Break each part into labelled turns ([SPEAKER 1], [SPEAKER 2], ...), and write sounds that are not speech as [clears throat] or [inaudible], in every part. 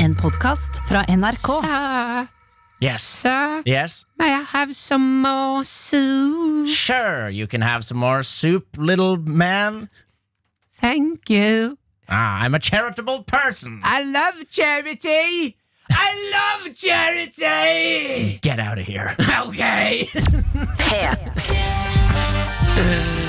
[SPEAKER 1] En podkast fra NRK.
[SPEAKER 2] Sir,
[SPEAKER 3] Yes.
[SPEAKER 2] sir,
[SPEAKER 3] Yes.
[SPEAKER 2] may I have some more soup?
[SPEAKER 3] Sure, you can have some more soup, little man.
[SPEAKER 2] Thank you.
[SPEAKER 3] Ah, I'm a charitable person.
[SPEAKER 2] I love charity. I love charity.
[SPEAKER 3] Get out of here.
[SPEAKER 2] Okay.
[SPEAKER 1] P3.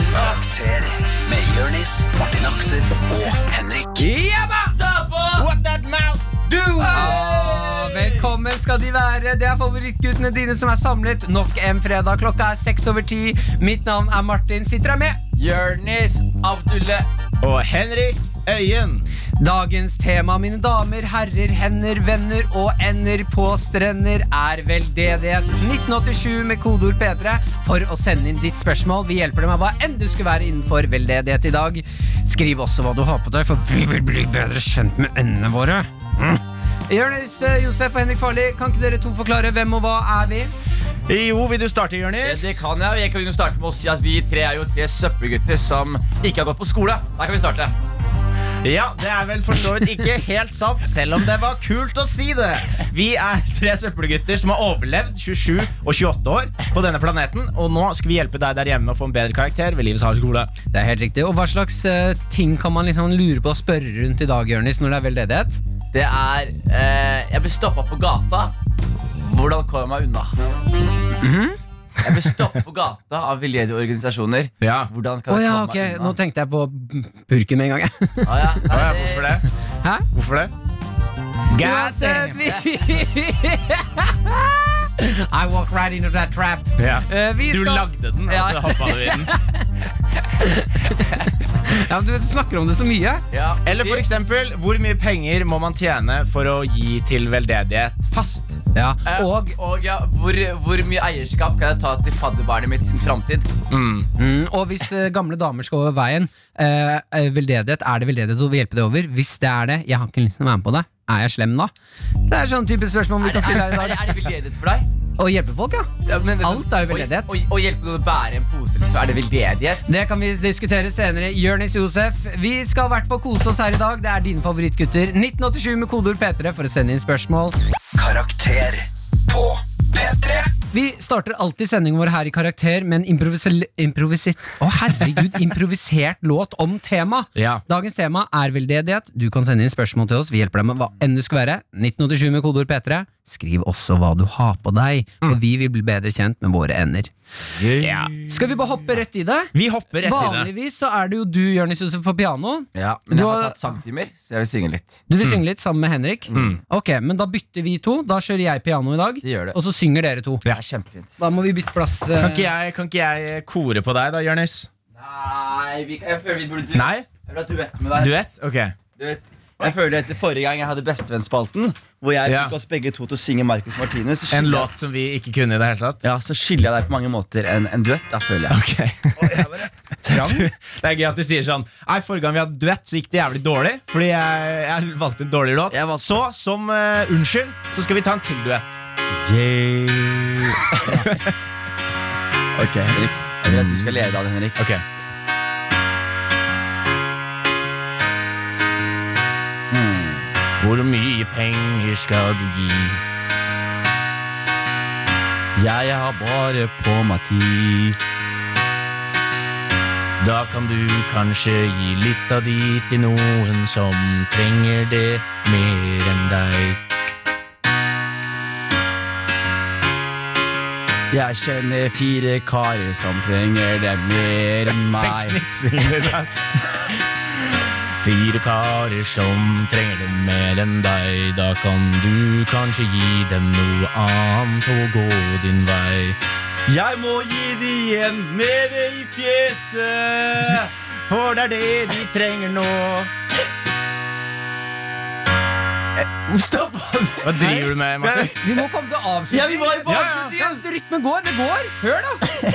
[SPEAKER 4] Karakter med Jørnis, Martin Aksel og Henrik.
[SPEAKER 3] What that mouth do?
[SPEAKER 2] Og Velkommen skal de være. Det er favorittguttene dine som er samlet nok en fredag. Klokka er seks over ti. Mitt navn er Martin. Sitter her med Jørnis Abdulle.
[SPEAKER 3] Og Oh, Henrik Øyen.
[SPEAKER 2] Dagens tema, mine damer, herrer, hender, venner og ender på strender, er veldedighet. 1987 med kodeord P3 for å sende inn ditt spørsmål. Vi hjelper deg med hva enn du skulle være innenfor veldedighet i dag. Skriv også hva du har på deg, for vi vil bli bedre kjent med endene våre. Mm. Jonis, eh, Josef og Henrik Farli, kan ikke dere to forklare hvem og hva er vi?
[SPEAKER 3] Jo, vil du starte,
[SPEAKER 5] Ja,
[SPEAKER 3] Jonis?
[SPEAKER 5] Det kan jeg, og jeg kan jo starte med å si at vi tre er jo tre søppelgutter som ikke har gått på skole. Der kan vi starte.
[SPEAKER 3] Ja, det er vel for så vidt ikke helt sant, selv om det var kult å si det. Vi er tre søppelgutter som har overlevd 27 og 28 år på denne planeten, og nå skal vi hjelpe deg der hjemme å få en bedre karakter ved livets harde skole.
[SPEAKER 2] Det er helt riktig. Og hva slags eh, ting kan man liksom lure på å spørre rundt i dag, Jonis, når det er veldedighet?
[SPEAKER 5] Det er eh, Jeg ble stoppa på gata. Hvordan kommer jeg meg unna?
[SPEAKER 2] Mhm.
[SPEAKER 5] Jeg ble stoppa på gata av veldedige organisasjoner.
[SPEAKER 3] Ja.
[SPEAKER 5] Hvordan
[SPEAKER 2] Å
[SPEAKER 5] kan jeg
[SPEAKER 2] ja,
[SPEAKER 5] komme
[SPEAKER 2] ok.
[SPEAKER 5] meg
[SPEAKER 2] Nå
[SPEAKER 5] unna?
[SPEAKER 2] tenkte jeg på purken med en gang, jeg. [laughs]
[SPEAKER 5] Å ja.
[SPEAKER 3] Å ja,
[SPEAKER 5] Nei,
[SPEAKER 3] hvorfor det?
[SPEAKER 2] Hæ?
[SPEAKER 3] Hvorfor det? Gas
[SPEAKER 2] Uansett, vi [laughs] I walk right into that trap.
[SPEAKER 3] Ja.
[SPEAKER 2] Eh, vi
[SPEAKER 3] Du
[SPEAKER 2] skal-
[SPEAKER 3] lagde den, og så
[SPEAKER 2] Ja.
[SPEAKER 3] hoppa du i den.
[SPEAKER 2] Ja, men du snakker om det så mye.
[SPEAKER 5] Ja.
[SPEAKER 3] Eller for eksempel, hvor mye penger må man tjene for å gi til veldedighet fast?
[SPEAKER 2] Ja.
[SPEAKER 5] Eh,
[SPEAKER 2] Og,
[SPEAKER 5] og ja, hvor, hvor mye eierskap kan jeg ta til fadderbarnet mitt sin framtid?
[SPEAKER 2] mm, og hvis eh, gamle damer skal over veien, eh, eh, veldedighet, er det veldedighet å hjelpe deg over? Hvis det er det, jeg har ikke lyst til å være med på det. Er jeg slem da? Det er sånn type spørsmål vi
[SPEAKER 5] Er det,
[SPEAKER 2] kan
[SPEAKER 5] er,
[SPEAKER 2] stille her i
[SPEAKER 5] er,
[SPEAKER 2] dag.
[SPEAKER 5] det- er det veldedighet for deg?
[SPEAKER 2] Å hjelpe folk, ja.
[SPEAKER 5] Ja, men det-
[SPEAKER 2] Alt er jo
[SPEAKER 5] å-
[SPEAKER 2] veldedighet.
[SPEAKER 5] Å å hjelpe noen å bære en pose, liksom, er det veldedighet?
[SPEAKER 2] Det kan vi diskutere senere. Jørnis Josef, vi skal i hvert fall kose oss her i dag. Det er dine favorittgutter. 1987 med kodeord P3 for å sende inn spørsmål.
[SPEAKER 4] Karakter på P3.
[SPEAKER 2] Vi starter alltid sendingen vår her i karakter med en improvisel- improvisit... Å, herregud,
[SPEAKER 4] [laughs]
[SPEAKER 2] improvisert låt om tema.
[SPEAKER 3] Ja.
[SPEAKER 2] Dagens tema er veldedighet. Du kan sende inn spørsmål til oss. Vi hjelper deg med hva enn det skulle være. 1987 med kodeord P3. Skriv også hva du har på deg, for
[SPEAKER 4] Mm.
[SPEAKER 2] vi vil bli bedre kjent med våre ender.
[SPEAKER 3] Ja.
[SPEAKER 2] Skal vi bare hoppe rett i det?
[SPEAKER 3] Vi hopper rett i det.
[SPEAKER 2] Vanligvis så er det jo du, Jonis Josef, på piano.
[SPEAKER 5] Ja, Mm. men jeg
[SPEAKER 2] Du
[SPEAKER 5] har
[SPEAKER 2] har-
[SPEAKER 5] tatt sangtimer, så jeg vil synge litt.
[SPEAKER 2] Du vil synge litt sammen med Henrik. Ok, men da bytter vi to. Da kjører jeg piano i dag,
[SPEAKER 5] Det Mm. gjør det.
[SPEAKER 2] og så synger dere to.
[SPEAKER 5] Det er kjempefint.
[SPEAKER 2] Da må vi bytte plass. eh,
[SPEAKER 3] Kan ikke jeg, kan ikke jeg eh, kore på deg, da, Jonis?
[SPEAKER 5] Nei, vi, jeg føler vi burde duett.
[SPEAKER 3] Nei?
[SPEAKER 5] Jeg vil ha duett med deg.
[SPEAKER 3] Duett? Ok.
[SPEAKER 5] Duett. Jeg føler etter forrige gang jeg hadde Bestevennspalten, hvor jeg
[SPEAKER 3] Ja.
[SPEAKER 5] fikk oss begge to til å synge Marcus Martinus, så
[SPEAKER 3] En
[SPEAKER 5] skylder-
[SPEAKER 3] låt som vi ikke kunne i det hele tatt?
[SPEAKER 5] Ja, så skylder jeg deg på mange måter en, en duett, da, føler jeg.
[SPEAKER 3] Trang? Det er gøy at du sier sånn Nei, forrige gang vi hadde duett, så gikk det jævlig dårlig. Fordi jeg, jeg valgte en dårlig låt.
[SPEAKER 5] Jeg valgte-
[SPEAKER 3] Så som eh, unnskyld, så skal vi ta en til duett.
[SPEAKER 5] Ok, Henrik. Jeg vil at du skal lede av det, Henrik.
[SPEAKER 3] Ok Hmm. Hvor mye penger skal du gi?
[SPEAKER 5] Jeg har bare på meg tid.
[SPEAKER 3] Da kan du kanskje gi litt av de til noen som trenger det mer enn deg.
[SPEAKER 5] Jeg kjenner fire karer som trenger det mer enn meg.
[SPEAKER 3] [laughs] Fire karer som trenger det mer enn deg. Da kan du kanskje gi dem noe annet og gå din vei.
[SPEAKER 5] Jeg må gi de en neve i fjeset.
[SPEAKER 3] For det er det de trenger nå.
[SPEAKER 5] Eh, Stopp!
[SPEAKER 3] Hva driver du med, Martin?
[SPEAKER 2] Vi må komme til avslutning.
[SPEAKER 5] Ja, vi var jo på
[SPEAKER 2] Ja, ja,
[SPEAKER 5] avslutning.
[SPEAKER 2] ja, rytmen går. Det går. Hør, da.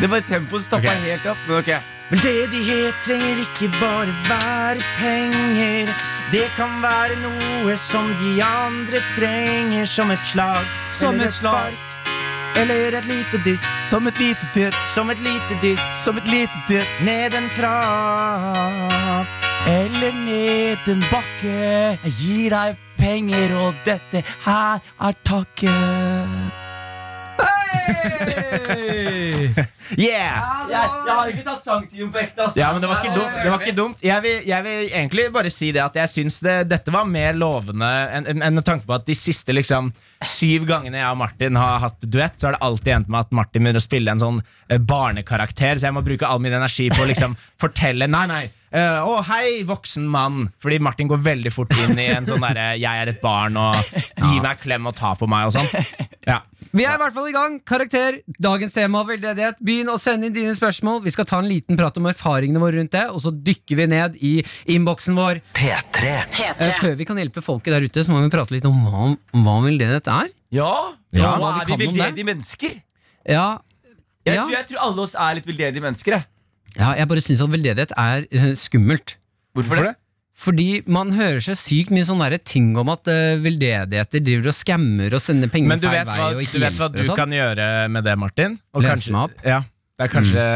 [SPEAKER 5] Det var tempoet stoppa
[SPEAKER 3] Ok.
[SPEAKER 5] helt opp. Men ok
[SPEAKER 3] Men Ledighet trenger ikke bare være penger. Det kan være noe som de andre trenger, som et slag,
[SPEAKER 5] Som
[SPEAKER 3] eller
[SPEAKER 5] et slag.
[SPEAKER 3] spark, eller et lite dytt,
[SPEAKER 5] Som et lite dytt,
[SPEAKER 3] som et lite dytt
[SPEAKER 5] som et lite dytt
[SPEAKER 3] ned en trapp.
[SPEAKER 5] eller ned en bakke. Jeg gir deg penger, og dette her er takket.
[SPEAKER 3] [laughs] Yeah!
[SPEAKER 5] Jeg, jeg har ikke tatt sangtimen på ekte, ass.
[SPEAKER 3] Ja, men det var ikke dumt. Det var ikke dumt. Jeg, vil, jeg vil egentlig bare si det at jeg syns det, dette var mer lovende enn enn- enn med tanke på at de siste liksom, syv gangene jeg og Martin har hatt duett, så har det alltid endt med at Martin begynner å spille en sånn eh, barnekarakter, så jeg må bruke all min energi på å liksom, [laughs] fortelle Nei, nei. eh, Å, hei, voksen mann. Fordi Martin går veldig fort inn i en sånn derre 'jeg er et barn', og 'gi meg en klem og ta på meg' og sånn. Ja.
[SPEAKER 2] Vi er i hvert fall i gang. Karakter. Dagens tema veldedighet. Begynn å sende inn dine spørsmål. Vi skal ta en liten prat om erfaringene våre rundt det, og så dykker vi ned i innboksen vår.
[SPEAKER 6] P3
[SPEAKER 2] Eh,
[SPEAKER 1] P3.
[SPEAKER 2] Før vi kan hjelpe folket der ute, så må vi prate litt om hva, hva veldedighet er.
[SPEAKER 5] Ja,
[SPEAKER 2] Ja,
[SPEAKER 5] Nå
[SPEAKER 2] hva
[SPEAKER 5] er
[SPEAKER 2] vi
[SPEAKER 5] vi
[SPEAKER 2] kan om det.
[SPEAKER 5] veldedige mennesker.
[SPEAKER 2] Ja,
[SPEAKER 5] Jeg,
[SPEAKER 2] Ja.
[SPEAKER 5] tror, jeg tror alle oss er litt veldedige mennesker. jeg.
[SPEAKER 2] ja jeg bare syns at veldedighet er eh, skummelt.
[SPEAKER 5] Hvorfor det?
[SPEAKER 2] Fordi man hører så sykt mye sånne der ting om at eh, veldedigheter driver og skammer og sender penger
[SPEAKER 3] Men du
[SPEAKER 2] feil
[SPEAKER 3] vet,
[SPEAKER 2] vei
[SPEAKER 3] hva,
[SPEAKER 2] og
[SPEAKER 3] du
[SPEAKER 2] ikke
[SPEAKER 3] vet hva du
[SPEAKER 2] hjelper og sånn.
[SPEAKER 3] kan gjøre med det, Martin? Og
[SPEAKER 2] Lese meg opp? Mm.
[SPEAKER 3] Ja, det er kanskje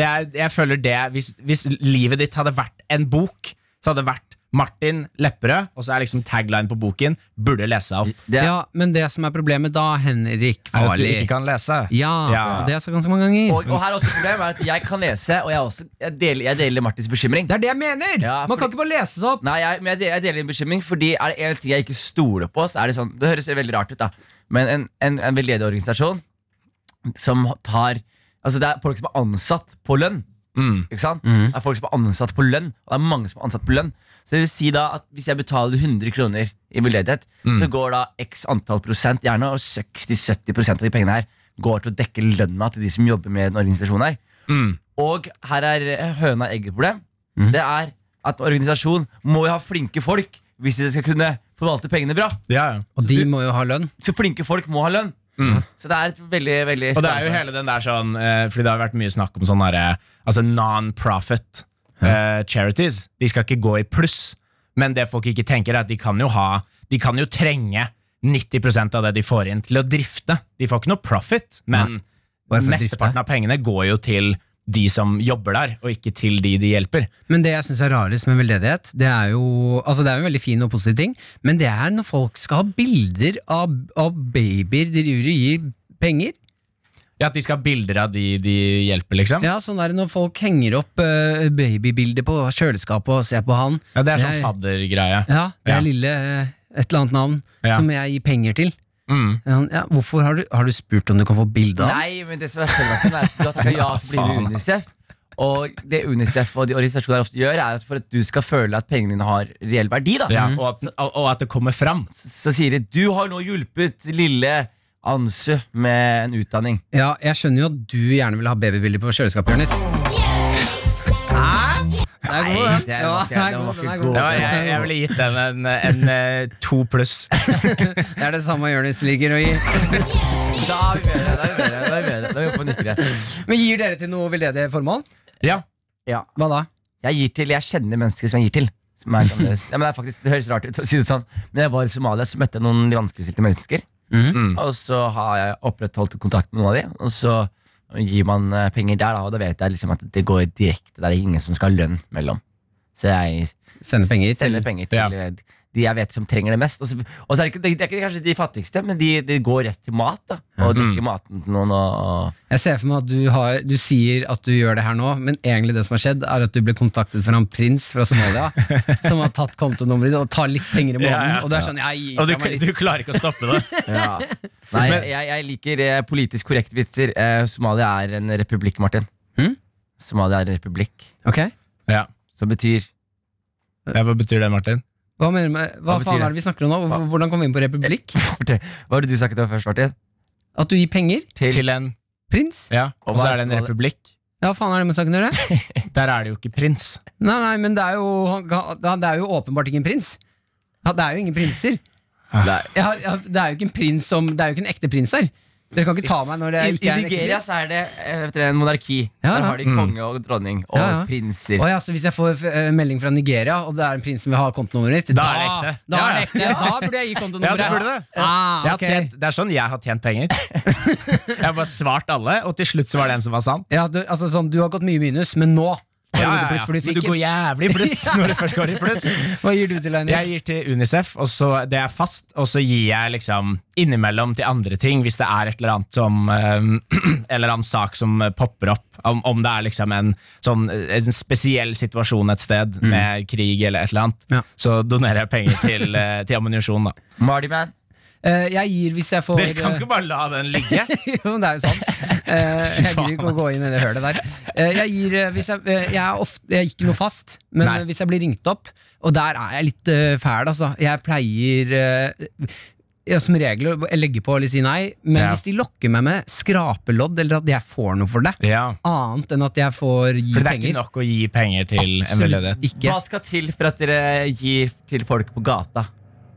[SPEAKER 3] det er, Jeg føler det hvis, hvis livet ditt hadde vært en bok, så hadde det vært Martin Lepperød, og så er liksom tagline på boken 'Burde lese seg opp'.
[SPEAKER 5] Det er-
[SPEAKER 2] Ja, men det som er problemet da, Henrik
[SPEAKER 3] Er at du
[SPEAKER 2] Farli
[SPEAKER 3] ikke kan lese.
[SPEAKER 2] ja,
[SPEAKER 3] Ja.
[SPEAKER 2] og det har jeg sagt ganske mange ganger.
[SPEAKER 5] Og, og her er også problemet er at jeg kan lese, og jeg, er også, jeg, deler, jeg deler Martins bekymring.
[SPEAKER 2] Det er det jeg mener!
[SPEAKER 5] Ja,
[SPEAKER 2] Man kan
[SPEAKER 5] fordi-
[SPEAKER 2] ikke bare lese det opp.
[SPEAKER 5] Nei, jeg, men jeg, deler, jeg deler din bekymring, fordi er det en ting jeg ikke stoler på, så er det sånn Det høres veldig rart ut, da, men en, en, en veldedig organisasjon som tar Altså, det er folk som er ansatt på lønn. Ikke sant? Det er folk som er ansatt på lønn, og det er mange som er ansatt på lønn. Så det vil si da at hvis jeg betaler 100 kroner i veldedighet, så går da x antall prosent, gjerne og 60-70 prosent av de pengene her, går til å dekke lønna til de som jobber med den organisasjonen her. Og her er høna egget-problem. Det er at en organisasjon må jo ha flinke folk hvis de skal kunne forvalte pengene bra.
[SPEAKER 3] Ja, ja.
[SPEAKER 2] Og de må jo ha lønn.
[SPEAKER 5] Så flinke folk må ha lønn. Så det er et veldig, veldig
[SPEAKER 3] Og det er jo hele den der sånn eh, Fordi det har vært mye snakk om sånn derre Altså non-profit eh, charities. De skal ikke gå i pluss. Men det folk ikke tenker, er at de kan jo ha De kan jo trenge 90 av det de får inn, til å drifte. De får ikke noe profit, men
[SPEAKER 2] Bare for å drifte.
[SPEAKER 3] mesteparten av pengene går jo til de som jobber der, og ikke til de de hjelper.
[SPEAKER 2] Men det jeg syns er rarest med veldedighet, det er jo Altså det er jo en veldig fin og positiv ting, men det er når folk skal ha bilder av, av babyer de driver og gir penger.
[SPEAKER 3] Ja, At de skal ha bilder av de de hjelper, liksom. Ja,
[SPEAKER 2] Ja, sånn er det når folk henger opp eh, babybilder på kjøleskapet og ser på han.
[SPEAKER 3] Det er
[SPEAKER 2] Jeg-
[SPEAKER 3] sånn faddergreie.
[SPEAKER 2] Ja, det
[SPEAKER 3] Ja.
[SPEAKER 2] er lille eh, et eller annet navn
[SPEAKER 3] Ja.
[SPEAKER 2] som jeg gir penger til.
[SPEAKER 3] Mm.
[SPEAKER 2] Ja, ja, hvorfor har du, har du spurt om du kan få bilde av han?
[SPEAKER 5] Nei, men det som er følelsen er at du har takket ja til å bli med i UNICEF. Og det UNICEF og de organisasjonene ofte gjør, er at for at du skal føle at pengene dine har reell verdi, da, Mm.
[SPEAKER 3] Ja, og, at, og, og at det kommer fram.
[SPEAKER 5] så sier de du har nå hjulpet lille Ansu med en utdanning.
[SPEAKER 2] Ja, jeg skjønner jo at du gjerne vil ha babybilder på kjøleskapet, Jonis. Nei, det
[SPEAKER 5] Nei,
[SPEAKER 2] er god,
[SPEAKER 5] det
[SPEAKER 2] den.
[SPEAKER 5] er-
[SPEAKER 2] Ja,
[SPEAKER 5] det
[SPEAKER 2] den
[SPEAKER 5] er-
[SPEAKER 2] er
[SPEAKER 5] den
[SPEAKER 2] god,
[SPEAKER 5] var
[SPEAKER 2] den er
[SPEAKER 5] ikke
[SPEAKER 2] god.
[SPEAKER 5] god.
[SPEAKER 3] Det var, jeg, jeg ville gitt den en, en, eh, to pluss.
[SPEAKER 2] Det er det samme Jonis liker å gi.
[SPEAKER 5] Da er vi med deg. Da er vi med deg. Da er vi med deg. Da er vi oppe og nikker igjen.
[SPEAKER 2] Men gir dere til noe veldedige formål?
[SPEAKER 3] Ja,
[SPEAKER 5] Ja.
[SPEAKER 2] Hva da?
[SPEAKER 5] Jeg gir til, jeg kjenner mennesker som jeg gir til. Som er helt annerledes. ja, men det, er faktisk, det høres rart ut å si det sånn, men jeg var i Somalia så møtte jeg noen vanskeligstilte mennesker. Mm.
[SPEAKER 2] Mhm.
[SPEAKER 5] Og så har jeg opprettholdt kontakt med noen av de, og så gir man eh, penger der, da, og da vet jeg liksom at det går direkte. Det er ingen som skal ha lønn mellom. Så jeg
[SPEAKER 2] Sende penger til
[SPEAKER 5] sender penger til
[SPEAKER 3] Ja.
[SPEAKER 5] eh, de jeg vet som trenger det mest. Og så, og så er det, ikke, det er ikke kanskje de fattigste, men de, de går rett til mat. da Og dekker maten til noen. Og,
[SPEAKER 2] Jeg ser for meg at du, har, du sier at du gjør det her nå, men egentlig det som har skjedd, er at du ble kontaktet fra en prins fra Somalia som har tatt kontonummeret ditt og tar litt penger i måneden.
[SPEAKER 3] Ja, ja.
[SPEAKER 2] Og det er sånn, jeg gir
[SPEAKER 3] Og du,
[SPEAKER 2] fra meg litt.
[SPEAKER 3] du klarer ikke å stoppe det. [laughs]
[SPEAKER 5] Nei, jeg, jeg liker eh, politisk korrekte vitser. Eh, Somalia er en republikk, Martin.
[SPEAKER 2] Hm?
[SPEAKER 5] Somalia er en republikk,
[SPEAKER 2] Ok,
[SPEAKER 3] Ja.
[SPEAKER 5] som betyr
[SPEAKER 3] Ja, Hva betyr det, Martin?
[SPEAKER 2] Hva, mener du med, hva,
[SPEAKER 5] Hva betyr
[SPEAKER 2] faen
[SPEAKER 5] det?
[SPEAKER 2] er det vi snakker om nå? Hvor- Hvordan kom vi inn på republikk?
[SPEAKER 5] Fortell. Hva var det du snakket om først, Martin?
[SPEAKER 2] At du gir penger?
[SPEAKER 5] Til,
[SPEAKER 3] Til en
[SPEAKER 2] Prins?
[SPEAKER 3] Ja, og så er det en republikk.
[SPEAKER 2] Ja, faen er det med saken å gjøre?
[SPEAKER 3] Der er det jo ikke prins.
[SPEAKER 2] Nei, nei, men det er jo, han- han- det er jo åpenbart ikke en prins. Ja, det er jo ingen prinser.
[SPEAKER 5] Nei.
[SPEAKER 2] Ja, ja, det er jo ikke en prins som Det er jo ikke en ekte prins her. Dere kan ikke ta meg når det
[SPEAKER 5] I,
[SPEAKER 2] ikke
[SPEAKER 5] Eh, I
[SPEAKER 2] er en ekte
[SPEAKER 5] Nigeria
[SPEAKER 2] prins.
[SPEAKER 5] så er det eh, vet dere, en monarki.
[SPEAKER 2] Ja, ja. Mm.
[SPEAKER 5] Der har de konge og dronning og
[SPEAKER 2] Ja, ja.
[SPEAKER 5] prinser.
[SPEAKER 2] Å ja, så Hvis jeg får eh, melding fra Nigeria, og det er en prins som vil ha kontonummeret ditt,
[SPEAKER 3] Da er det ekte.
[SPEAKER 2] Da,
[SPEAKER 3] Ja,
[SPEAKER 2] er det
[SPEAKER 3] ja.
[SPEAKER 2] ekte. da burde jeg
[SPEAKER 3] Ja,
[SPEAKER 2] gi kontonummeret.
[SPEAKER 3] det burde det.
[SPEAKER 2] Ah,
[SPEAKER 3] Jeg har
[SPEAKER 2] ok.
[SPEAKER 3] tjent, det er sånn jeg har tjent [laughs] penger. Jeg har bare svart alle, og til slutt så var det en som var sann.
[SPEAKER 2] ja, du, altså, sånn, du har gått mye minus, men nå Har
[SPEAKER 3] Ja,
[SPEAKER 2] du
[SPEAKER 3] ja,
[SPEAKER 2] gått i
[SPEAKER 3] ja.
[SPEAKER 2] pluss fordi
[SPEAKER 3] Men
[SPEAKER 2] du
[SPEAKER 3] du går
[SPEAKER 2] fikk
[SPEAKER 3] jævlig i [laughs] pluss når du først går i pluss.
[SPEAKER 2] en? Hva gir du til Einar?
[SPEAKER 3] Jeg gir til Unicef, og så det er fast, og så gir jeg liksom innimellom til andre ting hvis det er et eller annet som [clears throat] eh, Eller annen sak som eh, popper opp. Om, om det er liksom en, sånn, eh, en spesiell situasjon et sted, med krig eller et eller annet,
[SPEAKER 2] Ja.
[SPEAKER 3] så donerer jeg penger til, [laughs] eh, til ammunisjon, da.
[SPEAKER 5] Marty Man.
[SPEAKER 2] Eh, jeg gir hvis jeg får
[SPEAKER 3] Dere kan ikke bare la den ligge.
[SPEAKER 2] [laughs]
[SPEAKER 3] [laughs]
[SPEAKER 2] jo, men det er jo sant. Eh, jeg gidder ikke å gå inn i det hølet der. Eh, jeg gir eh, hvis jeg, eh, jeg, er ofte, jeg er ikke noe fast, men
[SPEAKER 3] Nei.
[SPEAKER 2] eh, hvis jeg blir ringt opp, og der er jeg litt eh, fæl, altså. Jeg pleier eh, ja, som regel å legge på eller si nei, men
[SPEAKER 3] Ja.
[SPEAKER 2] hvis de lokker meg med skrapelodd, eller at jeg får noe for det,
[SPEAKER 3] Ja,
[SPEAKER 2] annet enn at jeg får gi
[SPEAKER 3] For det er ikke
[SPEAKER 2] penger
[SPEAKER 3] nok å gi penger til en veldedighet.
[SPEAKER 2] Absolutt ikke.
[SPEAKER 5] Hva skal til for at dere gir til folk på gata?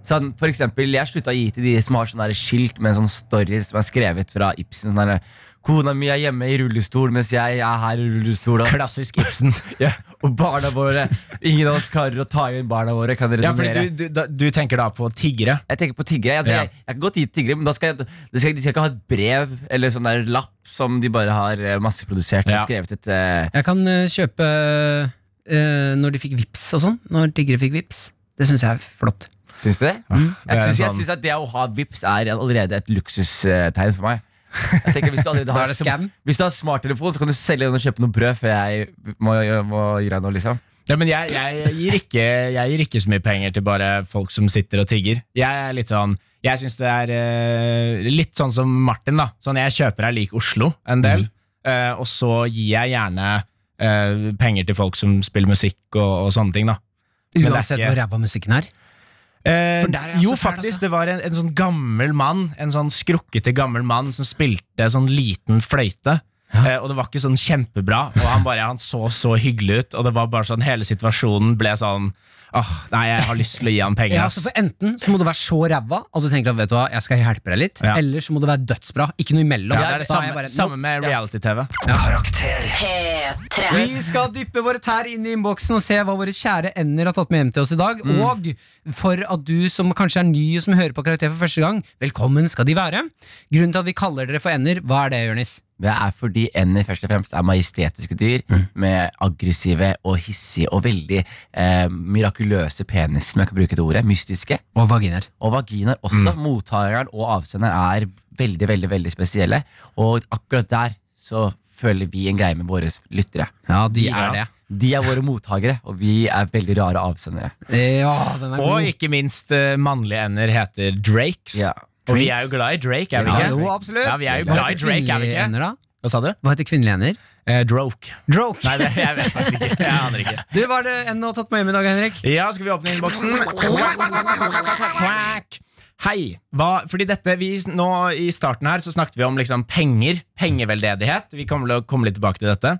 [SPEAKER 5] Sånn, for eksempel, jeg slutta å gi til de som har sånne der skilt med sånne stories som er skrevet fra Ibsen. Sånn der, 'Kona mi er hjemme i rullestol mens jeg er her i rullestol'. Og,
[SPEAKER 3] Klassisk Ibsen.
[SPEAKER 5] ja, og barna våre Ingen av oss klarer å ta igjen barna våre. Kan dere
[SPEAKER 3] Ja,
[SPEAKER 5] donere?
[SPEAKER 3] fordi du, du, da- du tenker da på tiggere?
[SPEAKER 5] Jeg tenker på tiggere. Altså,
[SPEAKER 3] Ja.
[SPEAKER 5] jeg, jeg kan godt gi til tiggere, men da skal jeg, de, skal, de skal ikke ha et brev eller sånn der lapp som de bare har eh, masseprodusert og
[SPEAKER 3] Ja.
[SPEAKER 5] skrevet et eh,
[SPEAKER 2] Jeg kan eh, kjøpe eh, når de fikk vips og sånn. Når tiggere fikk vips. Det syns jeg er flott.
[SPEAKER 5] Syns du det?
[SPEAKER 3] Det
[SPEAKER 5] Mm. Jeg
[SPEAKER 3] er
[SPEAKER 5] syns, jeg
[SPEAKER 3] sånn-
[SPEAKER 5] syns at det å ha vips er allerede et luksustegn for meg. Jeg tenker Hvis du
[SPEAKER 3] [laughs]
[SPEAKER 5] allerede
[SPEAKER 2] Da er
[SPEAKER 5] har,
[SPEAKER 2] det scam.
[SPEAKER 5] Hvis du har smarttelefon, så kan du selge den og kjøpe noe brød før jeg må, må gi deg noe. liksom
[SPEAKER 3] Ja, men jeg, jeg, gir ikke, jeg gir ikke så mye penger til bare folk som sitter og tigger. Jeg er litt sånn Jeg syns det er eh, litt sånn som Martin, da. Sånn Jeg kjøper her lik Oslo en del, eh, og så gir jeg gjerne eh, penger til folk som spiller musikk og, og sånne ting, da. Men det er
[SPEAKER 2] Uansett
[SPEAKER 3] ikke-
[SPEAKER 2] hvor ræva musikken er.
[SPEAKER 3] Eh,
[SPEAKER 2] For der er jeg
[SPEAKER 3] jo,
[SPEAKER 2] så fæl,
[SPEAKER 3] faktisk.
[SPEAKER 2] altså.
[SPEAKER 3] Det var en, en sånn gammel mann, en sånn skrukkete gammel mann, som spilte sånn liten fløyte. Eh, og det var ikke sånn kjempebra, og han, bare, han så så hyggelig ut. Og det var bare sånn hele situasjonen ble sånn Åh, nei, jeg har lyst til å gi han penger,
[SPEAKER 2] Ja,
[SPEAKER 3] ass.
[SPEAKER 2] altså for Enten så må du være så ræva at du tenker at vet du hva, jeg skal hjelpe deg litt.
[SPEAKER 3] Ja.
[SPEAKER 2] Eller så må du være dødsbra. Ikke noe imellom.
[SPEAKER 3] Ja, det er det
[SPEAKER 2] Da
[SPEAKER 3] samme,
[SPEAKER 2] jeg bare,
[SPEAKER 3] samme med reality-TV.
[SPEAKER 7] Karakter.
[SPEAKER 1] P3.
[SPEAKER 2] Vi skal dyppe våre tær inn i innboksen og se hva våre kjære ender har tatt med hjem til oss i dag.
[SPEAKER 3] Mm.
[SPEAKER 2] Og for at du som kanskje er ny og som hører på Karakter for første gang, velkommen skal de være. Grunnen til at vi kaller dere for ender, hva er det, Jonis?
[SPEAKER 5] Det er fordi ender først og fremst er majestetiske dyr
[SPEAKER 3] Mm.
[SPEAKER 5] med aggressive og hissige og veldig eh, mirakuløse penis, som jeg kan bruke det ordet. Mystiske.
[SPEAKER 2] Og vaginaer.
[SPEAKER 5] Og vaginaer
[SPEAKER 3] Mm.
[SPEAKER 5] også. Mottakeren og avsenderen er veldig, veldig, veldig spesielle. Og akkurat der så føler vi en greie med våre lyttere.
[SPEAKER 2] Ja, de
[SPEAKER 3] Ja.
[SPEAKER 2] er det.
[SPEAKER 5] De er våre mottakere, og vi er veldig rare avsendere.
[SPEAKER 2] Ja, den er god.
[SPEAKER 3] Og ikke minst eh, mannlige ender heter Drakes.
[SPEAKER 5] Ja.
[SPEAKER 3] Og vi er jo glad i Drake, er vi
[SPEAKER 2] Ja,
[SPEAKER 3] ikke?
[SPEAKER 2] jo, absolutt.
[SPEAKER 3] Ja, vi er jo
[SPEAKER 2] Hva
[SPEAKER 3] glad i
[SPEAKER 2] heter
[SPEAKER 3] Drake, er vi
[SPEAKER 2] kvinnelige
[SPEAKER 3] ikke?
[SPEAKER 2] ender, da?
[SPEAKER 3] Hva sa du?
[SPEAKER 2] Hva heter kvinnelige ender?
[SPEAKER 3] Eh, Droke.
[SPEAKER 2] Droke.
[SPEAKER 3] Nei, det, jeg vet faktisk ikke. Jeg aner ikke.
[SPEAKER 2] Du, Hva er det enden har tatt med hjem i dag, Henrik?
[SPEAKER 3] Ja, skal vi åpne innboksen? Quack. Hei. Hva, fordi dette, vi, nå I starten her så snakket vi om liksom penger. Pengeveldedighet. Vi kommer til å komme litt tilbake til dette.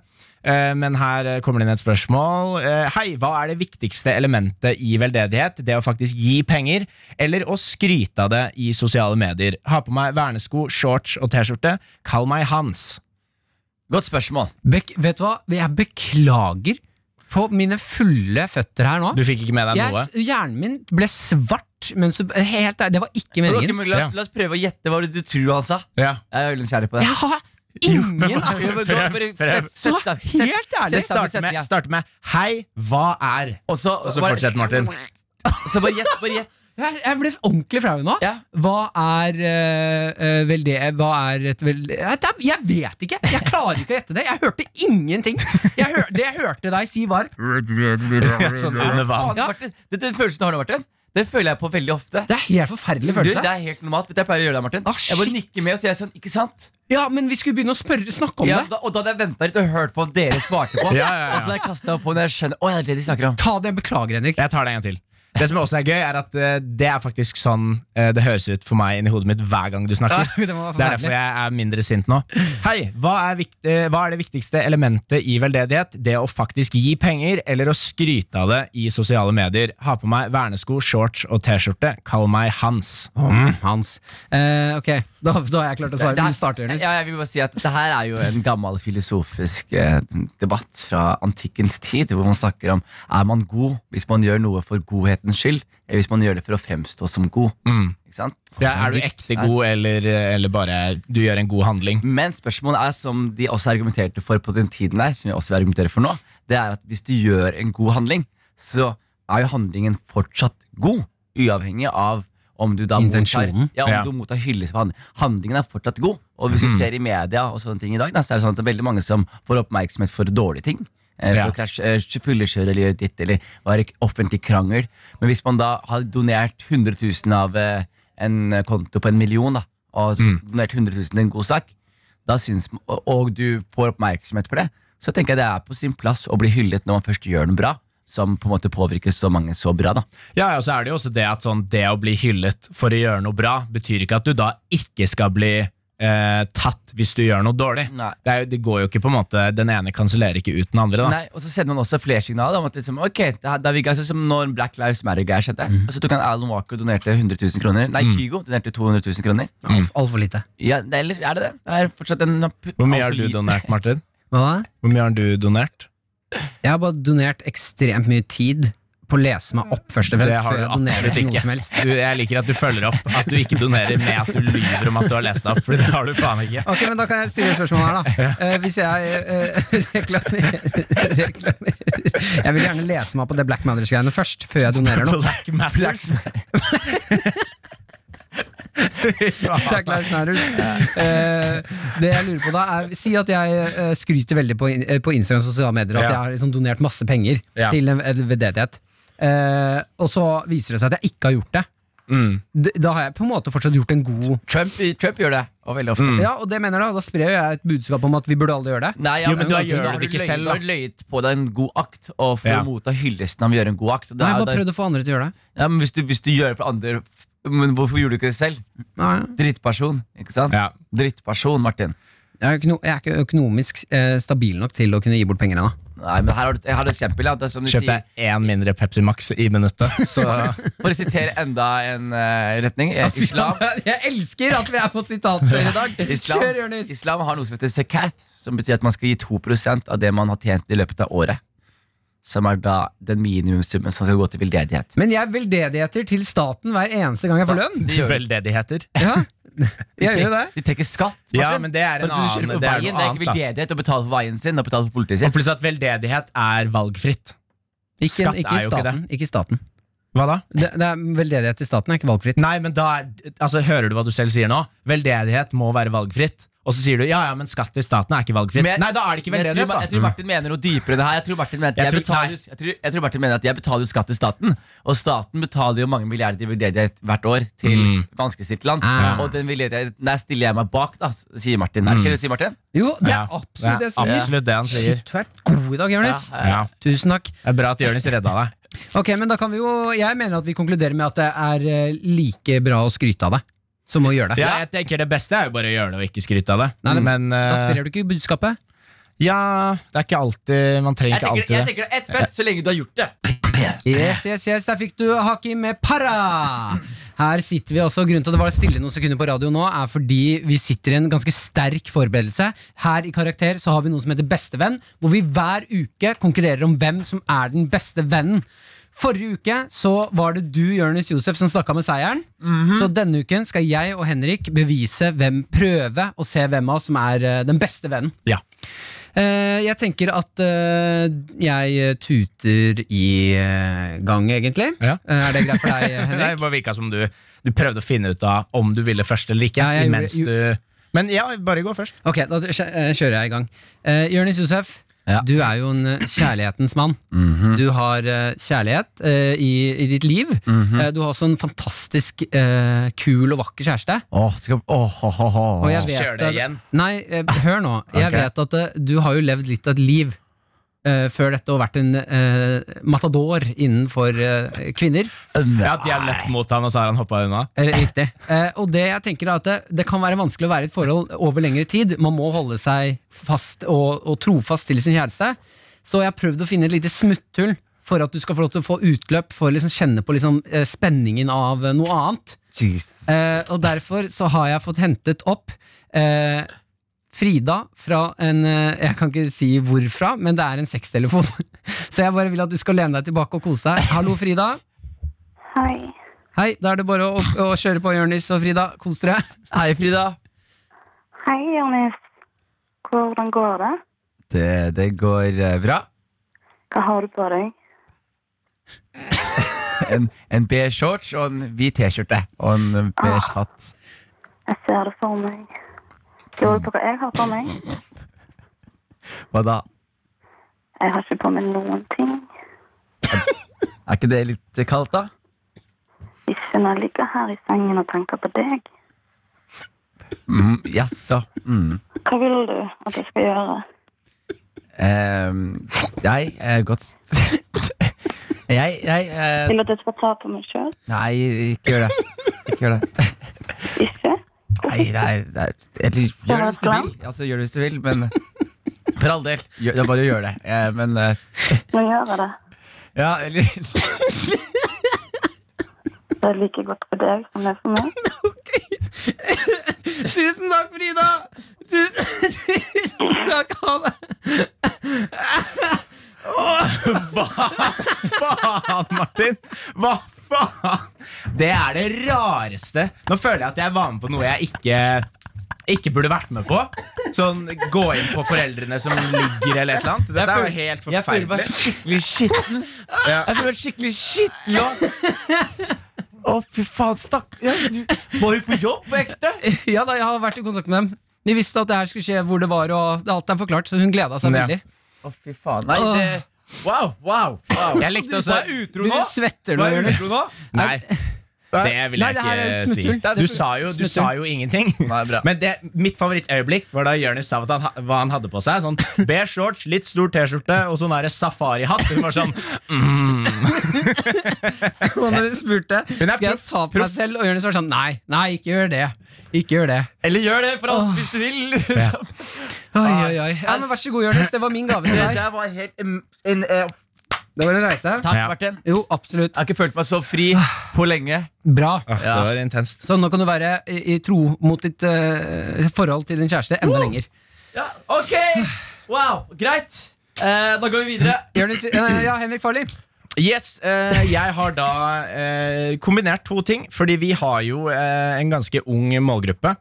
[SPEAKER 3] Eh, Men her eh, kommer det inn et spørsmål. Eh, Hei, hva er det viktigste elementet i veldedighet? Det å faktisk gi penger, eller å skryte av det i sosiale medier? Ha på meg vernesko, shorts og T-skjorte. Kall meg Hans.
[SPEAKER 5] Godt spørsmål.
[SPEAKER 2] Bek vet du hva? Jeg beklager på mine fulle føtter her nå.
[SPEAKER 3] Du fikk ikke med deg noe?
[SPEAKER 2] Jeg, hjernen min ble svart mens du Helt ærlig, det var ikke
[SPEAKER 5] Ok,
[SPEAKER 2] meningen.
[SPEAKER 5] men la,
[SPEAKER 3] Ja.
[SPEAKER 5] oss, la oss prøve å gjette hva du tror han sa.
[SPEAKER 3] Ja.
[SPEAKER 5] Jeg er veldig nysgjerrig på
[SPEAKER 2] [laughs]
[SPEAKER 5] det.
[SPEAKER 2] Jeg har ingen
[SPEAKER 5] Ja, men da bare sett-
[SPEAKER 2] Så
[SPEAKER 5] sett seg- sett-
[SPEAKER 2] helt ærlig!
[SPEAKER 5] sett-
[SPEAKER 3] Starte med, start med 'Hei, hva er?'
[SPEAKER 5] Og så,
[SPEAKER 3] Og så
[SPEAKER 5] bare-
[SPEAKER 3] fortsett, Martin.
[SPEAKER 5] Så bare gjett. Bare gjett.
[SPEAKER 2] Jeg, jeg ble ordentlig flau nå.
[SPEAKER 5] Ja.
[SPEAKER 2] Hva er uh, vel det Hva er et vel... Jeg, det er- jeg vet ikke! Jeg klarer ikke å gjette det. Jeg hørte ingenting. Jeg hør, det jeg hørte deg si, var
[SPEAKER 5] Mm.
[SPEAKER 3] Sånn under vann.
[SPEAKER 2] Ja.
[SPEAKER 5] Martin, den, den følelsen du har nå, Martin, den føler jeg på veldig ofte.
[SPEAKER 2] Det er helt forferdelig
[SPEAKER 5] Du,
[SPEAKER 2] følelse.
[SPEAKER 5] det er helt normalt. Vet du hva jeg pleier å gjøre det, Martin?
[SPEAKER 2] Ah,
[SPEAKER 5] jeg bare
[SPEAKER 2] shit.
[SPEAKER 5] nikker med og sier sånn, ikke sant?
[SPEAKER 2] Ja, men vi skulle begynne å spørre, snakke om
[SPEAKER 5] Ja,
[SPEAKER 2] det.
[SPEAKER 5] da, og da hadde jeg venta litt og hørt på hva dere svarte
[SPEAKER 2] [laughs]
[SPEAKER 5] på.
[SPEAKER 3] Ja, ja, ja.
[SPEAKER 5] Og så da jeg kastet opp på når jeg skjønner Å, ja, det er det de snakker om.
[SPEAKER 2] Ta det, beklager, Henrik.
[SPEAKER 3] Jeg tar det en gang til. Det som også er gøy, er at eh, det er faktisk sånn eh, det høres ut for meg inni hodet mitt hver gang du snakker.
[SPEAKER 2] [laughs] Ja, det må være
[SPEAKER 3] Det er derfor
[SPEAKER 2] forferdelig.
[SPEAKER 3] jeg er mindre sint nå. Hei, hva er, vikt, eh, hva er det viktigste elementet i veldedighet? Det å faktisk gi penger, eller å skryte av det i sosiale medier. Ha på meg vernesko, shorts og T-skjorte. Kall meg Hans.
[SPEAKER 2] Om Hans. Eh, ok, da, da har jeg klart å svare.
[SPEAKER 5] Det her-
[SPEAKER 2] Du starter, Jonis.
[SPEAKER 5] Ja, jeg vil bare si at det her er jo en gammel filosofisk eh, debatt fra antikkens tid, hvor man snakker om er man god hvis man gjør noe for godhet, godhetens skyld, eller hvis man gjør det for å fremstå som god.
[SPEAKER 2] Mm.
[SPEAKER 5] Ikke sant?
[SPEAKER 3] Ja, er du ekte god, eller, eh, eller bare du gjør en god handling?
[SPEAKER 5] Men spørsmålet er, som de også argumenterte for på den tiden der, som jeg også vil argumentere for nå, det er at hvis du gjør en god handling, så er jo handlingen fortsatt god, uavhengig av om du da
[SPEAKER 2] Intensjonen.
[SPEAKER 5] mottar, ja, om
[SPEAKER 3] Ja.
[SPEAKER 5] du mottar hyllest på handlingen. Handlingen er fortsatt god, og hvis du ser i media og sånne ting i dag, da, så er det sånn at det er veldig mange som får oppmerksomhet for dårlige ting. eh, For
[SPEAKER 3] Ja.
[SPEAKER 5] å krasje, eh, fyllekjøre eller gjøre ditt, eller være i offentlig krangel. Men hvis man da har donert 100 000 av eh, en konto på en million, da, og donert 100 000 til en god sak, da syns, og, og du får oppmerksomhet for det, så tenker jeg det er på sin plass å bli hyllet når man først gjør noe bra, som på en måte påvirker så mange så bra. da.
[SPEAKER 3] Ja, ja, og så er det jo også det at sånn, det å bli hyllet for å gjøre noe bra, betyr ikke at du da ikke skal bli eh, tatt hvis du gjør noe dårlig.
[SPEAKER 5] Nei.
[SPEAKER 3] Det, er, jo- det går jo ikke på en måte, Den ene kansellerer ikke ut den andre. da.
[SPEAKER 5] Nei, og så sender man også flere signaler om at liksom, ok, det her- da vi ga sånn som når Black Lives Matter-greier skjedde, og så tok han Alan Walker og donerte 100 000 kroner. Nei, Kygo donerte 200 000 kroner.
[SPEAKER 3] Mm.
[SPEAKER 2] Altfor lite.
[SPEAKER 5] Ja, det- eller er det det? Det er fortsatt en
[SPEAKER 3] Hvor mye har du donert, Martin?
[SPEAKER 2] Hva da?
[SPEAKER 3] Hvor mye har du donert?
[SPEAKER 2] Jeg har bare donert ekstremt mye tid på å lese meg opp først og
[SPEAKER 3] Det
[SPEAKER 2] fremst.
[SPEAKER 3] har
[SPEAKER 2] før
[SPEAKER 3] du
[SPEAKER 2] jeg donerer
[SPEAKER 3] absolutt
[SPEAKER 2] til noe
[SPEAKER 3] ikke.
[SPEAKER 2] som helst.
[SPEAKER 3] Du, jeg liker at du følger opp at du ikke donerer med at du lyver om at du har lest det opp, for det har du faen ikke.
[SPEAKER 2] Ok, men Da kan jeg stille et spørsmål her,
[SPEAKER 3] [laughs]
[SPEAKER 2] da. Eh, hvis jeg eh, [laughs] reklamerer, reklamerer Jeg vil gjerne lese meg opp på det Black Matters-greiene først, før jeg donerer noe.
[SPEAKER 3] Black Matters.
[SPEAKER 2] [laughs] Black Lives Matter. Eh, det jeg lurer på da er Si at jeg eh, skryter veldig på, in- eh, på Instagram og sosiale medier at
[SPEAKER 3] Ja.
[SPEAKER 2] jeg har liksom donert masse penger
[SPEAKER 3] Ja.
[SPEAKER 2] til en en veldedighet. Eh, og så viser det seg at jeg ikke har gjort det.
[SPEAKER 3] Mm,
[SPEAKER 2] D- Da har jeg på en måte fortsatt gjort en god
[SPEAKER 5] Trump, Trump gjør det, og veldig
[SPEAKER 3] Mm.
[SPEAKER 5] ofte.
[SPEAKER 2] Ja, og det mener jeg da. Da sprer jo jeg et budskap om at vi burde alle gjøre det.
[SPEAKER 5] Mm. Nei, ja,
[SPEAKER 3] Jo, men da gjør
[SPEAKER 5] da
[SPEAKER 3] du
[SPEAKER 5] har
[SPEAKER 3] det ikke
[SPEAKER 5] løyet-
[SPEAKER 3] selv, da.
[SPEAKER 5] Da har du løyet på deg en god akt, og for
[SPEAKER 3] Ja.
[SPEAKER 5] å motta hyllesten av å gjøre en god akt. og da
[SPEAKER 2] Nei, jeg
[SPEAKER 5] er
[SPEAKER 2] bare
[SPEAKER 5] det-
[SPEAKER 2] prøvde å få andre til å gjøre det.
[SPEAKER 5] ja, men hvis, du, hvis du gjør det for andre Men hvorfor gjorde du ikke det selv?
[SPEAKER 2] Nei,
[SPEAKER 5] Drittperson, ikke sant?
[SPEAKER 3] Ja.
[SPEAKER 5] Drittperson, Martin.
[SPEAKER 2] jeg, er ikke no, jeg er ikke økonomisk eh, stabil nok til å kunne gi bort penger ennå.
[SPEAKER 5] Nei, men her har du, jeg har et eksempel. Ja. Det er som de
[SPEAKER 3] Kjøpte
[SPEAKER 5] sier,
[SPEAKER 3] jeg én mindre Pepsi Max i minuttet, så
[SPEAKER 5] for å sitere enda en eh,
[SPEAKER 3] [laughs]
[SPEAKER 5] retning. eh, Islam,
[SPEAKER 2] [laughs] Jeg elsker at vi er på sitatkjør i dag! Kjør,
[SPEAKER 5] islam,
[SPEAKER 2] Jonis!
[SPEAKER 5] islam har noe som heter zakat, som betyr at man skal gi 2 av det man har tjent i løpet av året. Som er da den minimumssummen som skal gå til veldedighet.
[SPEAKER 2] Men jeg veldedigheter til staten hver eneste gang jeg får lønn.
[SPEAKER 3] [laughs]
[SPEAKER 5] De gjør [laughs] det.
[SPEAKER 3] veldedigheter.
[SPEAKER 2] [laughs] Ja, jeg gjør jo det.
[SPEAKER 5] De trekker skatt. Martin.
[SPEAKER 3] Ja, men det er en
[SPEAKER 5] For at du kjører
[SPEAKER 3] annen
[SPEAKER 5] på
[SPEAKER 3] Det er noe
[SPEAKER 5] veien, det er ikke
[SPEAKER 3] annet, da.
[SPEAKER 5] veldedighet å betale for veien sin og betale for
[SPEAKER 3] Og
[SPEAKER 5] politiet sin.
[SPEAKER 3] pluss at veldedighet er valgfritt.
[SPEAKER 2] Ikke,
[SPEAKER 3] Skatt
[SPEAKER 2] ikke
[SPEAKER 3] er jo ikke
[SPEAKER 2] staten. Ikke staten.
[SPEAKER 3] Hva da?
[SPEAKER 2] Det, det er veldedighet til staten er ikke valgfritt.
[SPEAKER 3] Nei, men da er, altså, Hører du hva du selv sier nå? Veldedighet må være valgfritt. Og så sier du ja, ja, men skatt til staten er ikke valgfritt.
[SPEAKER 5] Men-
[SPEAKER 3] Nei, da er det ikke
[SPEAKER 5] Men jeg,
[SPEAKER 3] veldedighet,
[SPEAKER 5] tror, Ma- jeg tror
[SPEAKER 3] da.
[SPEAKER 5] Martin mener noe dypere enn det her. Jeg tror Martin mener at
[SPEAKER 3] Jeg
[SPEAKER 5] jeg,
[SPEAKER 3] tror-
[SPEAKER 5] betaler, jeg, tror, jeg tror Martin mener at jeg betaler jo skatt til staten. Og staten betaler jo mange milliarder i veldedighet hvert år til
[SPEAKER 3] Mm.
[SPEAKER 5] vanskeligstilt land.
[SPEAKER 2] Ah.
[SPEAKER 5] Og den veldedigheten der stiller jeg meg bak, da, sier Martin.
[SPEAKER 3] Mm.
[SPEAKER 5] Er det ikke det du sier, Martin?
[SPEAKER 2] Jo, det er
[SPEAKER 3] Ja.
[SPEAKER 2] absolutt det
[SPEAKER 3] Det er
[SPEAKER 2] jeg sier.
[SPEAKER 3] absolutt det han sier.
[SPEAKER 2] Shit, du er god i dag, Jonis.
[SPEAKER 3] Ja.
[SPEAKER 2] Tusen takk.
[SPEAKER 3] Det er bra at Jonis redda deg.
[SPEAKER 2] Ok, men da kan vi jo Jeg mener at vi konkluderer med at det er eh, like bra å skryte av det som å gjøre det.
[SPEAKER 3] Ja, jeg tenker Det beste er jo bare å gjøre det og ikke skryte av det.
[SPEAKER 2] Nei,
[SPEAKER 3] men
[SPEAKER 2] Da
[SPEAKER 3] eh,
[SPEAKER 2] sprer du ikke budskapet.
[SPEAKER 3] ja, det er ikke alltid Man trenger ikke
[SPEAKER 5] Jeg tenker,
[SPEAKER 3] alltid
[SPEAKER 5] jeg
[SPEAKER 3] det.
[SPEAKER 5] tenker det er ett fett så lenge du har gjort det.
[SPEAKER 2] Yes, yes, yes, Der fikk du Hakim med para! Her sitter vi også, Grunnen til at det var stille noen sekunder på radio nå, er fordi vi sitter i en ganske sterk forberedelse. Her i Karakter så har vi noe som heter Bestevenn, hvor vi hver uke konkurrerer om hvem som er den beste vennen. Forrige uke så var det du, Jonis Josef, som snakka med seieren. Så denne uken skal jeg og Henrik bevise hvem prøve å se hvem av oss som er eh, den beste vennen.
[SPEAKER 3] Ja.
[SPEAKER 2] Eh, jeg tenker at eh, jeg tuter i eh, gang, egentlig.
[SPEAKER 3] Ja.
[SPEAKER 2] Eh, er det greit
[SPEAKER 3] [laughs]
[SPEAKER 2] for deg,
[SPEAKER 3] Det
[SPEAKER 2] Henrik?
[SPEAKER 3] bare virka som du, du prøvde å finne ut av om du ville først eller ikke.
[SPEAKER 2] Ja, jeg gjorde-
[SPEAKER 3] mens
[SPEAKER 2] jo-
[SPEAKER 3] du, men ja, bare gå først.
[SPEAKER 2] Ok, da kjø- eh, kjører jeg i gang. Uh, Jonis Josef,
[SPEAKER 5] Ja.
[SPEAKER 2] du er jo en eh, kjærlighetens mann.
[SPEAKER 3] Mhm.
[SPEAKER 2] Du har eh, kjærlighet eh, i, i ditt liv.
[SPEAKER 3] Mhm.
[SPEAKER 2] Eh, du har også en fantastisk eh, kul og vakker kjæreste.
[SPEAKER 5] Åh, skal, åh, åh, åh, åh.
[SPEAKER 2] Og jeg
[SPEAKER 3] Kjør
[SPEAKER 2] vet
[SPEAKER 3] det
[SPEAKER 2] at-
[SPEAKER 3] igjen.
[SPEAKER 2] Nei, eh, hør nå. Jeg
[SPEAKER 3] Ok.
[SPEAKER 2] vet at eh, du har jo levd litt av et liv eh, før dette og vært en eh, matador innenfor eh, kvinner.
[SPEAKER 3] Ja, De har løpt mot han, og så har han hoppa unna.
[SPEAKER 2] Eh, Riktig. Eh, og det jeg tenker er at det, det kan være vanskelig å være i et forhold over lengre tid. Man må holde seg fast og, og trofast til sin kjæreste. Så jeg har prøvd å finne et lite smutthull for at du skal få lov til å få utløp for å liksom kjenne på liksom, eh, spenningen av eh, noe annet. Eh, og derfor så har jeg fått hentet opp eh, Frida fra en eh, Jeg kan ikke si hvorfra, [laughs] men det er en sextelefon. så jeg bare vil at du skal lene deg tilbake og kose deg. Hallo, Frida.
[SPEAKER 8] Hei.
[SPEAKER 2] Hei, da er det bare å, å kjøre på, Jørnis og Frida. Kos dere. [laughs]
[SPEAKER 5] Hei, Frida.
[SPEAKER 8] Hei, Jonis. Hvordan går det?
[SPEAKER 5] Det, det går eh, bra.
[SPEAKER 8] Hva har du på deg?
[SPEAKER 5] En, en beige shorts og en hvit T-skjorte og en beige hatt.
[SPEAKER 8] Jeg ser det for meg. Lurer du på hva jeg har på meg?
[SPEAKER 5] Hva da?
[SPEAKER 8] Jeg har ikke på meg noen ting.
[SPEAKER 5] Er ikke det litt kaldt, da?
[SPEAKER 8] Ikke når jeg ligger her i sengen og tenker på deg.
[SPEAKER 5] Mm, Jaså. Mm.
[SPEAKER 8] Hva vil du at jeg skal gjøre?
[SPEAKER 5] Ehm, jeg er godt [laughs] Jeg, jeg eh,
[SPEAKER 8] Vil du at jeg skal ta på meg sjøl?
[SPEAKER 5] Nei, ikke gjør det. Ikke gjør det.
[SPEAKER 8] Ikke?
[SPEAKER 5] Nei, det er, det er eller, Gjør det hvis du
[SPEAKER 8] glad?
[SPEAKER 5] vil. Altså, gjør det hvis du vil, men For all del. Gjør, det er bare å gjøre det. Eh, men eh,
[SPEAKER 8] Nå gjør jeg det.
[SPEAKER 5] Ja, eller
[SPEAKER 8] Det er like godt for deg som det er for meg.
[SPEAKER 2] Tusen takk, Frida! Tusen, tusen takk, ha det!
[SPEAKER 3] Faen, Martin! Hva faen?
[SPEAKER 9] Det er det rareste.
[SPEAKER 3] Nå føler jeg at jeg var med på noe jeg ikke ikke burde vært med på. Sånn gå inn på foreldrene som ligger eller et eller annet. Dette er jo helt
[SPEAKER 5] Jeg føler meg
[SPEAKER 3] forferdelig.
[SPEAKER 5] skikkelig skitten.
[SPEAKER 3] Ja.
[SPEAKER 5] Jeg føler meg skikkelig skitten nå. Å, fy faen, stakk ja, du- Var du på jobb på ekte?
[SPEAKER 2] Ja da, jeg har vært i kontakt med dem. De visste at det her skulle skje hvor det var, og alt er forklart, så hun gleda seg
[SPEAKER 9] Ja.
[SPEAKER 2] veldig.
[SPEAKER 5] Å, fy faen. Nei, det
[SPEAKER 3] Wow, wow, wow. Jeg likte også
[SPEAKER 5] utro
[SPEAKER 2] Du svetter nå,
[SPEAKER 5] Var jeg
[SPEAKER 2] Jonis.
[SPEAKER 5] utro nå?
[SPEAKER 9] Nei, det vil
[SPEAKER 2] Nei,
[SPEAKER 9] jeg
[SPEAKER 2] det her er
[SPEAKER 9] ikke si.
[SPEAKER 2] smutthull. Det er
[SPEAKER 9] Du
[SPEAKER 2] smutthull.
[SPEAKER 9] sa jo, du sa jo ingenting.
[SPEAKER 5] Nei, bra.
[SPEAKER 3] [laughs] Men det, mitt favorittøyeblikk var da Jonis sa at han, ha- hva han hadde på seg. Sånn Beige shorts, litt stor T-skjorte og sånn der safarihatt. Hun var sånn
[SPEAKER 2] [laughs] Og når hun spurte
[SPEAKER 3] Hun er
[SPEAKER 2] Skal jeg
[SPEAKER 3] proff-
[SPEAKER 2] ta på meg selv, og Jonis var sånn Nei, nei, ikke gjør det. Ikke gjør det.
[SPEAKER 5] Eller gjør det, for alt, hvis du vil. [laughs] liksom.
[SPEAKER 2] Oi, oi, oi. Ja, men vær så god, Jonis. Det var min gave til
[SPEAKER 5] Det
[SPEAKER 2] deg.
[SPEAKER 5] [laughs] der var helt em- en, eh,
[SPEAKER 2] Det var en reise.
[SPEAKER 5] Takk,
[SPEAKER 9] Ja.
[SPEAKER 5] Martin. Jeg
[SPEAKER 2] Jo, absolutt.
[SPEAKER 5] har ikke følt meg så fri på lenge.
[SPEAKER 2] Bra.
[SPEAKER 3] «Åh, Ah, Det var intenst.
[SPEAKER 2] Så nå kan du være i, i tro mot ditt eh, forhold til din kjæreste enda lenger.
[SPEAKER 5] Ja, ok! Wow, greit. Eh, da går vi videre.
[SPEAKER 2] Jonis, eh, ja, Henrik Farley.
[SPEAKER 3] Yes, eh, jeg har da eh, kombinert to ting, fordi vi har jo eh, en ganske ung målgruppe.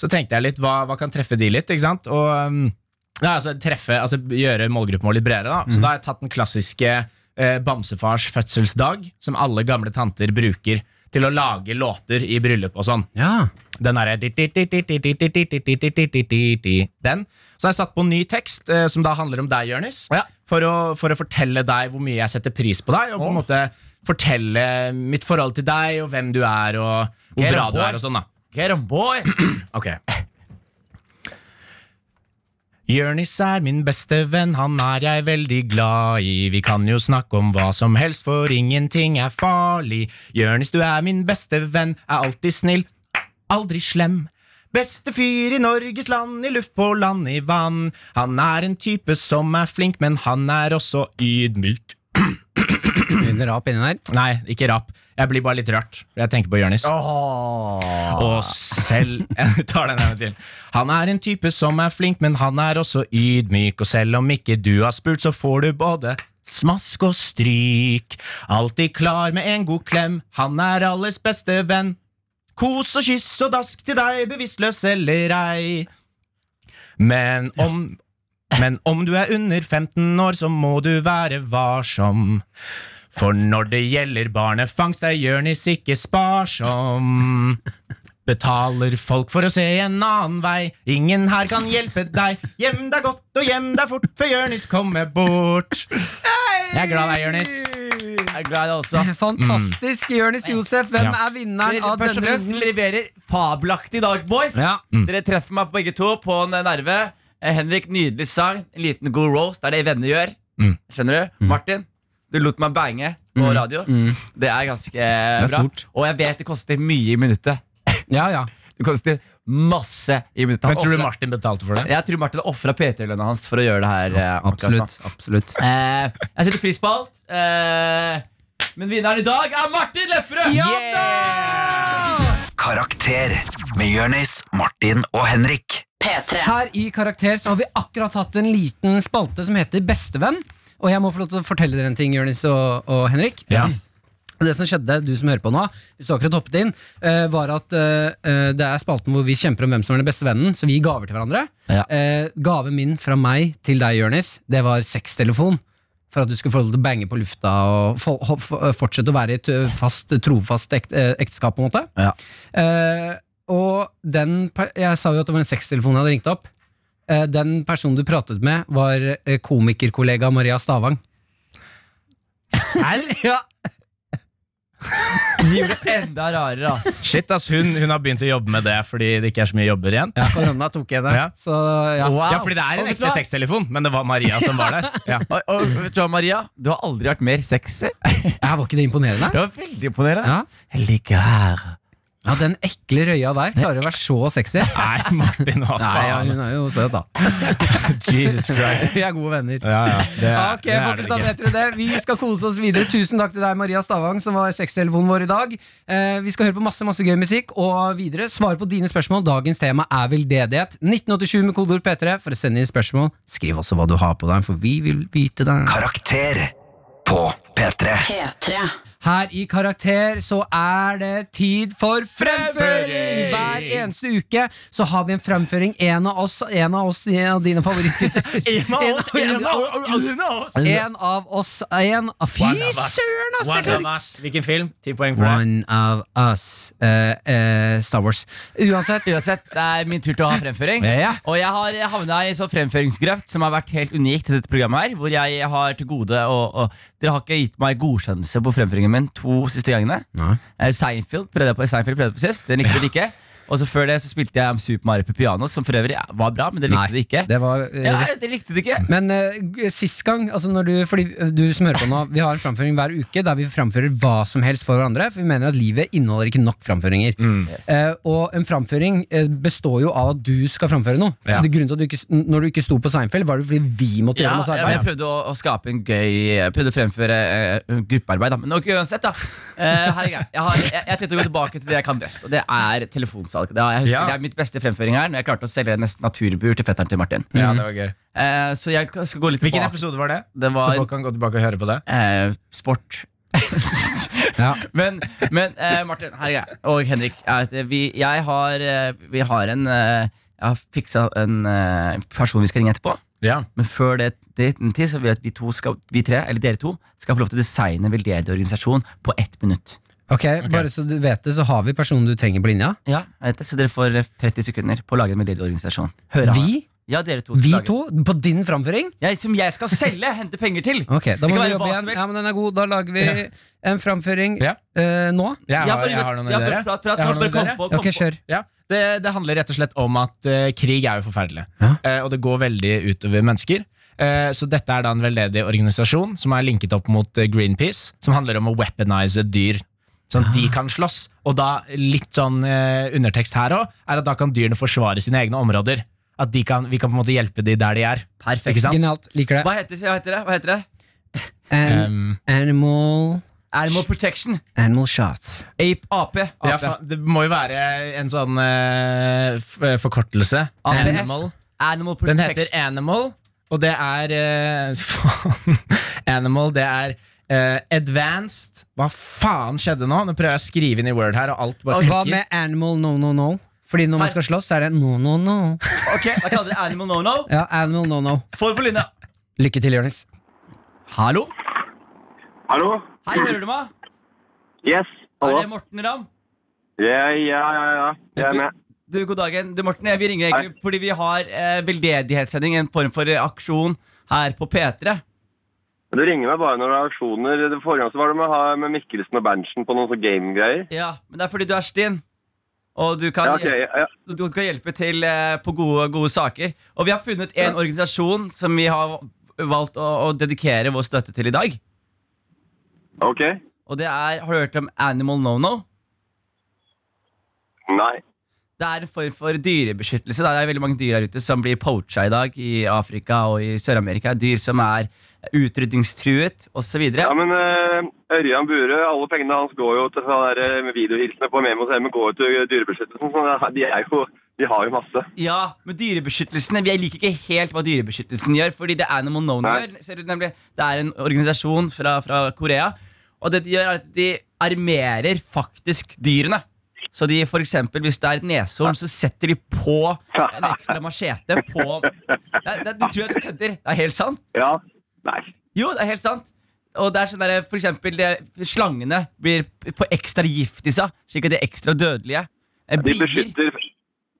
[SPEAKER 3] Så tenkte jeg litt, hva, hva kan treffe de litt, ikke sant? Og um, ja, altså, treffe, altså, gjøre målgruppen vår litt bredere, da. Så da har jeg tatt den klassiske eh, bamsefars fødselsdag, som alle gamle tanter bruker til å lage låter i bryllup og sånn.
[SPEAKER 2] Ja.
[SPEAKER 3] Den derre Den. Så har jeg satt på ny tekst, eh, som da handler om deg, Jonis.
[SPEAKER 5] Ja.
[SPEAKER 3] For, å, for å fortelle deg hvor mye jeg setter pris på deg, og på en måte fortelle mitt forhold til deg, og hvem du er, og hvor
[SPEAKER 5] Get
[SPEAKER 3] bra
[SPEAKER 5] on
[SPEAKER 3] du
[SPEAKER 5] board.
[SPEAKER 3] er, og sånn, da.
[SPEAKER 5] Get on, boy.
[SPEAKER 3] Ok Jørnis er min beste venn, han er jeg veldig glad i Vi kan jo snakke om hva som helst, for ingenting er farlig Jørnis, du er min beste venn, er alltid snill, aldri slem Beste fyr i Norges land, i luft på land, i vann Han er en type som er flink, men han er også ydmyk
[SPEAKER 2] Begynner opp inni der.
[SPEAKER 3] Nei, ikke rap, jeg blir bare litt rørt Jeg tenker på Jørnis og selv [laughs] Jeg tar den en gang til. Han er en type som er flink, men han er også ydmyk. Og selv om ikke du har spurt, så får du både smask og stryk. Alltid klar med en god klem. Han er alles beste venn. Kos og kyss og dask til deg, bevisstløs eller ei. Men om men om du er under 15 år, så må du være varsom. For når det gjelder barnefangst, er Jørnis ikke sparsom. Betaler folk for å se en annen vei, ingen her kan hjelpe deg. Gjem deg godt og gjem deg fort før Jørnis kommer bort. Jeg er glad i deg, Jørnis.
[SPEAKER 5] Jeg er glad i deg også.
[SPEAKER 2] Fantastisk. Jonis Josef, hvem
[SPEAKER 3] Ja.
[SPEAKER 2] er vinneren av
[SPEAKER 5] Først og
[SPEAKER 2] denne
[SPEAKER 5] fremst
[SPEAKER 2] runden?
[SPEAKER 5] leverer fabelaktig i dag, boys.
[SPEAKER 2] Ja.
[SPEAKER 5] Dere treffer meg på begge to på en nerve. Eh, Henrik, nydelig sang. En liten god roast. Det er det venner gjør. Skjønner du? Martin, du lot meg bange på radio. Mm. Det er ganske eh,
[SPEAKER 2] Det er
[SPEAKER 5] bra.
[SPEAKER 2] stort.
[SPEAKER 5] Og jeg vet det koster mye i minuttet.
[SPEAKER 2] Ja, ja.
[SPEAKER 5] Det koster masse i minuttet. Han
[SPEAKER 3] Men tror du
[SPEAKER 5] offrer-
[SPEAKER 3] Martin betalte for det?
[SPEAKER 5] Jeg tror Martin har ofra PT-lønna hans for å gjøre det her. eh, akkurat nå.
[SPEAKER 2] Absolutt. absolutt
[SPEAKER 5] Eh, jeg setter pris på alt. Eh, men vinneren i dag er Martin Lepperød!
[SPEAKER 10] Karakter med Jørnis, Martin og Henrik.
[SPEAKER 11] P3.
[SPEAKER 2] Her i Karakter så har vi akkurat hatt en liten spalte som heter Bestevenn. Og jeg må få lov til å fortelle dere en ting, Jonis og, og Henrik. Og [clears throat] Det som skjedde, du som hører på nå, hvis du akkurat hoppet inn, eh, var at eh, eh, det er spalten hvor vi kjemper om hvem som er den beste vennen, så vi gir gaver til hverandre.
[SPEAKER 5] Ja.
[SPEAKER 2] Eh, gaven min fra meg til deg, Jørnis, det var sextelefon. For at du skulle få lov til å bange på lufta og fol- ho- f- fortsette å være i et ø, fast, trofast ekt, eh, ekteskap, på en måte.
[SPEAKER 5] Ja.
[SPEAKER 2] Eh, og den per- Jeg sa jo at det var en sextelefon jeg hadde ringt opp. Eh, den personen du pratet med, var eh, komikerkollega Maria Stavang. Serr? ja.
[SPEAKER 5] De gjorde det enda rarere, ass.
[SPEAKER 3] Shit, ass, hun, hun har begynt å jobbe med det fordi det ikke er så mye jobber igjen. Ja,
[SPEAKER 2] Korona tok henne.
[SPEAKER 3] Ja.
[SPEAKER 2] Så ja.
[SPEAKER 5] Wow.
[SPEAKER 3] ja fordi det er
[SPEAKER 5] Og
[SPEAKER 3] en
[SPEAKER 5] vet du
[SPEAKER 3] ekte
[SPEAKER 5] hva?
[SPEAKER 3] sextelefon, men det var Maria som var der. [laughs] Ja.
[SPEAKER 5] Og, og vet du hva, Maria? Du har aldri vært mer sexy. [laughs]
[SPEAKER 2] Ja, var ikke det imponerende?
[SPEAKER 5] Det var veldig imponerende.
[SPEAKER 2] Ja.
[SPEAKER 5] Jeg ligger her.
[SPEAKER 2] ja, Den ekle røya der klarer å være så sexy.
[SPEAKER 3] Nei, Martin, hva
[SPEAKER 2] Nei, ja,
[SPEAKER 3] faen?
[SPEAKER 2] hun er jo søt, da.
[SPEAKER 3] Jesus Christ.
[SPEAKER 2] [laughs] Vi er gode venner.
[SPEAKER 3] Ja, ja, det, er-
[SPEAKER 2] Ok,
[SPEAKER 3] det er
[SPEAKER 2] folkens,
[SPEAKER 3] det
[SPEAKER 2] da
[SPEAKER 3] ikke.
[SPEAKER 2] vet dere det. Vi skal kose oss videre. Tusen takk til deg, Maria Stavang, som var sextelefonen vår i dag. Eh, vi skal høre på masse masse gøy musikk, og videre svare på dine spørsmål. Dagens tema er veldedighet. 1987 med kodeord P3 for å sende inn spørsmål. Skriv også hva du har på deg, for vi vil vite det.
[SPEAKER 4] Karakter på P3.
[SPEAKER 12] P3.
[SPEAKER 2] Her i Karakter så er det tid for fremføring! Hver eneste uke så har vi en fremføring. En av oss, en av, oss, en av dine favoritter.
[SPEAKER 3] [laughs]
[SPEAKER 13] En av oss,
[SPEAKER 2] En-
[SPEAKER 13] en av oss, en av oss.
[SPEAKER 2] En av oss en av, Fy
[SPEAKER 13] One of
[SPEAKER 3] altså.
[SPEAKER 13] us.
[SPEAKER 2] søren, altså! ass!
[SPEAKER 13] One
[SPEAKER 2] jeg klarer
[SPEAKER 13] of us. Hvilken film? Ti poeng
[SPEAKER 2] ikke-
[SPEAKER 13] for deg.
[SPEAKER 2] One of us. Eh, eh, Star Wars. [laughs] Uansett.
[SPEAKER 5] Uansett, det er min tur til å ha fremføring.
[SPEAKER 2] Ja, ja.
[SPEAKER 5] Og jeg har havna i en sånn fremføringsgrøft som har vært helt unikt til dette programmet her. Hvor jeg har til gode å og Dere har ikke gitt meg godkjennelse på fremføringen min to siste gangene. Eh, Seinfeld prøvde jeg på, Seinfeld prøvde jeg på sist. Den likte dere ikke. Og så før det så spilte jeg Super Mario på piano, som for øvrig ja, var bra, men dere likte det ikke.
[SPEAKER 2] Det var eh,
[SPEAKER 5] ja, dere likte det ikke.
[SPEAKER 2] Men eh, g- sist gang, altså når du, fordi eh, du som hører på nå, vi har en framføring hver uke der vi framfører hva som helst for hverandre, for vi mener at livet inneholder ikke nok framføringer.
[SPEAKER 13] Mm.
[SPEAKER 3] Mm.
[SPEAKER 2] Eh, og en framføring eh, består jo av at du skal framføre noe.
[SPEAKER 3] Ja.
[SPEAKER 2] Det grunnen til at du ikke, s- n- Når du ikke sto på Seinfeld, var det fordi vi måtte
[SPEAKER 5] Ja,
[SPEAKER 2] gjøre masse
[SPEAKER 5] ja, men jeg
[SPEAKER 2] arbeid.
[SPEAKER 5] prøvde å, å skape en gøy Jeg prøvde å fremføre eh, gruppearbeid, da. Men nok uansett, da. Eh, her er greia. jeg, har, jeg, jeg tenkte å gå tilbake til det jeg kan best, og det er telefonsalg. Det, er, jeg husker,
[SPEAKER 3] Ja.
[SPEAKER 5] det er mitt beste fremføring her, når jeg klarte å selge nesten naturbur til fetteren til Martin.
[SPEAKER 3] Ja, det var gøy.
[SPEAKER 5] Eh, så jeg skal gå litt
[SPEAKER 13] Hvilken
[SPEAKER 5] tilbake.
[SPEAKER 13] episode var det?
[SPEAKER 5] Det
[SPEAKER 13] Så
[SPEAKER 5] var
[SPEAKER 13] folk kan gå tilbake og høre på det.
[SPEAKER 5] eh, sport.
[SPEAKER 2] Ja.
[SPEAKER 5] Men, men eh, Martin her er greia. og Henrik, er at vi, jeg har, eh, vi har en eh, Jeg har fiksa en eh, person vi skal ringe etterpå.
[SPEAKER 3] Ja.
[SPEAKER 5] Men før det, det den tid, så vil jeg at vi, to skal, vi tre, eller dere to, skal få lov til å designe en veldedig organisasjon på ett minutt.
[SPEAKER 2] Ok, Bare så du vet det, så har vi personen du trenger på linja.
[SPEAKER 5] Ja, jeg vet det, Så dere får eh, 30 sekunder på å lage en veldedig organisasjon. Hør han.
[SPEAKER 2] Vi,
[SPEAKER 5] Ja, dere to skal
[SPEAKER 2] vi
[SPEAKER 5] lage.
[SPEAKER 2] to, på din framføring.
[SPEAKER 5] Jeg, som jeg skal selge, hente penger
[SPEAKER 3] [laughs]
[SPEAKER 5] til!
[SPEAKER 2] Ok, Da må
[SPEAKER 5] Det kan
[SPEAKER 2] vi
[SPEAKER 5] være
[SPEAKER 2] jobbe
[SPEAKER 5] hva som
[SPEAKER 2] igjen.
[SPEAKER 5] helst.
[SPEAKER 2] Ja, men den er god. Da lager vi
[SPEAKER 3] Ja.
[SPEAKER 2] en framføring
[SPEAKER 3] Ja.
[SPEAKER 2] eh, nå.
[SPEAKER 3] Jeg,
[SPEAKER 5] Ja,
[SPEAKER 3] har,
[SPEAKER 5] bare,
[SPEAKER 3] jeg har noen
[SPEAKER 5] ja,
[SPEAKER 3] ideer.
[SPEAKER 5] bare
[SPEAKER 3] jeg.
[SPEAKER 5] prat, prat,
[SPEAKER 3] Jeg har
[SPEAKER 5] nå,
[SPEAKER 3] noen
[SPEAKER 5] bare kom
[SPEAKER 3] ideer.
[SPEAKER 5] på, kom
[SPEAKER 2] Ok,
[SPEAKER 5] på.
[SPEAKER 2] kjør.
[SPEAKER 3] Ja, det, det handler rett og slett om at eh, krig er jo forferdelig.
[SPEAKER 2] Ja.
[SPEAKER 3] Eh, og det går veldig utover mennesker. Eh, så dette er da en veldedig organisasjon som er linket opp mot eh, Greenpeace, som handler om å weaponize dyr. Sånn at de kan slåss. Og da litt sånn eh, undertekst her òg, er at da kan dyrene forsvare sine egne områder. At de kan, vi kan på en måte hjelpe de der de er.
[SPEAKER 5] Perfekt.
[SPEAKER 3] Ikke sant?
[SPEAKER 2] Genialt. Liker det.
[SPEAKER 5] Hva heter, hva heter det? Hva heter det?
[SPEAKER 2] An
[SPEAKER 3] Um,
[SPEAKER 2] animal
[SPEAKER 5] Animal Protection.
[SPEAKER 2] Animal shots.
[SPEAKER 5] Ape. AP.
[SPEAKER 3] ja,
[SPEAKER 5] AP.
[SPEAKER 3] fa- det må jo være en sånn eh, f eh, forkortelse.
[SPEAKER 5] APF.
[SPEAKER 3] Animal.
[SPEAKER 5] Animal
[SPEAKER 3] Den
[SPEAKER 5] Protection.
[SPEAKER 3] heter Animal, og det er eh, [laughs] Faen. Animal, det er eh, Advanced Hva faen skjedde nå? Nå prøver jeg å skrive inn i Word her, og alt bare
[SPEAKER 2] Hva
[SPEAKER 3] klikker.
[SPEAKER 2] med animal no no no? Fordi når man skal slåss, så er det no no no.
[SPEAKER 5] Ok, Da kaller vi det Animal No No.
[SPEAKER 2] Ja, animal no no.
[SPEAKER 5] Få det på linja.
[SPEAKER 2] Lykke til, Jonis.
[SPEAKER 5] Hallo?
[SPEAKER 10] Hallo?
[SPEAKER 5] Hei, hører du meg?
[SPEAKER 10] Yes,
[SPEAKER 5] Er
[SPEAKER 10] hallo.
[SPEAKER 5] det Morten Ramm?
[SPEAKER 10] Ja, ja, ja, ja. Jeg er med.
[SPEAKER 5] Du, god dagen. Du, Morten, jeg- vi ringer egentlig fordi vi har eh, veldedighetssending, en form for eh, aksjon her på P3.
[SPEAKER 10] Du ringer meg bare når det er aksjoner. Det forrige gang så var det med, ha- med Mikkelsen og Berntsen på noen sånne game-greier.
[SPEAKER 5] Ja, men det er fordi du er stinn. Og du kan,
[SPEAKER 10] Ja, ok. Ja, ja.
[SPEAKER 5] hjelpe, du kan hjelpe til eh, på gode, gode saker. Og vi har funnet en organisasjon som vi har valgt å, å dedikere vår støtte til i dag.
[SPEAKER 10] Ok.
[SPEAKER 5] Og det er, har du hørt om Animal No No?
[SPEAKER 10] Nei.
[SPEAKER 5] Det er en form for dyrebeskyttelse. da. Det er veldig mange dyr her ute som blir poacha i dag i Afrika og i Sør-Amerika. Dyr som er utrydningstruet osv.
[SPEAKER 10] Ja, men eh, Ørjan Bure, alle pengene hans går jo til sånne der, eh, videohilsener på Memo og går jo til dyrebeskyttelsen, så [laughs] det- de, er jo, de har jo masse.
[SPEAKER 5] Ja, men dyrebeskyttelsen Jeg liker ikke helt hva dyrebeskyttelsen gjør Fordi det Animal No No
[SPEAKER 10] Nei.
[SPEAKER 5] gjør ser du nemlig, Det er en organisasjon fra, fra Korea Og det de gjør, er at de armerer faktisk dyrene. Så de for eksempel, hvis det er et neshorn, så setter de på en ekstra machete
[SPEAKER 10] [laughs]
[SPEAKER 5] på det, det, Du tror at du kødder. Det er helt sant.
[SPEAKER 10] Ja. Nei.
[SPEAKER 5] Jo, det er helt sant. Og det er sånn der, for eksempel, det, slangene blir på ekstra gift i seg, slik at de er ekstra dødelige. Eh,
[SPEAKER 10] De
[SPEAKER 5] Bier,
[SPEAKER 10] beskytter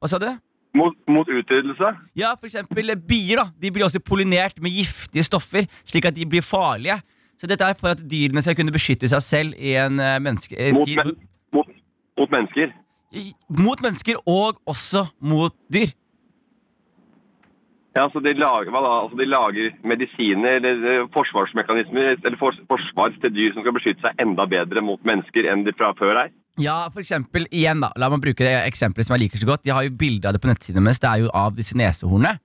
[SPEAKER 5] hva sa du?
[SPEAKER 10] mot, mot utryddelse.
[SPEAKER 5] Ja, for eksempel eh, bier da, de blir også pollinert med giftige stoffer, slik at de blir farlige. Så dette er for at dyrene skal kunne beskytte seg selv i en eh, menneske... eh,
[SPEAKER 10] Mot,
[SPEAKER 5] tid
[SPEAKER 10] men, mot, mot mennesker.
[SPEAKER 5] i- mot mennesker og også mot dyr.
[SPEAKER 10] Ja, så de lager, hva da? Altså, de lager medisiner eller eh, forsvarsmekanismer eller fors, forsvar til dyr som skal beskytte seg enda bedre mot mennesker enn de fra før er.
[SPEAKER 5] Ja, for eksempel, igjen da, la meg bruke det eksempelet som jeg liker så godt. De har jo bilde av det på nettsidene mens det er jo av disse nesehornene.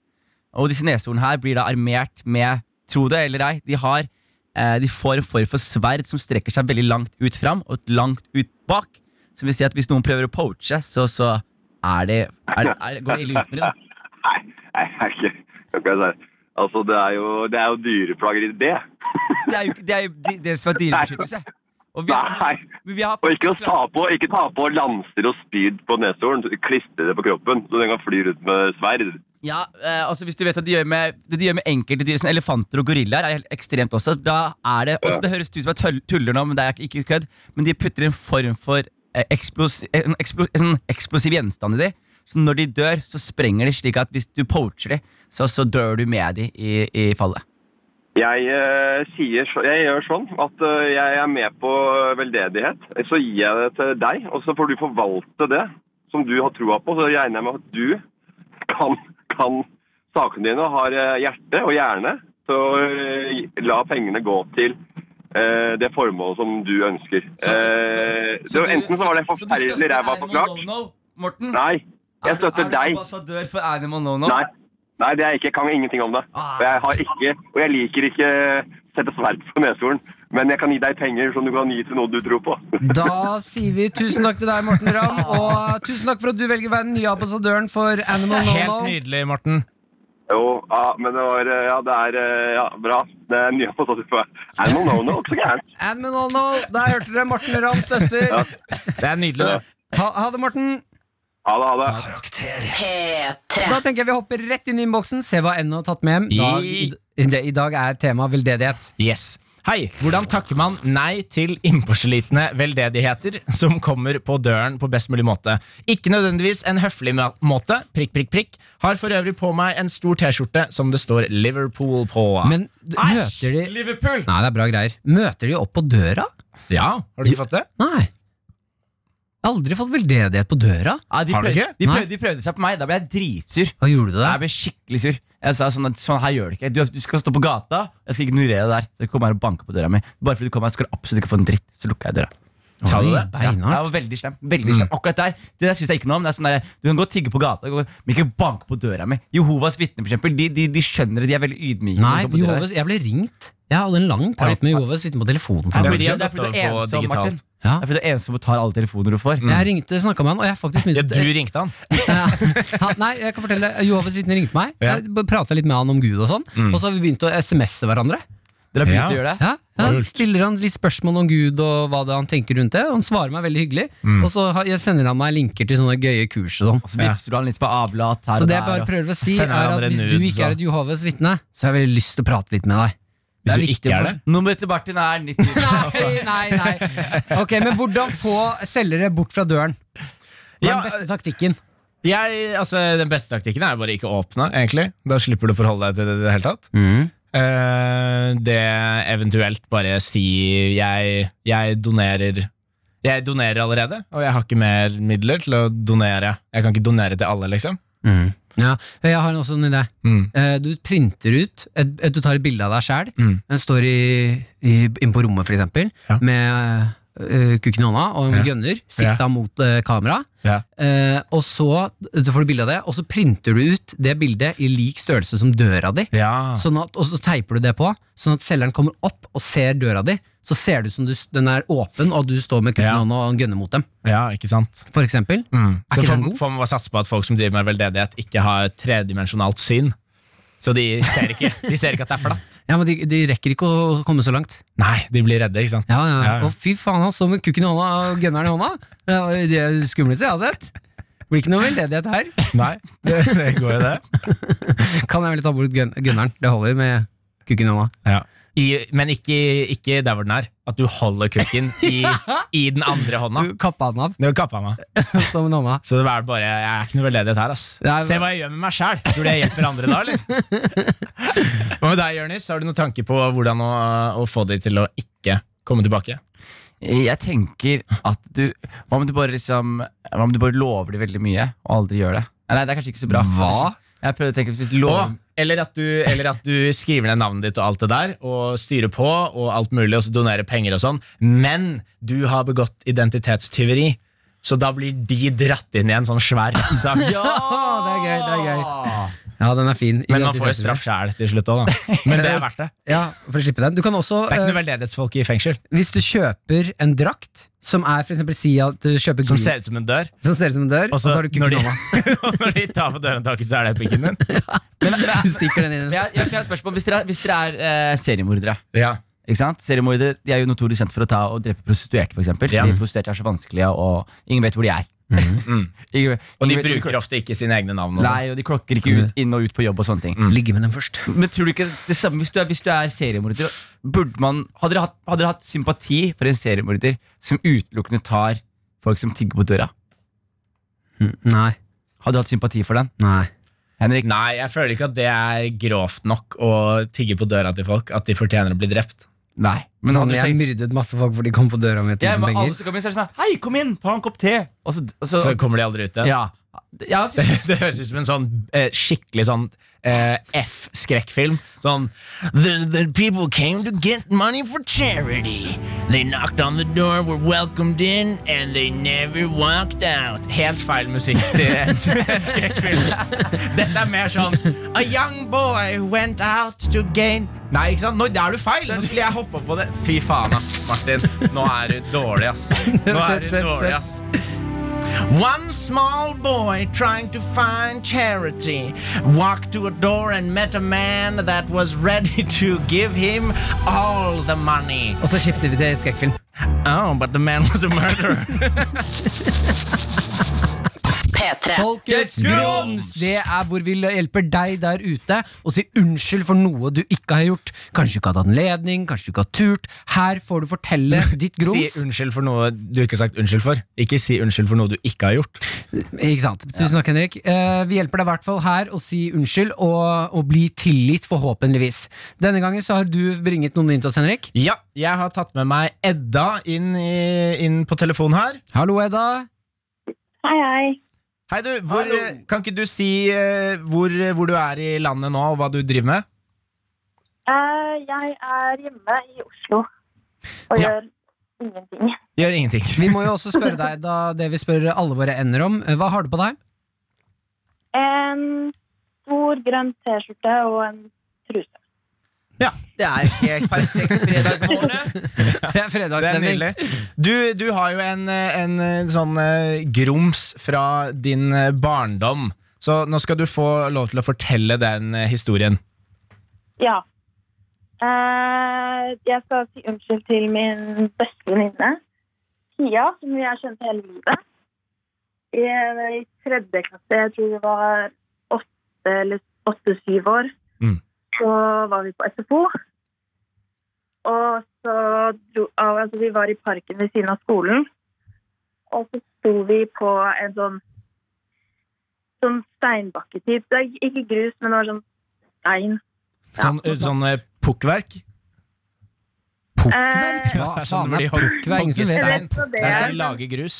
[SPEAKER 5] Og disse nesehornene her blir da armert med, tro det eller ei, de har eh, de får en form for sverd som strekker seg veldig langt ut fram og langt ut bak. Som vil si at hvis noen prøver å poache, så, så er det, er, det- er, går det ille ut med det. da.
[SPEAKER 10] [laughs] Nei, nei, det er ikke hva skal jeg si? Altså, det er jo, det er jo dyreplageri, det.
[SPEAKER 5] Det er jo ikke- det er jo de- det som er dyrebeskyttelse. Og vi
[SPEAKER 10] [laughs] Nei.
[SPEAKER 5] har, men vi har
[SPEAKER 10] Og ikke, å
[SPEAKER 5] faktisk
[SPEAKER 10] ta på, ikke ta på lanser og spyd på neshorn. Klistre det på kroppen, så den kan fly rundt med sverd.
[SPEAKER 5] Ja, eh, altså hvis du vet at de gjør med, Det de gjør med enkelte dyr, som elefanter og gorillaer, er helt ekstremt også. Da er Det også, det høres ut som jeg tøll- tuller nå, men det er ikke- ikke kødd. Men de putter en form for eh, eksplos, eh, en eksplo, en sånn eksplosiv gjenstand i de. Så når de dør, så sprenger de slik at hvis du poacher de, så, så dør du med de i, i fallet.
[SPEAKER 10] Jeg, eh, sier, så- jeg gjør sånn at eh, jeg er med på eh, veldedighet. Så gir jeg det til deg, og så får du forvalte det som du har troa på. Så regner jeg med at du kan, kan sakene dine og har eh, hjerte og hjerne til å eh, la pengene gå til eh, det formålet som du ønsker.
[SPEAKER 5] Så-
[SPEAKER 10] Eh,
[SPEAKER 5] så
[SPEAKER 10] det-
[SPEAKER 5] du-
[SPEAKER 10] enten så var det
[SPEAKER 5] så du støtter
[SPEAKER 10] forferdelig ræva
[SPEAKER 5] Animal
[SPEAKER 10] forklart
[SPEAKER 5] No-No, Morten?
[SPEAKER 10] Nei,
[SPEAKER 5] Er du-
[SPEAKER 10] jeg støtter
[SPEAKER 5] Er du
[SPEAKER 10] deg.
[SPEAKER 5] ambassadør for Animal No-No?
[SPEAKER 10] Nei, Nei det er jeg ikke. Jeg kan ingenting om det.
[SPEAKER 5] Ah.
[SPEAKER 10] Og jeg, har ikke, og jeg liker ikke sette sverd på neshorn. Men jeg kan gi deg penger som du kan gi til noe du tror på. [laughs]
[SPEAKER 2] Da sier vi tusen takk til deg, Morten Ramm, og tusen takk for at du velger å være den nye ambassadøren for Animal No
[SPEAKER 3] Helt
[SPEAKER 2] No.
[SPEAKER 3] nydelig, Morten.
[SPEAKER 10] Jo, ja, men det var eh, Ja, det er eh, Ja, bra. Det er nye på sånn type. Er det noe no-no? Så gærent.
[SPEAKER 2] Animal No No, der hørte dere Morten Ramm støtter.
[SPEAKER 3] Det er nydelig, det.
[SPEAKER 2] Ha, ha det, Morten.
[SPEAKER 10] Ha det, ha det.
[SPEAKER 2] Da
[SPEAKER 12] P3.
[SPEAKER 2] tenker jeg vi hopper rett inn i innboksen, se hva NO har tatt med hjem. Dag, i, det, I dag er tema veldedighet.
[SPEAKER 3] Yes. Hei, hvordan takker man nei til innpåslitne veldedigheter som kommer på døren på best mulig måte? Ikke nødvendigvis en høflig ma- måte, prikk, prikk, prikk. Har for øvrig på meg en stor T-skjorte som det står Liverpool på.
[SPEAKER 2] Men d- møter de
[SPEAKER 5] Liverpool!
[SPEAKER 2] Nei, det er bra greier. Møter de opp på døra?
[SPEAKER 3] ja, har du ikke fått det?
[SPEAKER 2] Nei. Aldri fått veldedighet på døra.
[SPEAKER 5] Ja, de,
[SPEAKER 3] Har du
[SPEAKER 5] prøvde,
[SPEAKER 3] ikke?
[SPEAKER 5] de,
[SPEAKER 2] Nei.
[SPEAKER 5] prøvde, de prøvde seg på meg. Da ble jeg dritsur.
[SPEAKER 2] Hva gjorde du
[SPEAKER 5] Jeg
[SPEAKER 2] der?
[SPEAKER 5] ble skikkelig sur. Jeg sa sånn at sånn her gjør du ikke. Du, du skal stå på gata. Jeg skal ignorere det der. Så kom jeg og banka på døra mi. Bare fordi du kom her, skal du absolutt ikke få en dritt. Så lukka jeg døra.
[SPEAKER 3] Sa du det?
[SPEAKER 5] Ja,
[SPEAKER 2] Beinhardt.
[SPEAKER 5] jeg var veldig slem. Veldig slem.
[SPEAKER 2] Mm.
[SPEAKER 5] Akkurat der. Det der syns jeg ikke noe om. Det er sånn der, du kan godt tigge på gata, men ikke banke på døra mi. Jehovas vitner, for eksempel, de, de, de skjønner det. De er veldig ydmyke.
[SPEAKER 2] Nei,
[SPEAKER 5] når de går på døra.
[SPEAKER 2] Jehovas, jeg ble ringt. Jeg hadde en lang prat med Jehovas sittende på telefonen.
[SPEAKER 5] Ja,
[SPEAKER 2] For meg.
[SPEAKER 5] fordi-
[SPEAKER 3] skjønt
[SPEAKER 5] Det er fordi du
[SPEAKER 3] dette
[SPEAKER 5] er
[SPEAKER 3] på
[SPEAKER 5] ensom,
[SPEAKER 3] digitalt.
[SPEAKER 5] Martin.
[SPEAKER 2] Ja. Mm.
[SPEAKER 5] Det er fordi du er ensom og tar alle telefoner du får.
[SPEAKER 2] Jeg ringte, snakka med han, og jeg har faktisk
[SPEAKER 3] Ja,
[SPEAKER 2] begynt
[SPEAKER 3] du ringte han.
[SPEAKER 2] [laughs] Ja, Nei, jeg kan fortelle Jehovas vitner ringte meg.
[SPEAKER 3] Ja.
[SPEAKER 2] Jeg prata litt med han om Gud, og sånn Og så har vi begynt å SMS-e hverandre.
[SPEAKER 5] Dere har begynt
[SPEAKER 3] Ja.
[SPEAKER 5] å gjøre det.
[SPEAKER 2] Ja, ja, Stiller han litt spørsmål om Gud og hva det er han tenker rundt det. Og han svarer meg veldig hyggelig.
[SPEAKER 3] Mm.
[SPEAKER 2] Og så har- jeg sender han meg linker til sånne gøye kurs og sånn.
[SPEAKER 5] Og så vipser du han litt på avlat her
[SPEAKER 2] Så
[SPEAKER 5] og
[SPEAKER 2] det jeg
[SPEAKER 5] der.
[SPEAKER 2] bare
[SPEAKER 5] og-
[SPEAKER 2] prøver å si,
[SPEAKER 3] Sender
[SPEAKER 2] er at
[SPEAKER 3] hverandre
[SPEAKER 2] hvis du
[SPEAKER 3] nudes
[SPEAKER 2] ikke
[SPEAKER 3] og-
[SPEAKER 2] er et Jehovas vitne, så har jeg veldig lyst til å prate litt med deg.
[SPEAKER 3] Hvis
[SPEAKER 2] er
[SPEAKER 3] du ikke
[SPEAKER 2] viktig
[SPEAKER 3] er
[SPEAKER 2] for-
[SPEAKER 3] det.
[SPEAKER 5] Nummeret til Martin er 90.
[SPEAKER 2] [laughs] Nei, nei, nei. Ok, Men hvordan få selgere bort fra døren? Hva er
[SPEAKER 3] Ja,
[SPEAKER 2] den beste taktikken?
[SPEAKER 3] Jeg, altså, den beste taktikken er bare ikke å åpne, egentlig. Da slipper du å forholde deg til det i det hele tatt. Eh, det eventuelt bare si jeg, jeg donerer Jeg donerer allerede, og jeg har ikke mer midler til å donere. Jeg kan ikke donere til alle, liksom.
[SPEAKER 2] Ja, jeg har også en idé.
[SPEAKER 3] Mm.
[SPEAKER 2] Eh, Du printer ut et, et, Du tar et bilde av deg sjæl.
[SPEAKER 3] Mm.
[SPEAKER 2] Den står i, i, inn på rommet, for eksempel,
[SPEAKER 3] Ja.
[SPEAKER 2] med eh, kukken i hånda og en
[SPEAKER 3] Ja.
[SPEAKER 2] gunner sikta mot uh, kamera.
[SPEAKER 3] Ja.
[SPEAKER 2] Eh, og så, så får du bilde av det, og så printer du ut det bildet i lik størrelse som døra di. Sånn at, og så teiper du det på, sånn at selgeren kommer opp og ser døra di. Så ser det ut som du, s- den er åpen, og du står med kukken i
[SPEAKER 3] Ja.
[SPEAKER 2] hånda og gunner mot dem.
[SPEAKER 3] ja, ikke sant?
[SPEAKER 2] For eksempel.
[SPEAKER 3] Mm.
[SPEAKER 2] Er
[SPEAKER 3] Så
[SPEAKER 2] ikke den
[SPEAKER 3] får,
[SPEAKER 2] god?
[SPEAKER 3] får man bare satse på at folk som driver med veldedighet, ikke har tredimensjonalt syn. Så de ser ikke, de ser ikke at det er flatt.
[SPEAKER 2] Ja, men de, de rekker ikke å komme så langt.
[SPEAKER 3] Nei, de blir redde, ikke sant.
[SPEAKER 2] Ja, ja.
[SPEAKER 3] Ja, ja.
[SPEAKER 2] Å, fy faen, han står med kukken i hånda og gunneren i hånda. Det var det er det skumleste jeg har sett. Blir ikke noe veldedighet her.
[SPEAKER 3] Nei, det, det går jo det.
[SPEAKER 2] Kan jeg vel ta bort gun- gunneren? Det holder med kukken i hånda.
[SPEAKER 3] Ja. I, men ikke, ikke der hvor den er. At du holder [laughs] kukken i, i den andre hånda.
[SPEAKER 2] Du Kappa den av,
[SPEAKER 3] Det var kappa meg.
[SPEAKER 2] stå med den hånda.
[SPEAKER 3] Så det er bare, jeg er ikke noe veldedighet her, ass.
[SPEAKER 2] Nei,
[SPEAKER 3] Se hva jeg gjør med meg sjæl! Tror du jeg hjelper andre da, eller? [laughs] Hva med deg, Jørnis? Har du noen tanke på hvordan å, å få de til å ikke komme tilbake?
[SPEAKER 5] Jeg tenker at du Hva om du bare liksom Hva om du bare lover det veldig mye, og aldri gjør det? Nei, det er kanskje ikke så bra.
[SPEAKER 2] Hva?
[SPEAKER 5] Jeg prøvde å tenke hvis du lover,
[SPEAKER 3] Og, eller, at du, eller at du skriver ned navnet ditt og alt det der, og styrer på og alt mulig, og så donerer penger og sånn, men du har begått identitetstyveri. Så da blir de dratt inn i en sånn svær rettssak. [laughs]
[SPEAKER 2] Å, det er gøy, det er gøy. Ja, den er fin.
[SPEAKER 3] Men man får jo straff sjæl til slutt òg, da. [laughs] Men det er verdt det.
[SPEAKER 2] Ja, for å slippe den. Du kan også,
[SPEAKER 3] Det er ikke
[SPEAKER 2] eh,
[SPEAKER 3] noe veldedighetsfolk i fengsel
[SPEAKER 2] hvis du kjøper en drakt, som er for eksempel si at du kjøper
[SPEAKER 3] som
[SPEAKER 2] green-
[SPEAKER 3] ser ut som en dør.
[SPEAKER 2] som ser ut som en dør, og så har du
[SPEAKER 3] når
[SPEAKER 2] kukken i
[SPEAKER 3] de, [laughs]
[SPEAKER 2] hånda.
[SPEAKER 3] og når de tar på dørhåndtaket, så er det pikken din. [laughs]
[SPEAKER 2] Du stikker den inn. i den.
[SPEAKER 5] jeg, jeg, jeg har et spørsmål. Hvis dere er, hvis dere er eh, seriemordere
[SPEAKER 3] Ja.
[SPEAKER 5] ikke sant? Seriemordere de er jo notorisk kjent for å ta og drepe prostituerte. For eksempel.
[SPEAKER 3] Ja. Mhm.
[SPEAKER 5] Fordi Prostituerte er så vanskelige, og ingen vet hvor de er. [laughs] Ingen vet-
[SPEAKER 3] Og de
[SPEAKER 5] ingen vet-
[SPEAKER 3] bruker ofte ikke sine egne navn. og sånn. Mm.
[SPEAKER 5] Nei, og de klokker ikke ut, inn og ut på jobb og sånne ting.
[SPEAKER 2] Ligge med den først.
[SPEAKER 5] Men tror du ikke det samme Hvis du er, hvis du er seriemorder, burde man hadde dere, hatt, hadde dere hatt sympati for en seriemorder som utelukkende tar folk som tigger på døra?
[SPEAKER 2] Nei.
[SPEAKER 5] Hadde du hatt sympati for den?
[SPEAKER 2] Nei.
[SPEAKER 5] Henrik?
[SPEAKER 3] Nei, jeg føler ikke at det er grovt nok å tigge på døra til folk at de fortjener å bli drept.
[SPEAKER 5] Nei. Men
[SPEAKER 2] Sånn,
[SPEAKER 5] hadde du
[SPEAKER 2] jeg
[SPEAKER 5] tenkt
[SPEAKER 2] myrdet masse folk fordi de kom på døra mi og
[SPEAKER 5] ja,
[SPEAKER 2] tok
[SPEAKER 5] men alle
[SPEAKER 2] penger.
[SPEAKER 5] som kommer inn, så er det sånn Hei, kom inn! Ta en kopp te! Og så, og så,
[SPEAKER 3] Så kommer de aldri ut igjen.
[SPEAKER 5] ja. Ja, altså,
[SPEAKER 3] Det, det høres ut som en sånn eh, skikkelig sånn eh, F-skrekkfilm. Sånn the, the people came to get money for charity. They knocked on the door, were welcomed in, and they never walked out. Helt feil musikk til en, en skrekkfilm. Dette er mer sånn A young boy went out to gain Nei, ikke sant? Nå der er du feil! Nå skulle jeg hoppe på det. Fy faen, ass, Martin. Nå er du dårlig, ass. Nå er du
[SPEAKER 2] Sett, sett,
[SPEAKER 3] dårlig,
[SPEAKER 2] sett.
[SPEAKER 3] ass. One small boy trying to find charity walked to a door and met a man that was ready [laughs] to give him all the money.
[SPEAKER 2] Og så skifter vi til skrekkfilm.
[SPEAKER 3] Oh, but the man was a murderer.
[SPEAKER 12] P3.
[SPEAKER 2] Folkets grums! Det er hvor vi hjelper deg der ute og sier unnskyld for noe du ikke har gjort. Kanskje du ikke hadde hatt anledning, kanskje du ikke har turt. Her får du fortelle [laughs] ditt
[SPEAKER 3] [laughs] Si
[SPEAKER 2] grums.
[SPEAKER 3] unnskyld for noe du ikke har sagt unnskyld for. Ikke si unnskyld for noe du ikke har gjort.
[SPEAKER 2] Ikke sant. Tusen takk, Henrik. Eh, vi hjelper deg i hvert fall her å si unnskyld og, og bli tilgitt, forhåpentligvis. Denne gangen så har du bringet noen inn til oss, Henrik.
[SPEAKER 3] Ja, jeg har tatt med meg Edda inn, i, inn på telefonen her.
[SPEAKER 2] Hallo, Edda.
[SPEAKER 8] Hei, hei.
[SPEAKER 3] Hei du, hvor, kan ikke du si eh, hvor, hvor du er i landet nå, og hva du driver med?
[SPEAKER 8] Eh, jeg er hjemme i Oslo og
[SPEAKER 2] Ja.
[SPEAKER 8] gjør ingenting.
[SPEAKER 3] Gjør ingenting. [laughs]
[SPEAKER 2] Vi må jo også spørre deg, da, det vi spør alle våre ender om. Eh, Hva har du på deg?
[SPEAKER 8] En stor grønn T-skjorte og en truse.
[SPEAKER 5] det er helt perfekt fredag
[SPEAKER 2] Det
[SPEAKER 5] morgen.
[SPEAKER 2] er
[SPEAKER 3] [laughs] Det er
[SPEAKER 2] fredagsstemning.
[SPEAKER 3] nydelig. Du, du har jo en, eh, en eh, sånn eh, grums fra din eh, barndom. Så nå skal du få lov til å fortelle den eh, historien.
[SPEAKER 8] Ja. Eh, jeg skal si unnskyld til min beste venninne, Pia, som jeg kjente hele livet. I, I tredje klasse, jeg tror det var åtte eller åtte-syv år,
[SPEAKER 3] Mm.
[SPEAKER 8] så var vi på SFO. Og så dro, al- altså vi var i parken ved siden av skolen, og så sto vi på en sånn Sånn steinbakketyp. Det er ikke grus, men det var sånn stein.
[SPEAKER 3] Sånn, eh, sånn eh, pukkverk.
[SPEAKER 8] Eh,
[SPEAKER 2] Hva
[SPEAKER 3] Det er sånn det
[SPEAKER 2] faen er
[SPEAKER 3] blir hogg-
[SPEAKER 2] pukkvei? Ingen som vet det.
[SPEAKER 3] hoggestein.
[SPEAKER 8] rett og
[SPEAKER 3] Det er der
[SPEAKER 8] det-
[SPEAKER 3] vi lager grus.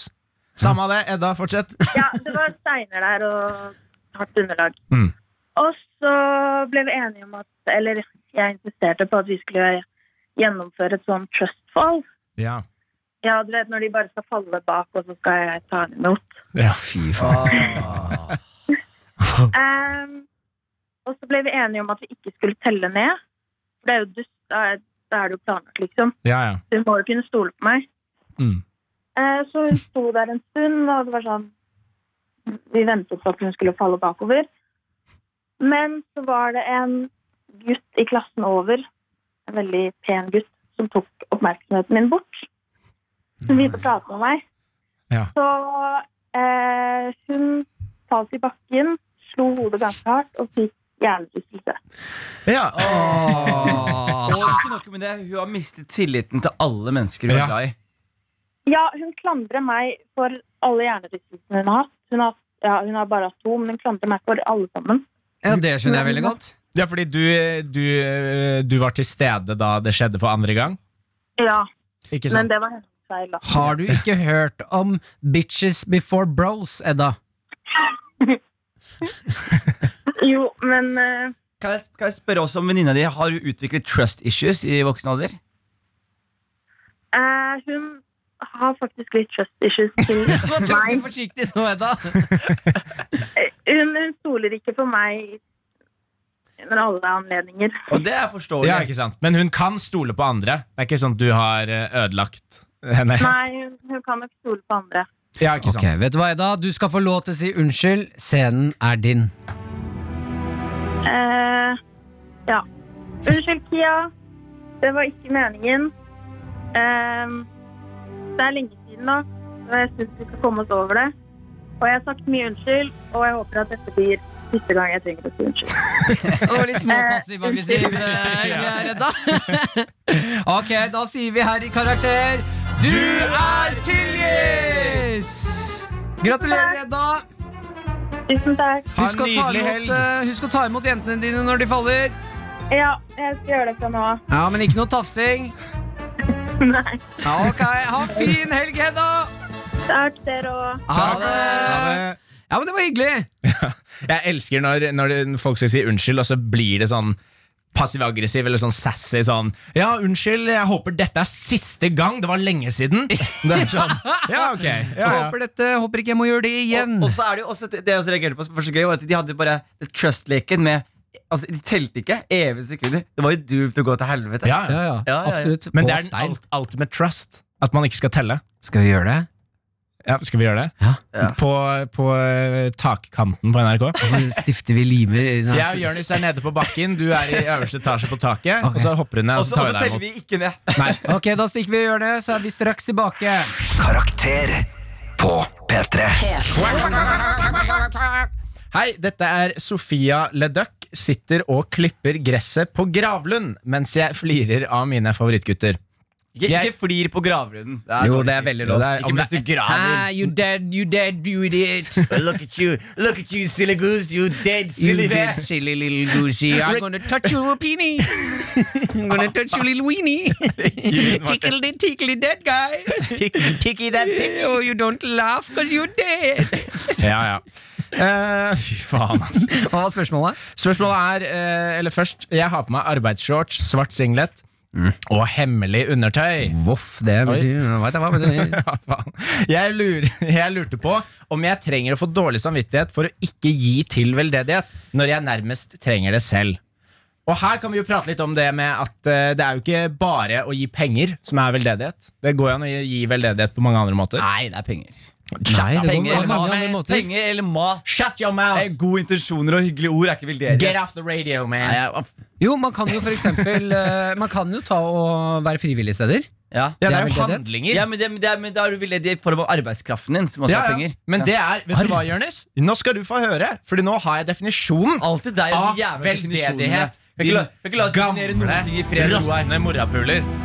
[SPEAKER 3] Samme av det, Edda, fortsett.
[SPEAKER 8] ja, det var steiner der og hardt underlag.
[SPEAKER 3] Mm.
[SPEAKER 8] Og så ble vi enige om at Eller jeg insisterte på at vi skulle gjennomføre et sånn trustfall.
[SPEAKER 3] Ja.
[SPEAKER 8] Ja, du vet når de bare skal falle bak, og så skal jeg ta henne imot.
[SPEAKER 3] fy faen.
[SPEAKER 8] Ehm, og så ble vi enige om at vi ikke skulle telle ned. For det er jo dust. Da er, da er det jo planlagt, liksom.
[SPEAKER 3] Ja, ja.
[SPEAKER 8] Du må jo kunne stole på meg.
[SPEAKER 3] Mm.
[SPEAKER 8] Eh, Så hun sto der en stund, og det var sånn Vi ventet på at hun skulle falle bakover. Men så var det en gutt i klassen over, en veldig pen gutt, som tok oppmerksomheten min bort. Hun begynte å prate med meg.
[SPEAKER 3] Ja.
[SPEAKER 8] Så eh, hun falt i bakken, slo hodet ganske hardt og fikk hjernerystelse.
[SPEAKER 3] Ja.
[SPEAKER 5] Og ikke nok med det, hun har mistet tilliten til alle mennesker hun
[SPEAKER 3] Ja.
[SPEAKER 5] er glad i.
[SPEAKER 8] Ja, hun klandrer meg for alle hjernerystelsene hun har hatt. Hun har, ja, hun har bare hatt to, men hun klandrer meg for alle sammen.
[SPEAKER 2] Ja, det skjønner jeg veldig godt.
[SPEAKER 3] Det er fordi du, du, eh, du var til stede da det skjedde for andre gang?
[SPEAKER 8] Ja,
[SPEAKER 3] Ikke
[SPEAKER 8] men
[SPEAKER 3] sant?
[SPEAKER 8] det var hennes feil, da.
[SPEAKER 2] Har du ikke hørt om Bitches Before Bros, Edda?
[SPEAKER 8] [laughs] Jo, men eh,
[SPEAKER 5] Kan jeg, kan jeg spørre også om venninna di har hun utviklet trust issues i voksen alder?
[SPEAKER 8] eh, hun har faktisk litt trust
[SPEAKER 2] [laughs]
[SPEAKER 8] issues til meg.
[SPEAKER 2] forsiktig nå, Edda.
[SPEAKER 8] [laughs] Hun, hun stoler ikke på meg under alle anledninger.
[SPEAKER 5] Og det er forståelig.
[SPEAKER 3] Ja, ikke sant? Men hun kan stole på andre. Det er ikke sånn at du har eh, ødelagt henne.
[SPEAKER 8] Nei, hun, hun kan nok stole på andre.
[SPEAKER 3] Ja, ikke sant?
[SPEAKER 2] Ok, vet du hva, Edda? Du skal få lov til å si unnskyld. Scenen er din.
[SPEAKER 8] Eh, ja. Unnskyld, Kia. Det var ikke meningen. Eh, det er lenge siden nå, og jeg syns vi skal komme oss over det. Og jeg har sagt mye unnskyld, og jeg håper at dette blir siste gang jeg trenger å si unnskyld.
[SPEAKER 2] Og litt småpassiv-aggressiv eh, greier, Edda. [laughs] ok, da sier vi her i karakter Du er tilgitt! Gratulerer, Edda.
[SPEAKER 8] Tusen takk.
[SPEAKER 2] Husk å, ta
[SPEAKER 3] nydelig
[SPEAKER 2] imot,
[SPEAKER 3] helg.
[SPEAKER 2] eh, husk å ta imot jentene dine når de faller.
[SPEAKER 8] Ja, jeg skal gjøre det fra nå av.
[SPEAKER 2] Ja, men ikke noe tafsing.
[SPEAKER 8] Nei.
[SPEAKER 2] Ja, ok, Ha en fin helg, Hedda!
[SPEAKER 8] Takk, dere òg.
[SPEAKER 2] Ha
[SPEAKER 3] Ha
[SPEAKER 2] det!
[SPEAKER 3] det.
[SPEAKER 2] Ja, men det var
[SPEAKER 3] [laughs]
[SPEAKER 2] hyggelig.
[SPEAKER 3] Jeg elsker når, når det- folk skal si unnskyld, og så blir det sånn passiv-aggressiv eller sånn sassy sånn Ja, unnskyld, jeg håper dette er siste gang. Det var lenge [laughs] siden. Det er sånn, ja, ok.
[SPEAKER 2] Jeg
[SPEAKER 3] Ja, ja.
[SPEAKER 2] Håper, dette, håper ikke jeg må gjøre det igjen.
[SPEAKER 5] Og, og så er det jo også, det jeg også reagerte på som var så gøy, var at de hadde bare trust-leken med Altså, De telte ikke evige sekunder. Det var jo doomed å gå til helvete.
[SPEAKER 3] Ja, ja.
[SPEAKER 2] ja, ja,
[SPEAKER 5] Ja, ja, ja.
[SPEAKER 2] absolutt.
[SPEAKER 3] Men
[SPEAKER 2] På
[SPEAKER 3] det er den
[SPEAKER 2] stein.
[SPEAKER 3] ult ultimate trust. At man ikke skal telle.
[SPEAKER 2] Skal vi gjøre det?
[SPEAKER 3] Ja, skal vi gjøre det?
[SPEAKER 2] Ja.
[SPEAKER 5] Ja.
[SPEAKER 3] På, på eh, takkanten på NRK. [laughs]
[SPEAKER 2] Så stifter vi limer. i sånn-
[SPEAKER 3] Jeg og Jonis er nede på bakken, du er i øverste etasje på taket.
[SPEAKER 2] Ok.
[SPEAKER 3] Og så hopper hun ned,
[SPEAKER 5] Og
[SPEAKER 3] og
[SPEAKER 5] så
[SPEAKER 3] så
[SPEAKER 5] og
[SPEAKER 3] altså, tar vi
[SPEAKER 5] så
[SPEAKER 3] deg
[SPEAKER 5] teller
[SPEAKER 3] imot.
[SPEAKER 5] vi ikke ned.
[SPEAKER 2] Ok, da stikker vi og gjør det, så er vi straks tilbake.
[SPEAKER 4] Karakter på P3.
[SPEAKER 3] Hei, dette er Sofia Leduc. Sitter og klipper gresset på Gravlund mens jeg flirer av mine favorittgutter.
[SPEAKER 5] Ikke,
[SPEAKER 3] Jeg-
[SPEAKER 5] ikke flir på gravrunden. Det er
[SPEAKER 2] Jo,
[SPEAKER 5] dårlig
[SPEAKER 2] det er
[SPEAKER 5] stil.
[SPEAKER 2] veldig
[SPEAKER 3] lov.
[SPEAKER 5] Det er- Ikke mens du graver.
[SPEAKER 2] Ah, you dead, you dead, you idiot. [laughs]
[SPEAKER 5] Look at you, look at you, silly goose, you dead
[SPEAKER 2] You
[SPEAKER 5] silly
[SPEAKER 2] dead,
[SPEAKER 5] bear.
[SPEAKER 2] silly little goosey. I'm gonna touch your [laughs] peenie. I'm gonna touch your little [laughs] weenie. Tickle the tickly dead guy.
[SPEAKER 5] Tikki that dick.
[SPEAKER 2] [laughs] Oh, you don't laugh because you're dead.
[SPEAKER 3] Ja, ja. Eh, fy faen, altså.
[SPEAKER 2] Hva var spørsmålet?
[SPEAKER 3] Spørsmålet er, eh, eller først, jeg har på meg arbeidsshorts, svart singlet
[SPEAKER 5] Mm.
[SPEAKER 3] og hemmelig undertøy.
[SPEAKER 2] Voff, det betyr Veit jeg hva betyr.
[SPEAKER 3] Ja, faen. Jeg, lurer, [laughs] jeg lurte på om jeg trenger å få dårlig samvittighet for å ikke gi til veldedighet når jeg nærmest trenger det selv. Og her kan vi jo prate litt om det med at eh, det er jo ikke bare å gi penger som er veldedighet. Det går jo an å gi- gi veldedighet på mange andre
[SPEAKER 2] Ah,
[SPEAKER 3] måter.
[SPEAKER 5] Nei, det er penger.
[SPEAKER 2] [laughs] Nei, det går
[SPEAKER 5] Penger
[SPEAKER 2] på
[SPEAKER 5] eller
[SPEAKER 2] mange andre
[SPEAKER 5] mat.
[SPEAKER 2] måter.
[SPEAKER 5] Penger eller mat.
[SPEAKER 3] Shut your
[SPEAKER 5] Eh,
[SPEAKER 3] mouth!
[SPEAKER 5] Gode intensjoner og hyggelige ord er ikke veldedig.
[SPEAKER 3] Get off the radio, man!
[SPEAKER 2] Jo, man kan jo for [laughs] eksempel eh, Man kan jo ta og være frivillig steder.
[SPEAKER 5] Ja.
[SPEAKER 3] Ja,
[SPEAKER 2] det
[SPEAKER 3] det er
[SPEAKER 2] er
[SPEAKER 3] jo
[SPEAKER 2] veldedighet.
[SPEAKER 3] handlinger.
[SPEAKER 5] Ja, men, det, men, det, men da er du veldedig i form av arbeidskraften din, som også
[SPEAKER 3] Ja,
[SPEAKER 5] er
[SPEAKER 3] ja.
[SPEAKER 5] penger.
[SPEAKER 3] Men det er Vet du hva, Jonis? Nå skal du få høre, Fordi nå har jeg definisjonen.
[SPEAKER 5] Alltid deg og de
[SPEAKER 3] av
[SPEAKER 5] jævla definisjonene.
[SPEAKER 3] veldedighet.
[SPEAKER 5] Vi kan ikke la- vi kan ikke la oss definere noen ting i fred og ro her.
[SPEAKER 3] råtne morapuler.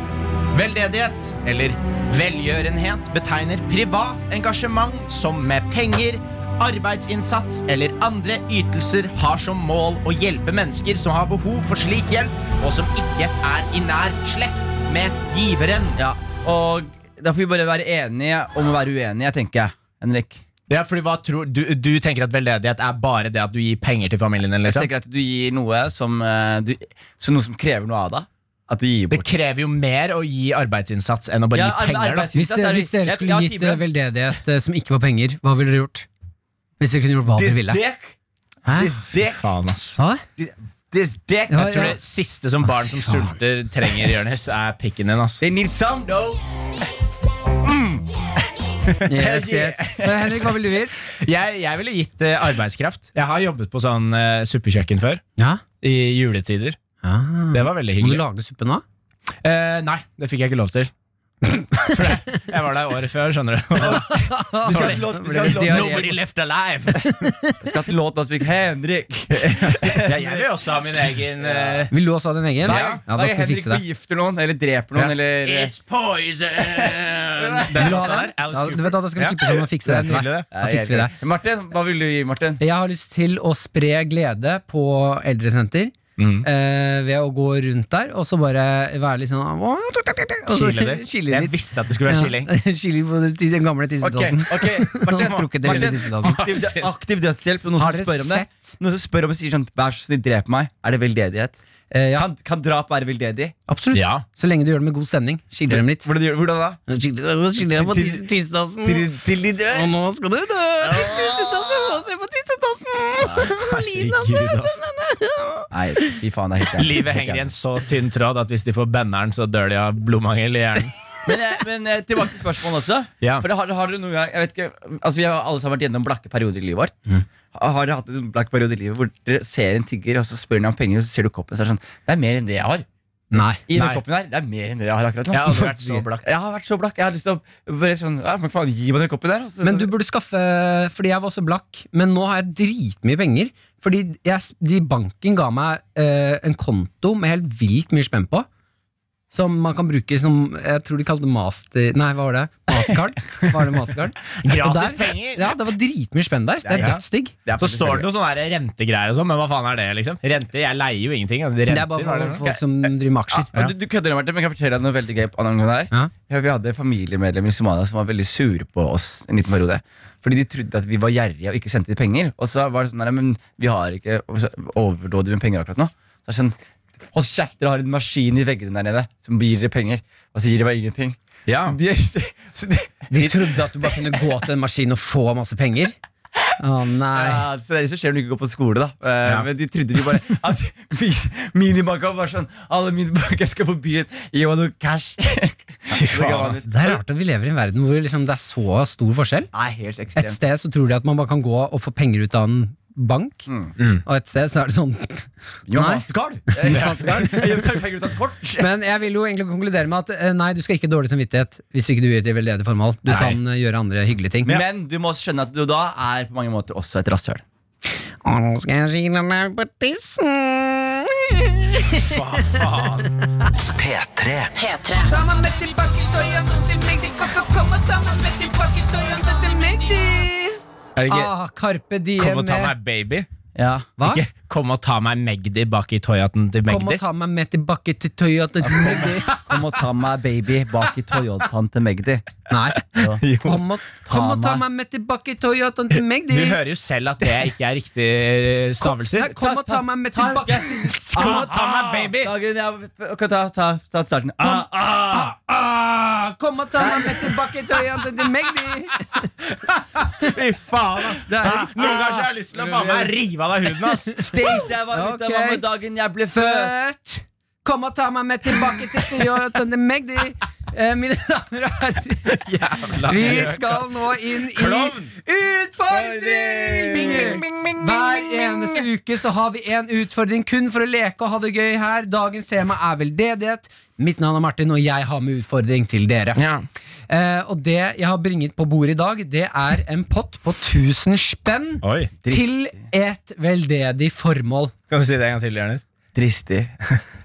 [SPEAKER 3] Veldedighet, eller velgjørenhet, betegner privat engasjement som med penger, arbeidsinnsats eller andre ytelser har som mål å hjelpe mennesker som har behov for slik hjelp, og som ikke er i nær slekt med giveren.
[SPEAKER 5] Ja, og da får vi bare være enige om å være uenige, tenker jeg. Henrik.
[SPEAKER 3] Ja, fordi hva tror du, du tenker at veldedighet er bare det at du gir penger til familien din?
[SPEAKER 5] Jeg
[SPEAKER 3] Liksom?
[SPEAKER 5] tenker at du gir noe som, eh, du, som, noe som krever noe av deg. At du gir
[SPEAKER 3] Det
[SPEAKER 5] bort.
[SPEAKER 3] krever jo mer å gi arbeidsinnsats enn å bare
[SPEAKER 5] Ja,
[SPEAKER 3] gi
[SPEAKER 5] arbe-
[SPEAKER 3] penger. da
[SPEAKER 5] arbeidsinnsats
[SPEAKER 2] Hvis,
[SPEAKER 5] er det-
[SPEAKER 2] hvis dere
[SPEAKER 5] jeg-
[SPEAKER 2] skulle
[SPEAKER 5] jeg har
[SPEAKER 2] gitt eh,
[SPEAKER 5] timelønn.
[SPEAKER 2] veldedighet eh, som ikke var penger, hva ville dere gjort? Hvis dere kunne gjort hva dere ville?
[SPEAKER 5] dick,
[SPEAKER 2] Hæ?
[SPEAKER 5] this dick,
[SPEAKER 3] Faen, ass.
[SPEAKER 5] [laughs]
[SPEAKER 2] Hæ?
[SPEAKER 5] this dick.
[SPEAKER 2] Ja,
[SPEAKER 3] Jeg tror det siste som barn som sulter trenger, Jonis, er pikken din. ass
[SPEAKER 5] They need some, though.
[SPEAKER 2] Yes, yes. Men Henrik, hva vil du vite?
[SPEAKER 3] Jeg, jeg ville gitt eh, arbeidskraft. Jeg har jobbet på sånn eh, suppekjøkken før.
[SPEAKER 2] Ja.
[SPEAKER 3] I juletider.
[SPEAKER 2] Ah.
[SPEAKER 3] Det var veldig
[SPEAKER 2] Må du
[SPEAKER 3] hyggelig.
[SPEAKER 2] lage suppe nå?
[SPEAKER 3] Eh, nei, det fikk jeg ikke lov til. For jeg jeg var der året før, skjønner du.
[SPEAKER 5] Vi skal ha en låt, vi skal ha en låt.
[SPEAKER 2] Diaré.
[SPEAKER 5] Nobody left alive. Vi skal ha en låt av Spik Henrik.
[SPEAKER 3] Ja, jeg vil også ha min egen eh,
[SPEAKER 2] Vil du også ha din egen?
[SPEAKER 5] Hver
[SPEAKER 2] ja, da skal
[SPEAKER 5] gang
[SPEAKER 2] vi
[SPEAKER 5] Henrik
[SPEAKER 2] fikse det.
[SPEAKER 5] begifter noen eller dreper noen
[SPEAKER 3] Ja.
[SPEAKER 5] eller
[SPEAKER 3] It's poison! Den
[SPEAKER 2] Vil du ha
[SPEAKER 3] låta
[SPEAKER 2] den?
[SPEAKER 3] der, Alice
[SPEAKER 2] Ja, du
[SPEAKER 3] Cooper.
[SPEAKER 2] vet, hva, da skal vi klippe sammen og fikse
[SPEAKER 3] Det
[SPEAKER 2] det.
[SPEAKER 3] er
[SPEAKER 2] etter
[SPEAKER 3] nydelig,
[SPEAKER 2] hvert.
[SPEAKER 3] det.
[SPEAKER 2] Da fikser vi det.
[SPEAKER 5] Martin, hva vil du gi, Martin?
[SPEAKER 2] Jeg har lyst til å spre glede på eldresenter. eh, ved å gå rundt der og så bare være litt sånn og så-
[SPEAKER 3] Kile
[SPEAKER 2] [laughs]
[SPEAKER 3] det.
[SPEAKER 2] Kile
[SPEAKER 3] Jeg
[SPEAKER 2] litt.
[SPEAKER 3] visste at det skulle være chilling.
[SPEAKER 2] [laughs] Ja, Chilling på den- den gamle
[SPEAKER 5] Ok,
[SPEAKER 2] tissetassen. [laughs]
[SPEAKER 5] ok
[SPEAKER 2] Han har
[SPEAKER 5] Martin,
[SPEAKER 2] sprukket det lille
[SPEAKER 5] Martin
[SPEAKER 2] tissetassen.
[SPEAKER 5] aktiv, aktiv dødshjelp. Noen
[SPEAKER 2] Har
[SPEAKER 5] som
[SPEAKER 2] dere
[SPEAKER 5] spør om det
[SPEAKER 2] sett?
[SPEAKER 5] Noen som spør om det sier sånn Vær så snill, drep meg. Er det veldedighet?
[SPEAKER 2] Eh, ja,
[SPEAKER 5] Kan, kan drap være veldedig?
[SPEAKER 2] absolutt.
[SPEAKER 3] Ja.
[SPEAKER 2] Så lenge du gjør det med god stemning. Skiller dem litt.
[SPEAKER 5] Hvordan, gjør- hvordan da?
[SPEAKER 2] Skiller skiller dem på
[SPEAKER 5] Til-
[SPEAKER 2] tisse- tissetassen.
[SPEAKER 5] Til, til de dør?
[SPEAKER 2] Og nå skal du dø! Tissetassen, få se på [laughs] tissetassen! Lyden av
[SPEAKER 3] Herregud, ass.
[SPEAKER 5] Nei, fy faen, det er helt jævlig.
[SPEAKER 3] Livet henger i en så tynn tråd at hvis de får banneren, så dør de av blodmangel i
[SPEAKER 2] [laughs]
[SPEAKER 3] hjernen.
[SPEAKER 5] Men, eh, men eh, tilbake til spørsmålet også.
[SPEAKER 3] Ja.
[SPEAKER 5] For har, har dere noen gang jeg vet ikke, altså Vi har alle sammen vært gjennom blakke perioder i livet vårt.
[SPEAKER 3] Mm.
[SPEAKER 5] Har dere hatt en blakk periode i livet hvor dere ser en tigger og så spør dere om penger, og så ser du koppen og så er det sånn Det er mer enn det jeg har.
[SPEAKER 2] Nei.
[SPEAKER 5] I den
[SPEAKER 3] Nei.
[SPEAKER 5] koppen her, det er mer enn det jeg har akkurat nå.
[SPEAKER 3] Jeg har aldri vært så
[SPEAKER 5] [laughs]
[SPEAKER 3] blakk.
[SPEAKER 5] Jeg har vært så blakk. Jeg har lyst til å bare sånn ja, men faen, Gi meg den koppen altså." der. og så-
[SPEAKER 2] Men du burde skaffe Fordi jeg var også blakk, men nå har jeg dritmye penger. Fordi jeg, de banken ga meg eh, en konto med helt vilt mye spenn på. Som man kan bruke som Jeg tror de kalte det master... Nei, hva var det? Mastercard? Var det mastercard? Og
[SPEAKER 3] [laughs] Gratis
[SPEAKER 2] der-
[SPEAKER 3] penger!
[SPEAKER 2] Ja, det var dritmye spenn der. Det er
[SPEAKER 3] Ja.
[SPEAKER 2] dødsdigg.
[SPEAKER 5] Det er
[SPEAKER 3] Så
[SPEAKER 5] faktisk
[SPEAKER 3] står
[SPEAKER 5] veldig-
[SPEAKER 3] det noe sånn der rentegreier og sånn, men hva faen er det, liksom? Renter? Jeg leier jo ingenting. Altså, renter,
[SPEAKER 2] Det er bare
[SPEAKER 3] hva er det
[SPEAKER 2] for
[SPEAKER 3] for noe?
[SPEAKER 2] folk som driver med aksjer.
[SPEAKER 5] Ja, men Du, du kødder, Martin, men jeg kan fortelle deg noe veldig gøy angående det her.
[SPEAKER 2] Ja.
[SPEAKER 5] Ja, vi hadde familiemedlemmer i Somalia som var veldig sure på oss en liten periode. Fordi de trodde at vi var gjerrige og ikke sendte de penger. Og så var det sånn, nei, men vi har ikke overdådig med penger akkurat nå. Så er det sånn, Hold kjeft, dere har en maskin i veggene der nede som gir dere penger. Og så gir de meg ingenting.
[SPEAKER 3] Ja.
[SPEAKER 5] De, [laughs] så de,
[SPEAKER 2] De trodde at du bare kunne gå til en maskin og få masse penger. Å nei.
[SPEAKER 5] Ja, så det er det som skjer når du ikke går på skole, da. Eh,
[SPEAKER 3] Ja.
[SPEAKER 5] Men de trodde jo bare at [laughs] mi- minibanka var sånn Alle minibanker skal på byen, gi meg noe cash. [laughs]
[SPEAKER 3] faen, ass.
[SPEAKER 2] Det er rart at vi lever i en verden hvor liksom det er så stor forskjell.
[SPEAKER 5] Nei, helt
[SPEAKER 2] Et
[SPEAKER 5] ekstremt.
[SPEAKER 2] sted så tror de at man bare kan gå og få penger ut av en bank, og et sted så er det sånn
[SPEAKER 5] Gi meg
[SPEAKER 2] Nei. [laughs]
[SPEAKER 5] mastercard!
[SPEAKER 2] Mastercard.
[SPEAKER 5] Gi meg penger ut av et kort.
[SPEAKER 2] Men jeg vil jo egentlig konkludere med at eh, nei, du skal ikke ha dårlig samvittighet hvis ikke du gjør det til veldedig formål. Du kan eh, gjøre andre hyggelige ting.
[SPEAKER 5] Men du må skjønne at du da er på mange måter også et rasshøl.
[SPEAKER 2] Å, nå skal jeg kile meg på tissen.
[SPEAKER 4] P3
[SPEAKER 12] P3.
[SPEAKER 3] Er det ikke
[SPEAKER 2] Ah, Carpe Diem. eh,
[SPEAKER 3] Kom og ta
[SPEAKER 2] med-
[SPEAKER 3] meg, baby?
[SPEAKER 5] Ja.
[SPEAKER 2] Hva?
[SPEAKER 3] Ikke Kom og ta meg Magdi bak i Toyoten til
[SPEAKER 2] Kom
[SPEAKER 3] Magdi?
[SPEAKER 2] og ta meg med tilbake til Toyota.
[SPEAKER 5] Kom og ta meg baby bak i Toyotaen til Magdi.
[SPEAKER 2] Nei.
[SPEAKER 5] [laughs] Jo.
[SPEAKER 2] Kom og, kom og ta
[SPEAKER 5] meg.
[SPEAKER 2] meg med tilbake Toyotaen til Magdi.
[SPEAKER 3] Du hører jo selv at det ikke er riktig eh, stavelser.
[SPEAKER 2] Nei, kom Ah, og ta meg med tilbake
[SPEAKER 3] Kom og ta meg, baby!
[SPEAKER 5] Ah, Dagen, ja, ok, ta, ta, ta starten. Ah,
[SPEAKER 2] Kom og ta meg med tilbake Toyotaen til Magdi.
[SPEAKER 3] Fy faen, ass.
[SPEAKER 2] Det er riktig.
[SPEAKER 3] Noen ganger så har jeg lyst til å faen meg rive av deg huden,
[SPEAKER 2] [laughs]
[SPEAKER 3] ass.
[SPEAKER 5] Stage der var
[SPEAKER 2] Ok.
[SPEAKER 5] ute av mamma dagen jeg ble født.
[SPEAKER 2] Født. Kom og ta meg med tilbake til Toyotaen til Magdi. Eh, mine damer og herrer,
[SPEAKER 3] Jævla
[SPEAKER 2] vi skal nå inn i
[SPEAKER 3] Klovn.
[SPEAKER 2] utfordring! Bing, bing, bing, bing, Hver eneste uke så har vi en utfordring kun for å leke og ha det gøy her. Dagens tema er veldedighet. Mitt navn er Martin, og jeg har med utfordring til dere. Eh, og det jeg har bringet på bordet i dag, det er en pott på 1000 spenn
[SPEAKER 3] Oi.
[SPEAKER 2] til et veldedig formål.
[SPEAKER 3] Kan du si det en gang til, Jonis?
[SPEAKER 5] Dristig.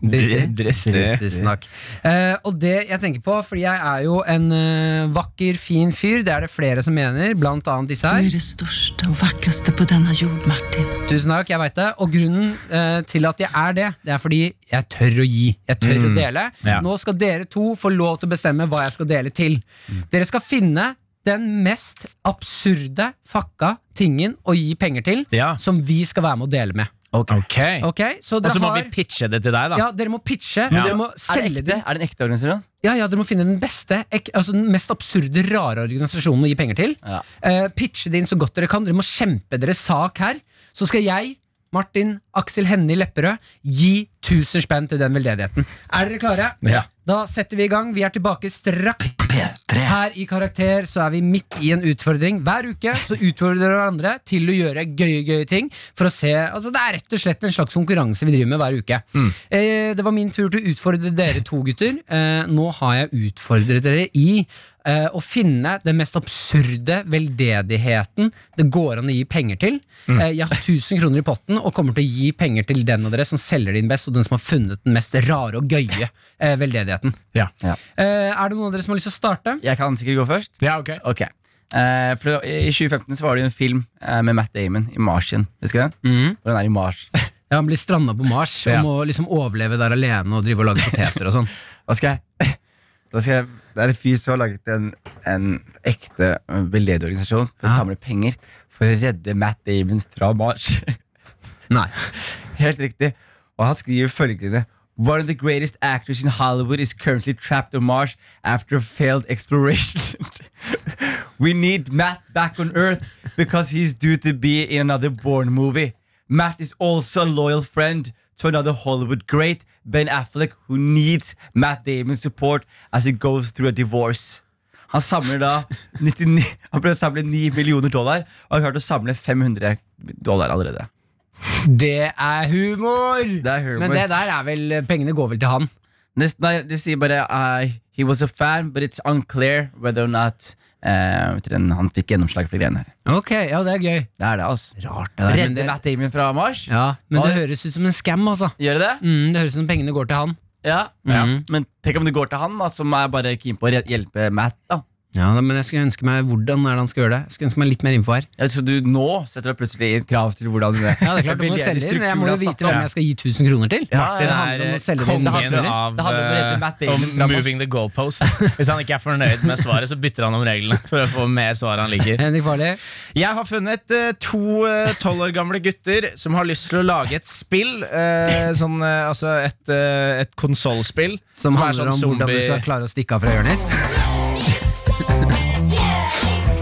[SPEAKER 2] Dristig.
[SPEAKER 3] Dristig.
[SPEAKER 2] Tusen, Tusen takk. Eh, og det jeg tenker på, fordi jeg er jo en eh, vakker, fin fyr, det er det flere som mener, blant annet disse her.
[SPEAKER 1] det største og vakreste på denne jord, Martin.
[SPEAKER 2] Tusen takk, jeg vet det. Og grunnen eh, til at jeg er det, det er fordi jeg tør å gi. Jeg tør å dele.
[SPEAKER 3] Mm. ja.
[SPEAKER 2] Nå skal dere to få lov til å bestemme hva jeg skal dele til.
[SPEAKER 3] Mm.
[SPEAKER 2] Dere skal finne den mest absurde fucka tingen å gi penger til,
[SPEAKER 3] Ja.
[SPEAKER 2] som vi skal være med å dele med.
[SPEAKER 3] Ok.
[SPEAKER 2] Ok, så
[SPEAKER 3] Og
[SPEAKER 2] dere
[SPEAKER 3] så må vi
[SPEAKER 2] har...
[SPEAKER 3] pitche det til deg, da.
[SPEAKER 2] Ja, dere må pitche, dere må
[SPEAKER 5] Er det
[SPEAKER 2] selge
[SPEAKER 5] ekte?
[SPEAKER 2] det.
[SPEAKER 5] Er det en ekte organisasjon?
[SPEAKER 2] Ja, ja, dere må finne den beste, ek, altså den mest absurde, rare organisasjonen å gi penger til.
[SPEAKER 5] Ja.
[SPEAKER 2] Eh, pitche det inn så godt dere kan. Dere må kjempe deres sak her. Så skal jeg
[SPEAKER 13] Martin Aksel Hennie Lepperød, gi 1000 spenn til den veldedigheten. Er dere klare?
[SPEAKER 3] Ja.
[SPEAKER 13] Da setter vi i gang. Vi er tilbake straks.
[SPEAKER 14] P3
[SPEAKER 13] Her i Karakter så er vi midt i en utfordring. Hver uke så utfordrer dere hverandre til å gjøre gøye gøye ting. For å se, altså Det er rett og slett en slags konkurranse vi driver med hver uke. Eh, det var min tur til å utfordre dere to gutter. Eh, nå har jeg utfordret dere i eh, å finne den mest absurde veldedigheten det går an å gi penger til. Eh, jeg har 1000 kroner i potten og kommer til å gi penger til den av dere som selger det inn best, og den som har funnet den mest rare og gøye eh, veldedigheten.
[SPEAKER 3] Ja.
[SPEAKER 13] Eh, er det noen av dere som har lyst til å starte?
[SPEAKER 5] Jeg kan sikkert gå først.
[SPEAKER 3] ja, ok.
[SPEAKER 5] Ok Eh, for I 2015 så var det jo en film eh, med Matt Damon i Martian. Husker du den?
[SPEAKER 2] Mm.
[SPEAKER 5] Hvor han er i Mars.
[SPEAKER 13] Ja, Han blir stranda på Mars og
[SPEAKER 3] Ja.
[SPEAKER 13] må liksom overleve der alene og drive og lage poteter og [laughs] sånn.
[SPEAKER 5] Da skal jeg, [laughs] da skal jeg Det er en fyr som har laget en, en ekte eh, veldedig organisasjon for å
[SPEAKER 13] Ja.
[SPEAKER 5] samle penger for å redde Matt Damon fra Mars. [laughs]
[SPEAKER 13] Nei.
[SPEAKER 5] Helt riktig. Og han skriver følgende One of the greatest actors in Hollywood is currently trapped on Mars after a failed exploration. [laughs] We need Matt back on Earth because he's due to be in another Bourne movie. Matt is also a loyal friend to another Hollywood great, Ben Affleck, who needs Matt Damon's support as he goes through a divorce. Han samler da 99, Han prøver å samle 9 millioner dollar og har klart å samle 500 dollar allerede.
[SPEAKER 13] Det er humor!
[SPEAKER 5] Det er humor.
[SPEAKER 13] Men det der er vel Pengene går vel til han.
[SPEAKER 5] Nesten, nei, de sier bare uh, He was a fan, but it's unclear whether or not eh, vet dere, Han fikk gjennomslag for de greiene her.
[SPEAKER 13] Ok, ja, det er gøy.
[SPEAKER 5] Det er det, altså.
[SPEAKER 13] Rart
[SPEAKER 5] Redde
[SPEAKER 13] Men det,
[SPEAKER 5] Matt Damon fra Mars?
[SPEAKER 13] ja, men det
[SPEAKER 5] Ja.
[SPEAKER 13] høres ut som en scam, altså.
[SPEAKER 5] Gjør det det?
[SPEAKER 13] Mm, det høres ut som pengene går til han.
[SPEAKER 5] Ja.
[SPEAKER 13] Mhm.
[SPEAKER 5] Men tenk om det går til han, da, som er bare keen på å re- hjelpe Matt. da
[SPEAKER 13] Ja, da, Men jeg skulle ønske meg hvordan er det han skal gjøre det. Jeg skulle ønske meg litt mer info her.
[SPEAKER 5] ja, Så du nå setter du plutselig et krav til hvordan
[SPEAKER 13] Ja, det er
[SPEAKER 5] [laughs]
[SPEAKER 13] klart, du må jo selge inn. Jeg må jo vite hvem jeg skal gi 1000 kroner til.
[SPEAKER 5] Ja,
[SPEAKER 13] Det
[SPEAKER 5] ja,
[SPEAKER 13] handler om å selge
[SPEAKER 5] kongen
[SPEAKER 13] din
[SPEAKER 5] handler
[SPEAKER 13] historie.
[SPEAKER 5] Det handler om å redde Matt
[SPEAKER 3] eh,
[SPEAKER 5] Damon
[SPEAKER 3] om
[SPEAKER 5] fra Mars.
[SPEAKER 3] moving the goalpost. Hvis han ikke er fornøyd med svaret, så bytter han om reglene. For å få mer svar han liker
[SPEAKER 13] Henrik Farley.
[SPEAKER 3] Jeg har funnet eh, to tolv år gamle gutter som har lyst til å lage et spill. eh, sånn, eh, altså et, uh, et konsollspill.
[SPEAKER 13] Som, sånn handler om
[SPEAKER 3] sånn
[SPEAKER 13] hvordan du skal klare å stikke av fra Jonis.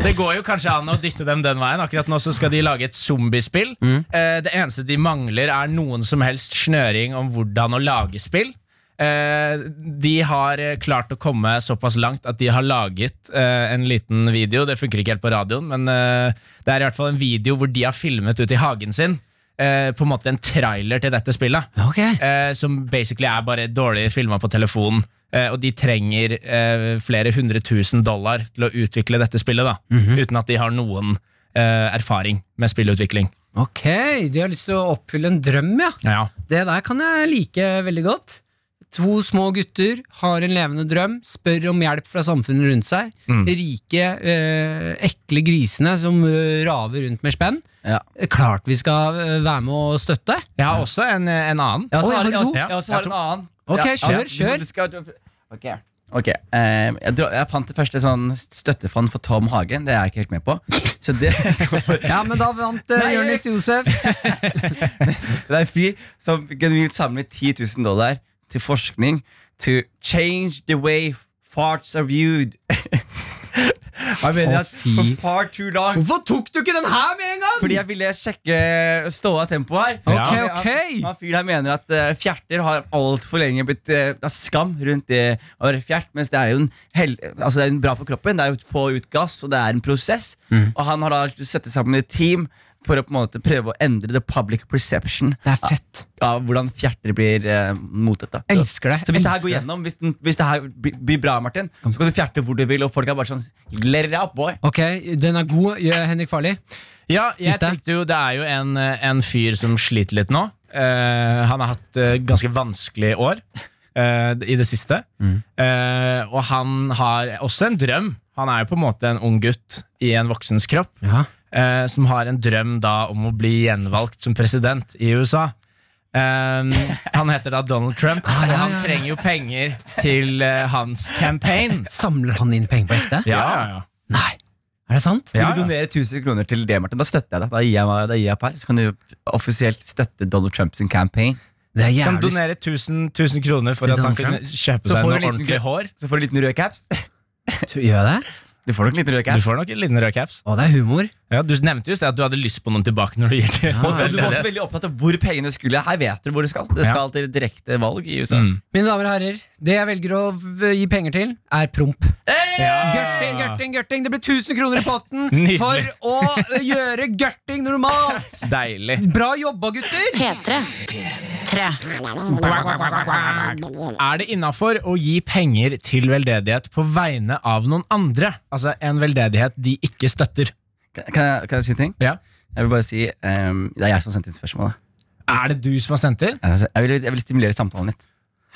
[SPEAKER 3] Det går jo kanskje an å dytte dem den veien. Akkurat nå så skal de lage et zombiespill. Eh, det eneste de mangler, er noen som helst snøring om hvordan å lage spill. Eh, de har eh, klart å komme såpass langt at de har laget eh, en liten video. Det funker ikke helt på radioen, men eh, det er i hvert fall en video hvor de har filmet ute i hagen sin. Eh, på en måte en trailer til dette spillet
[SPEAKER 13] Ok
[SPEAKER 3] eh, som basically er bare dårlig filma på telefonen. Eh, og de trenger eh, flere hundre tusen dollar til å utvikle dette spillet, da,
[SPEAKER 13] Mhm.
[SPEAKER 3] uten at de har noen eh, erfaring med spillutvikling.
[SPEAKER 13] Ok, de har lyst til å oppfylle en drøm, ja.
[SPEAKER 3] Ja.
[SPEAKER 13] Det der kan jeg like veldig godt. To små gutter har en levende drøm, spør om hjelp fra samfunnet rundt seg. Rike, eh, ekle grisene som eh, raver rundt med spenn.
[SPEAKER 5] Ja.
[SPEAKER 13] Eh, Klart vi skal eh, være med og støtte.
[SPEAKER 3] Jeg har også en, eh, en annen.
[SPEAKER 5] Jeg også
[SPEAKER 13] Oi,
[SPEAKER 5] har,
[SPEAKER 13] har du
[SPEAKER 5] jeg også,
[SPEAKER 13] to?
[SPEAKER 5] jeg også har en annen.
[SPEAKER 13] Ok, kjør, kjør.
[SPEAKER 5] du skal- Ok, Ok, eh, jeg, dro, jeg fant det første sånn støttefond for Tom Hagen. Det er jeg ikke helt med på. Så det, [laughs] det
[SPEAKER 13] Ja, men da vant uh,
[SPEAKER 5] Nei, jeg-
[SPEAKER 13] Jonis Josef.
[SPEAKER 5] er en fyr som genuint samler 10 000 dollar til forskning to change the way farts are viewed. [laughs] Jeg mener
[SPEAKER 13] Å,
[SPEAKER 5] at
[SPEAKER 13] fy.
[SPEAKER 5] for far too long
[SPEAKER 13] Hvorfor tok du ikke den her med en gang?
[SPEAKER 5] Fordi jeg ville sjekke eh, ståa tempo her.
[SPEAKER 13] Ok,
[SPEAKER 5] Han-
[SPEAKER 13] ok.
[SPEAKER 5] Han, han fyren her mener at eh, fjerter har altfor lenge blitt eh, Det er skam rundt det å være fjert, mens det er jo en hel, altså det er jo bra for kroppen. Det er jo å få ut gass, og det er en prosess.
[SPEAKER 13] Mm.
[SPEAKER 5] Og han har da satt sammen et team for å på en måte prøve å endre the public perception
[SPEAKER 13] Det er fett.
[SPEAKER 5] av hvordan fjerter blir eh, mottatt. da.
[SPEAKER 13] Elsker det.
[SPEAKER 5] Så hvis det her
[SPEAKER 13] elsker
[SPEAKER 5] går gjennom, hvis, den, hvis det her blir blir bra, Martin, så kan du fjerte hvor du vil, og folk er bare sånn Let it out, boy.
[SPEAKER 13] Ok, den er god, ja, Henrik Farli.
[SPEAKER 3] Ja, jeg
[SPEAKER 13] Siste.
[SPEAKER 3] tenkte jo Det er jo en, eh, en fyr som sliter litt nå. Eh, han har hatt eh, ganske vanskelige år eh, i det siste.
[SPEAKER 13] Mm.
[SPEAKER 3] Eh, og han har også en drøm. Han er jo på en måte en ung gutt i en voksens kropp.
[SPEAKER 13] Ja.
[SPEAKER 3] eh, som har en drøm da om å bli gjenvalgt som president i USA. Um, han heter da Donald Trump.
[SPEAKER 5] Ah,
[SPEAKER 3] og
[SPEAKER 13] ja,
[SPEAKER 3] Han
[SPEAKER 13] ja, ja.
[SPEAKER 3] trenger jo penger til eh, hans campaign.
[SPEAKER 13] Samler han inn penger på ekte? Nei. Er det sant?
[SPEAKER 3] Ja,
[SPEAKER 5] Vil du
[SPEAKER 3] ja.
[SPEAKER 5] donere 1000 kroner til det, Martin? Da støtter jeg deg. Da gir jeg, meg- da gir jeg per. Så kan du offisielt støtte Donald Trumps campaign.
[SPEAKER 13] Det er
[SPEAKER 3] Kan
[SPEAKER 13] jævlig
[SPEAKER 3] donere 1000, 1000 kroner for
[SPEAKER 13] Til
[SPEAKER 3] at han
[SPEAKER 13] Donald
[SPEAKER 3] kunne kjøpe
[SPEAKER 5] Så
[SPEAKER 3] seg noe
[SPEAKER 5] får du en liten
[SPEAKER 3] ordentlig
[SPEAKER 5] gr-
[SPEAKER 3] hår.
[SPEAKER 5] Så får du en liten rød caps.
[SPEAKER 13] Tror- Gjør jeg det?
[SPEAKER 5] [laughs] Du får nok litt rød
[SPEAKER 3] Du
[SPEAKER 5] caps.
[SPEAKER 3] får nok en liten rød caps.
[SPEAKER 13] Å, det er humor.
[SPEAKER 3] Ja, du nevnte jo i sted at du hadde lyst på noen tilbake når du gikk til
[SPEAKER 5] Og du var også veldig opptatt av hvor pengene skulle. Her vet du hvor det skal. Det
[SPEAKER 3] Ja.
[SPEAKER 5] skal til direkte valg i USA.
[SPEAKER 3] Mm.
[SPEAKER 13] Mine damer og herrer, det jeg velger å v- gi penger til, er promp.
[SPEAKER 3] Ja.
[SPEAKER 13] Gørting, gørting, gørting! Det blir 1000 kroner i potten
[SPEAKER 3] Nydelig.
[SPEAKER 13] for å ø, gjøre gørting normalt!
[SPEAKER 3] Deilig.
[SPEAKER 13] Bra jobba, gutter!
[SPEAKER 15] P3. P3.
[SPEAKER 3] Er det innafor å gi penger til veldedighet på vegne av noen andre? Altså en veldedighet de ikke støtter.
[SPEAKER 5] Kan, kan, jeg, kan jeg si en ting?
[SPEAKER 3] Ja.
[SPEAKER 5] Jeg vil bare si ehm, Det er jeg som har sendt inn spørsmålet. Altså,
[SPEAKER 3] Er det du som har sendt inn?
[SPEAKER 5] Jeg jeg vil, jeg vil stimulere samtalen litt.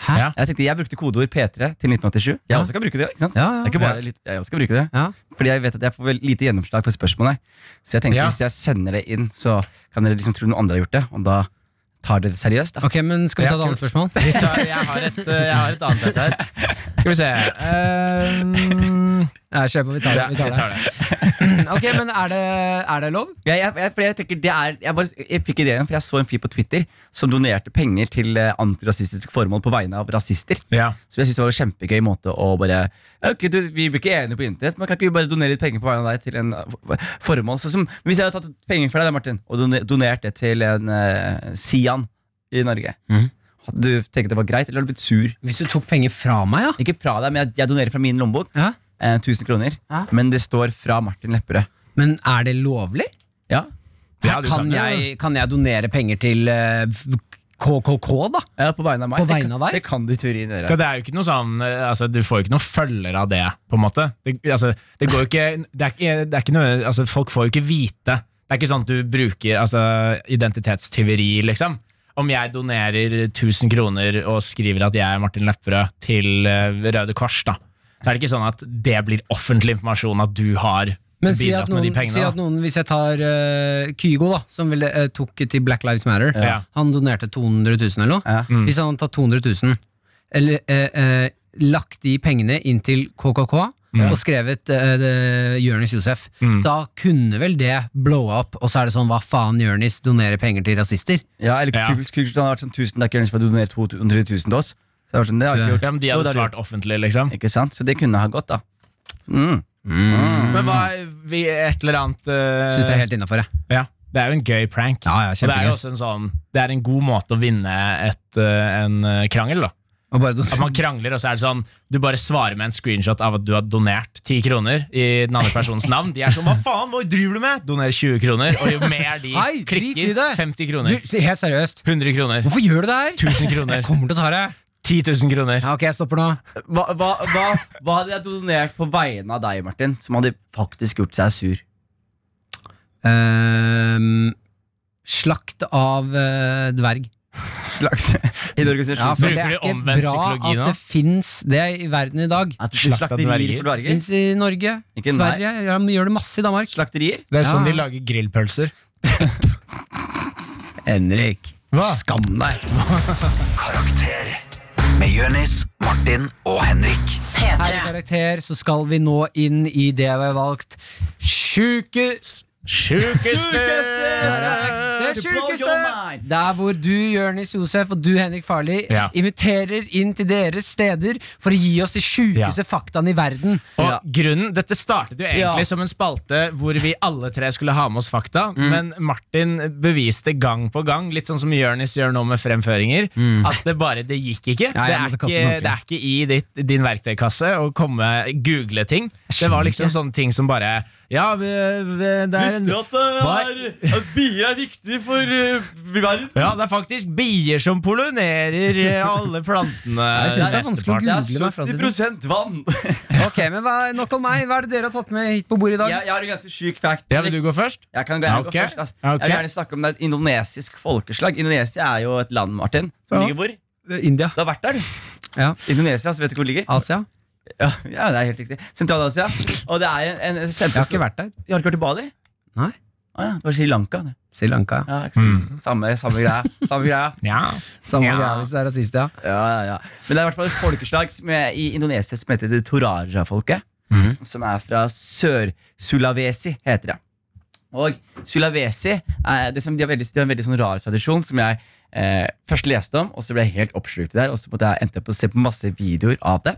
[SPEAKER 13] Hæ?
[SPEAKER 3] Ja.
[SPEAKER 5] Jeg tenkte jeg brukte kodeord P3 til 1987. Jeg
[SPEAKER 13] Ja.
[SPEAKER 5] også kan bruke det. ikke sant?
[SPEAKER 13] Ja,
[SPEAKER 5] Det
[SPEAKER 13] ja.
[SPEAKER 5] er ikke bare litt, jeg også skal bruke det
[SPEAKER 13] Ja.
[SPEAKER 5] Fordi jeg vet at jeg får vel lite gjennomslag for spørsmålet. Så jeg tenkte
[SPEAKER 3] Ja.
[SPEAKER 5] hvis jeg sender det inn, så kan dere liksom tro noen andre har gjort det. Og da tar dere det seriøst. da
[SPEAKER 13] Ok, men Skal vi ta et annet spørsmål?
[SPEAKER 3] Vi tar- [laughs] Jeg har et, eh, jeg har et annet et her. Skal vi se Ehm,
[SPEAKER 13] Nei, kjør på. Vi tar det. Vi tar det.
[SPEAKER 3] det.
[SPEAKER 13] Ok, men er det, er det lov?
[SPEAKER 5] jeg, jeg, jeg, fordi jeg tenker det er jeg, bare, jeg fikk ideen, for jeg så en fyr på Twitter som donerte penger til eh, antirasistiske formål på vegne av rasister.
[SPEAKER 3] Ja.
[SPEAKER 5] Så jeg synes det var en kjempegøy måte å bare Ok, du, Vi blir ikke enige på internett, men kan ikke vi bare donere litt penger på vegne av deg til en eh, for- formål? Sånn som, hvis jeg hadde tatt penger fra deg, Martin, og doner- donert det til en eh, Sian i Norge,
[SPEAKER 13] Mhm.
[SPEAKER 5] hadde du tenkt det var greit, eller hadde du blitt sur?
[SPEAKER 13] Hvis du tok penger fra meg, ja?
[SPEAKER 5] Ikke fra deg, men jeg, jeg donerer fra min lommebok.
[SPEAKER 13] Ja.
[SPEAKER 5] Eh, 1000 kroner.
[SPEAKER 13] Ja.
[SPEAKER 5] Men det står fra Martin Lepperød.
[SPEAKER 13] Men er det lovlig?
[SPEAKER 5] Ja.
[SPEAKER 3] Ja, du
[SPEAKER 13] kan,
[SPEAKER 3] kan jo-
[SPEAKER 13] jeg, kan jeg donere penger til eh, KKK, da?
[SPEAKER 5] Ja, eh, på vegne av meg.
[SPEAKER 13] På
[SPEAKER 5] Det
[SPEAKER 13] vegne
[SPEAKER 5] kan-
[SPEAKER 13] av deg?
[SPEAKER 5] Det kan du i teorien gjøre.
[SPEAKER 3] Ja, det er jo ikke noe sånn eh, altså, Du får jo ikke noen følger av det, på en måte. Det, altså, det går jo ikke, det er, ikke- det er ikke noe altså, Folk får jo ikke vite. Det er ikke sånn at du bruker altså, identitetstyveri, liksom. Om jeg donerer 1000 kroner og skriver at jeg er Martin Lepperød til eh, Røde Kors, da. Så er det ikke sånn at det blir offentlig informasjon at du har
[SPEAKER 13] Men si at,
[SPEAKER 3] bidratt med
[SPEAKER 13] noen,
[SPEAKER 3] de pengene.
[SPEAKER 13] si
[SPEAKER 3] da.
[SPEAKER 13] at noen, hvis jeg tar eh, Kygo, da som ville, eh, tok til Black Lives Matter
[SPEAKER 3] Ja.
[SPEAKER 13] Han donerte 200 000 eller noe.
[SPEAKER 5] Ja.
[SPEAKER 3] Mm.
[SPEAKER 13] Hvis han hadde tatt 200 000, eller eh, eh, lagt de pengene inn til KKK
[SPEAKER 3] Mm.
[SPEAKER 13] og skrevet eh, det- Jonis Josef, da kunne vel det blowa opp, og så er det sånn hva faen, Jonis donerer penger til rasister?
[SPEAKER 5] Ja, eller
[SPEAKER 3] Ja.
[SPEAKER 5] Ku Klux- Ku Klux Klan hadde vært sånn 1000 takk, Jørgens, for å donere 200 000 til oss. Så jeg var sånn, det har jeg ikke gjort.
[SPEAKER 3] Ja, men de
[SPEAKER 5] Jo,
[SPEAKER 3] hadde
[SPEAKER 5] det har
[SPEAKER 3] svart offentlig, liksom.
[SPEAKER 5] gjort. Ikke sant? Så det kunne ha gått, da. Mm.
[SPEAKER 3] Men hva vi, Et eller annet eh,
[SPEAKER 13] Syns det er helt innafor, jeg.
[SPEAKER 3] Ja, det er jo en gøy prank.
[SPEAKER 13] Ja, ja,
[SPEAKER 3] og det er
[SPEAKER 13] kjempegøy.
[SPEAKER 3] jo også en sånn Det er en god måte å vinne et, eh, en eh, krangel, da.
[SPEAKER 13] Og bare
[SPEAKER 3] At man krangler, og så er det sånn Du bare svarer med en screenshot av at du har donert 10 kroner i den andre
[SPEAKER 13] [laughs]
[SPEAKER 3] personens navn. De er sånn Hva faen, hva driver du med? Donerer 20 kroner. Og jo mer de
[SPEAKER 13] Hei, drit i
[SPEAKER 3] klikker,
[SPEAKER 13] det.
[SPEAKER 3] 50
[SPEAKER 13] du,
[SPEAKER 3] kroner.
[SPEAKER 13] helt seriøst,
[SPEAKER 3] 100 kroner.
[SPEAKER 13] hvorfor gjør du det her?
[SPEAKER 3] 1000 kroner.
[SPEAKER 13] Jeg kommer til å ta det.
[SPEAKER 3] 10 000 kroner.
[SPEAKER 13] Ja, ok, jeg stopper nå.
[SPEAKER 5] Hva, hva, hva, hva hadde jeg donert på vegne av deg, Martin, som hadde faktisk gjort seg sur?
[SPEAKER 13] Ehm, slakt av eh, dverg.
[SPEAKER 5] Slags [laughs] I en organisasjon
[SPEAKER 13] Ja, for
[SPEAKER 5] som
[SPEAKER 13] det er
[SPEAKER 3] Bruker de
[SPEAKER 13] ikke
[SPEAKER 3] omvendt
[SPEAKER 13] bra
[SPEAKER 3] psykologi
[SPEAKER 13] at
[SPEAKER 3] nå?
[SPEAKER 13] det fins det i verden i dag.
[SPEAKER 3] Slakt
[SPEAKER 5] At
[SPEAKER 3] av
[SPEAKER 5] Slakterier
[SPEAKER 3] dverger.
[SPEAKER 5] for dverger?
[SPEAKER 13] Fins i Norge,
[SPEAKER 5] Ikke nei.
[SPEAKER 13] Sverige, ja, de gjør det masse i Danmark.
[SPEAKER 5] Slakterier?
[SPEAKER 3] Det er
[SPEAKER 13] Ja.
[SPEAKER 3] sånn de lager grillpølser.
[SPEAKER 13] Henrik,
[SPEAKER 3] Hva?
[SPEAKER 13] skam deg!
[SPEAKER 2] Karakter med Jonis, Martin og Henrik.
[SPEAKER 13] Her i
[SPEAKER 15] P3.
[SPEAKER 13] Karakter så skal vi nå inn i det vi har valgt. Sjukes Det sjukeste! Der hvor du, Jørnis Josef, og du, Henrik Farli,
[SPEAKER 3] Ja.
[SPEAKER 13] inviterer inn til deres steder for å gi oss de sjukeste faktaene i verden.
[SPEAKER 3] Og
[SPEAKER 5] Ja.
[SPEAKER 3] grunnen, Dette startet jo egentlig
[SPEAKER 5] Ja.
[SPEAKER 3] som en spalte hvor vi alle tre skulle ha med oss fakta,
[SPEAKER 13] Mm.
[SPEAKER 3] men Martin beviste gang på gang, litt sånn som Jonis gjør nå med fremføringer, at det bare det gikk ikke.
[SPEAKER 13] Mm. Ja, jeg
[SPEAKER 3] det,
[SPEAKER 13] måtte
[SPEAKER 3] er
[SPEAKER 13] kaste
[SPEAKER 3] ikke
[SPEAKER 13] den ordentlig.
[SPEAKER 3] det er ikke i ditt, din verktøykasse å komme google ting. Det var liksom sånne ting som bare Ja, vi, vi, det er en
[SPEAKER 5] eh, bier er viktig for eh, verden?
[SPEAKER 3] ja, det er faktisk bier som pollinerer eh,
[SPEAKER 13] [laughs]
[SPEAKER 3] alle plantene.
[SPEAKER 13] jeg synes det er vanskelig å
[SPEAKER 3] Resteparten.
[SPEAKER 5] Det
[SPEAKER 13] Google meg fra
[SPEAKER 5] er
[SPEAKER 13] til det. sånn.
[SPEAKER 5] 70 [laughs] vann!
[SPEAKER 13] Ok, men hva, Nok om meg. Hva er det dere har tatt med hit på bordet i dag?
[SPEAKER 5] Jeg, jeg har en ganske sjuk fact.
[SPEAKER 3] Ja, Vil du gå først?
[SPEAKER 5] Jeg kan gjerne
[SPEAKER 3] Ok.
[SPEAKER 5] gå først ass.
[SPEAKER 3] Ok.
[SPEAKER 5] Jeg vil gjerne snakke om det er et indonesisk folkeslag. Indonesia er jo et land, Martin. Som
[SPEAKER 13] Ja.
[SPEAKER 5] ligger hvor?
[SPEAKER 13] India.
[SPEAKER 5] Du har vært der, du.
[SPEAKER 13] Ja.
[SPEAKER 5] Indonesia, så vet du hvor det ligger?
[SPEAKER 13] Asia.
[SPEAKER 5] Ja, ja, det er helt riktig. Sentral-Asia. Og det er en,
[SPEAKER 13] Jeg har
[SPEAKER 5] en
[SPEAKER 13] ikke
[SPEAKER 5] kjempestor
[SPEAKER 13] vært der.
[SPEAKER 5] Jeg har ikke vært i Bali?
[SPEAKER 13] Nei. Mm.
[SPEAKER 5] Ah, ja. Det var Sri Lanka. Det.
[SPEAKER 13] Sri Lanka.
[SPEAKER 5] Ja, ikke sant? Samme, samme greia. Samme greia.
[SPEAKER 3] Ja.
[SPEAKER 13] Samme
[SPEAKER 3] Ja.
[SPEAKER 13] greia hvis det er rasist, ja.
[SPEAKER 5] Ja, ja, ja. Men det er i hvert fall et folkeslag som er, i Indonesia som heter det Toraja-folket. Som er fra Sør-Sulawesi, heter det. Og Sulawesi er det som, de, har veldig, de har en veldig sånn rar tradisjon som jeg eh, først leste om, og så ble jeg helt oppslukt i det. her, Og så måtte jeg endte jeg på å se på masse videoer av det.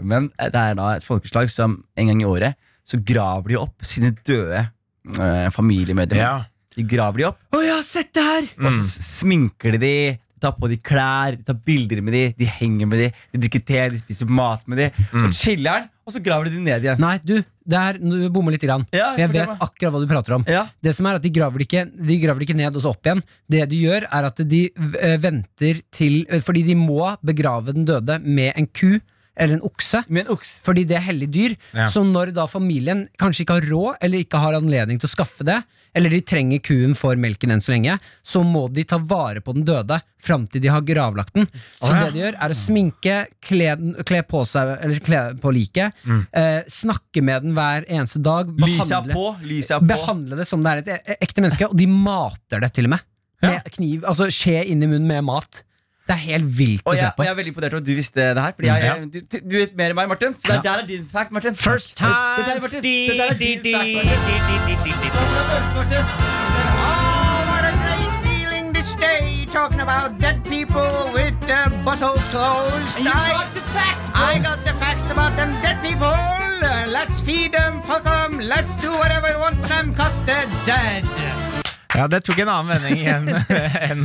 [SPEAKER 5] Men eh, det er da et folkeslag som en gang i året så graver de opp sine døde eh, familiemedlemmer.
[SPEAKER 3] Ja.
[SPEAKER 5] De graver de opp,
[SPEAKER 13] Å, jeg har sett det her!
[SPEAKER 5] og så sminker de de, de tar på de klær, de tar bilder med de, de henger med de, de drikker te, de spiser mat med de,
[SPEAKER 3] Mm.
[SPEAKER 5] og chiller'n, og så graver de de ned igjen.
[SPEAKER 13] Nei, du, det er, nå bommer litt. Grann.
[SPEAKER 5] Ja,
[SPEAKER 13] For jeg
[SPEAKER 5] fortell
[SPEAKER 13] vet
[SPEAKER 5] meg.
[SPEAKER 13] akkurat hva du prater om.
[SPEAKER 5] Ja.
[SPEAKER 13] Det som er at De graver det ikke, de graver det ikke ned og så opp igjen. Det de gjør, er at de eh, venter til eh, Fordi de må begrave den døde med en ku eller en okse.
[SPEAKER 5] Med en okse.
[SPEAKER 13] Fordi det er hellig dyr.
[SPEAKER 3] Ja.
[SPEAKER 13] Så når da familien kanskje ikke har råd, eller ikke har anledning til å skaffe det, eller de trenger kuen for melken enn så lenge, så må de ta vare på den døde fram til de har gravlagt den. Så det de gjør, er å sminke, kle, den- kle på seg Eller kle på liket, eh, snakke med den hver eneste dag,
[SPEAKER 5] Lyset er
[SPEAKER 13] behandle,
[SPEAKER 5] på, lyset er på.
[SPEAKER 13] behandle det som det er et e- ekte menneske, og de mater det til og med. Med kniv, altså skje inn i munnen med mat. Det er helt vilt å
[SPEAKER 5] Og
[SPEAKER 13] se
[SPEAKER 5] jeg,
[SPEAKER 13] på.
[SPEAKER 5] og jeg er veldig imponert over at du visste det her. Fordi jeg,
[SPEAKER 3] Ja.
[SPEAKER 5] jeg, du, du vet mer enn meg, Martin. Så det er, der er din fact, Martin.
[SPEAKER 3] First
[SPEAKER 5] Det-
[SPEAKER 3] time!
[SPEAKER 5] Det der, Martin.
[SPEAKER 3] Di,
[SPEAKER 5] Det der er
[SPEAKER 3] di,
[SPEAKER 5] din
[SPEAKER 3] di,
[SPEAKER 5] fact,
[SPEAKER 3] di, di,
[SPEAKER 5] Martin.
[SPEAKER 3] di, di, di.
[SPEAKER 1] uh,
[SPEAKER 3] Ja, det tok en annen vending enn enn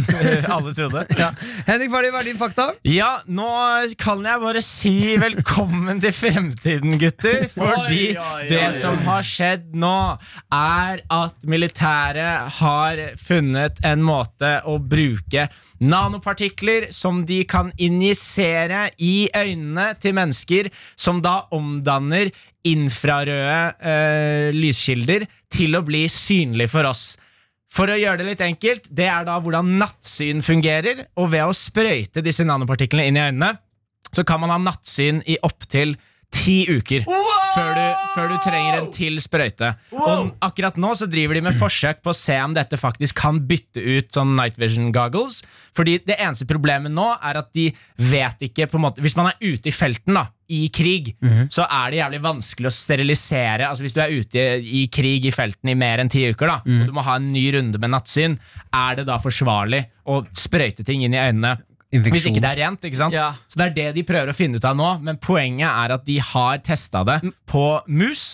[SPEAKER 3] alle trodde. Ja.
[SPEAKER 13] Henrik, hva er din- hva er din fakta?
[SPEAKER 3] nå kan jeg bare si velkommen til fremtiden, gutter. Fordi
[SPEAKER 5] [laughs] Oi, oi, oi,
[SPEAKER 3] det
[SPEAKER 5] oi.
[SPEAKER 3] som har skjedd nå, er at militæret har funnet en måte å bruke nanopartikler som de kan injisere i øynene til mennesker, som da omdanner infrarøde eh, lyskilder til å bli synlig for oss. For å gjøre det litt enkelt, det er da hvordan nattsyn fungerer, og ved å sprøyte disse nanopartiklene inn i øynene, så kan man ha nattsyn i opptil ti uker. Før du, før du trenger en til sprøyte. Og akkurat nå så driver de med forsøk på å se om dette faktisk kan bytte ut sånn night vision goggles. Fordi det eneste problemet nå er at de vet ikke på en måte Hvis man er ute i felten, da, i krig, så er det jævlig vanskelig å sterilisere Altså Hvis du er ute i krig i felten i mer enn ti uker, da og du må ha en ny runde med nattsyn, er det da forsvarlig å sprøyte ting inn i øynene? Hvis ikke det er rent, ikke sant?
[SPEAKER 5] Ja.
[SPEAKER 3] Så det er det de prøver å finne ut av nå, men poenget er at de har testa det på mus,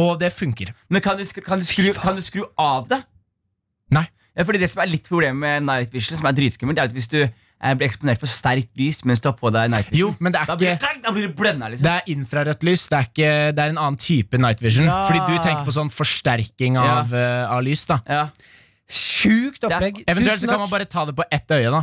[SPEAKER 3] og det funker.
[SPEAKER 5] Men kan du, skru, kan, du skru, kan du skru av det?
[SPEAKER 3] Nei.
[SPEAKER 5] Ja, fordi det som er litt problemet med night vision, som er dritskummelt, er at hvis du eh, blir eksponert for sterkt lys mens du har på deg night
[SPEAKER 3] Jo,
[SPEAKER 5] vision,
[SPEAKER 3] men det er
[SPEAKER 5] da blir,
[SPEAKER 3] ikke
[SPEAKER 5] du- da blir du blenda, liksom.
[SPEAKER 3] det er infrarødt lys, det er, ikke, det er en annen type night vision.
[SPEAKER 5] Ja.
[SPEAKER 3] Fordi du tenker på sånn forsterking av, eh, av lys. da
[SPEAKER 5] Ja.
[SPEAKER 13] Sjukt opplegg.
[SPEAKER 3] Eventuelt
[SPEAKER 13] Tusen
[SPEAKER 3] så kan
[SPEAKER 13] takk.
[SPEAKER 3] man bare ta det på ett øye. da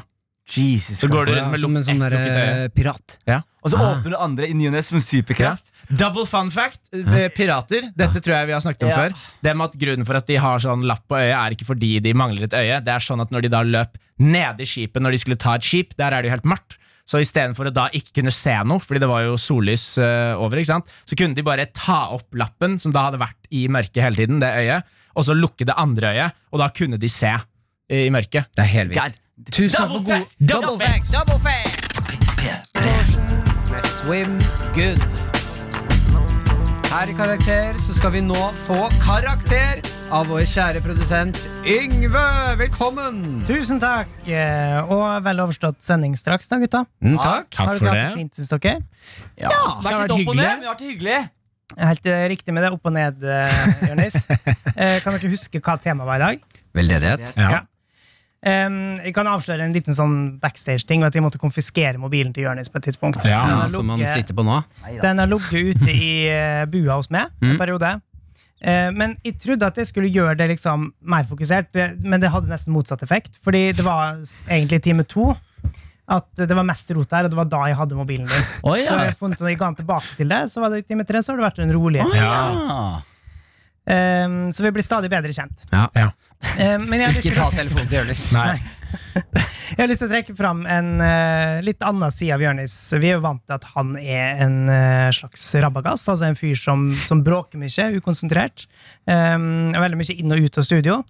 [SPEAKER 5] Jesus
[SPEAKER 3] Så går du
[SPEAKER 5] Christ.
[SPEAKER 3] rundt
[SPEAKER 13] som en
[SPEAKER 3] med lukk-
[SPEAKER 2] eh,
[SPEAKER 13] sånn
[SPEAKER 3] ett lukket øye.
[SPEAKER 13] derre pirat.
[SPEAKER 5] Og så åpner du andre i ny og ne som superkraft.
[SPEAKER 3] Double fun fact. eh, Pirater. Dette tror jeg vi har snakket om
[SPEAKER 5] Ja.
[SPEAKER 3] før. Det med at Grunnen for at de har sånn lapp på øyet, er ikke fordi de mangler et øye. Det er sånn at når de da løp nede i skipet når de skulle ta et skip, der er det jo helt mørkt. Så istedenfor å da ikke kunne se noe, fordi det var jo sollys eh, over, ikke sant? så kunne de bare ta opp lappen som da hadde vært i mørket hele tiden, det øyet, og så lukke det andre øyet, og da kunne de se eh, i mørket.
[SPEAKER 13] Det er helt
[SPEAKER 5] Det er-
[SPEAKER 13] vilt. Tusen takk for
[SPEAKER 5] Double
[SPEAKER 13] god
[SPEAKER 5] facts!
[SPEAKER 13] Double
[SPEAKER 5] Double
[SPEAKER 13] facts! Double facts! Swim good. Her i Karakter så skal vi nå få karakter av vår kjære produsent Yngve. Velkommen!
[SPEAKER 16] Tusen takk, eh, og vel overstått sending straks da, gutta.
[SPEAKER 13] takk.
[SPEAKER 16] Har dere hatt det fint, syns dere?
[SPEAKER 5] Ja.
[SPEAKER 3] Ah,
[SPEAKER 5] Det har vært hyggelig. Det har vært hyggelig.
[SPEAKER 16] Helt eh, riktig med det opp og ned, eh, Jonis. eh, kan dere huske hva temaet var i dag?
[SPEAKER 13] Veldedighet.
[SPEAKER 3] Ja.
[SPEAKER 16] Em, jeg kan avsløre en liten sånn backstage-ting. At jeg måtte konfiskere mobilen til Jonis på et tidspunkt.
[SPEAKER 3] Ja. altså,
[SPEAKER 13] Ja, som han
[SPEAKER 16] Lukke-
[SPEAKER 13] sitter på nå.
[SPEAKER 16] Den har ligget ute i eh, bua hos meg en periode. Eh, Men jeg trodde at jeg skulle gjøre det liksom mer fokusert, eh, men det hadde nesten motsatt effekt. Fordi det var s- egentlig time to at det var mest rot der, og det var da jeg hadde mobilen din. Så jeg, har funnet, når jeg ga den tilbake til deg, så var det i time tre, så har det vært en rolig. Eh, så vi blir stadig bedre kjent.
[SPEAKER 3] Ja.
[SPEAKER 16] Eh, men jeg har, lyst
[SPEAKER 13] Ikke
[SPEAKER 16] til,
[SPEAKER 13] ta telefonen til Jonis.
[SPEAKER 3] Nei.
[SPEAKER 16] jeg har lyst til å trekke fram en eh, litt annen side av Jonis. Vi er jo vant til at han er en eh, slags rabagast, altså en fyr som, som bråker mye, ukonsentrert. eh, og veldig mye inn og ut av studio.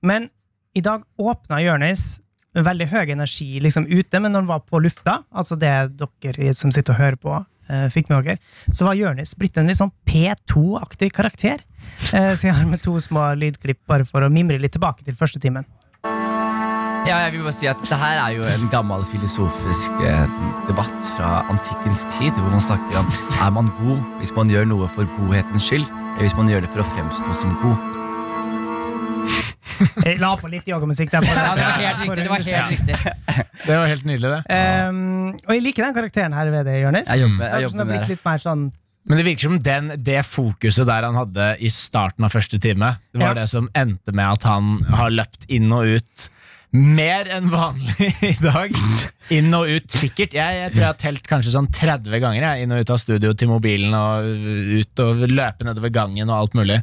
[SPEAKER 16] Men i dag åpna Jonis med veldig høy energi liksom ute, men når han var på lufta, altså det dere som sitter og hører på, eh, fikk med dere, så var Jonis blitt en litt sånn P2-aktig karakter. Eh, så jeg har med to små lydklipp bare for å mimre litt tilbake til første timen.
[SPEAKER 5] Ja, jeg vil bare si at Det her er jo en gammel filosofisk eh, debatt fra antikkens tid, hvor man snakker om er man god hvis man gjør noe for godhetens skyld, eller hvis man gjør det for å fremstå som god.
[SPEAKER 16] Jeg Eh, la på litt yogamusikk der. for-
[SPEAKER 2] Ja, det var helt
[SPEAKER 16] for å
[SPEAKER 2] riktig. Det var
[SPEAKER 16] understreke.
[SPEAKER 2] helt riktig.
[SPEAKER 3] Det var helt nydelig, det.
[SPEAKER 16] Ehm, og jeg liker den karakteren her ved det, Jonis.
[SPEAKER 5] Jeg jobber, jeg
[SPEAKER 16] Kanskje den
[SPEAKER 5] jobber
[SPEAKER 16] har
[SPEAKER 5] med
[SPEAKER 16] blitt
[SPEAKER 5] det.
[SPEAKER 16] litt mer sånn
[SPEAKER 3] Men det virker som den, det fokuset der han hadde i starten av første time, det var
[SPEAKER 16] Ja.
[SPEAKER 3] det som endte med at han har løpt inn og ut mer enn vanlig [laughs] i dag. Inn og ut, sikkert. Jeg, jeg tror jeg har telt kanskje sånn 30 ganger. Jeg. Inn og ut av studio til mobilen og ut og løpe nedover gangen og alt mulig.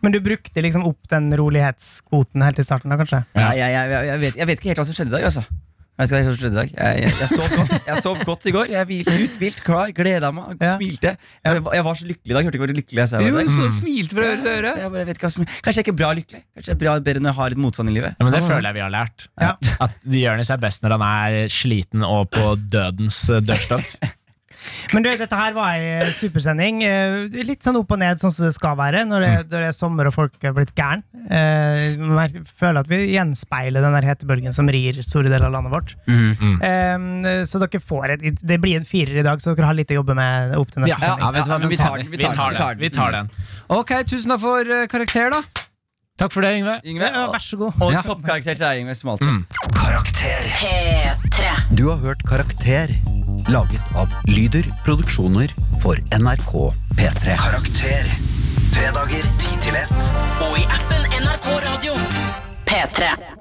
[SPEAKER 16] Men du brukte liksom opp den rolighetskvoten helt i starten, da, kanskje?
[SPEAKER 5] Ja, jeg, jeg, jeg, vet, jeg vet ikke helt hva som skjedde i dag, altså. Jeg, vet ikke hva som skjedde i dag. jeg, jeg, jeg, sov godt, jeg sov godt i går. Jeg hvilte uthvilt, klar, gleda meg,
[SPEAKER 16] Ja.
[SPEAKER 5] smilte. Jeg, jeg var så lykkelig i dag. Hørte ikke hvor lykkelig jeg sa jeg
[SPEAKER 2] Jo,
[SPEAKER 5] var i dag.
[SPEAKER 2] så smilte fra øre til øre.
[SPEAKER 5] Så jeg bare vet ikke hva som, kanskje jeg ikke er bra lykkelig. Kanskje jeg er bra bedre når jeg har litt motstand i livet.
[SPEAKER 3] Ja, men Det føler jeg vi har lært.
[SPEAKER 16] Ja.
[SPEAKER 3] At Jonis er best når han er sliten og på dødens eh, dørstokk.
[SPEAKER 16] Men du, dette her var ei supersending. Eh, Litt sånn opp og ned, sånn som det skal være når det,
[SPEAKER 5] Mm.
[SPEAKER 16] når det er sommer og folk er blitt gæren. Eh, Jeg føler at vi gjenspeiler den der hetebølgen som rir store deler av landet vårt.
[SPEAKER 5] Mm.
[SPEAKER 16] Eh, Så dere får et Det blir en firer i dag, så dere har litt å jobbe med opp til neste
[SPEAKER 2] Ja,
[SPEAKER 16] sending.
[SPEAKER 2] vet du hva,
[SPEAKER 5] men
[SPEAKER 2] men
[SPEAKER 5] vi tar
[SPEAKER 3] [laughs]
[SPEAKER 5] den.
[SPEAKER 3] Vi tar den. Vi tar den.
[SPEAKER 2] Ok, tusen takk for eh, karakter, da.
[SPEAKER 3] Takk for det, Yngve.
[SPEAKER 5] Yngve,
[SPEAKER 16] Ja, Eh, Vær så god.
[SPEAKER 5] og toppkarakter til deg, Yngve, som alltid.
[SPEAKER 12] P3.
[SPEAKER 4] Du har hørt Karakter, laget av Lyder Produksjoner for NRK P3. Karakter. Fredager 10 til 1.
[SPEAKER 12] Og i appen NRK Radio. P3.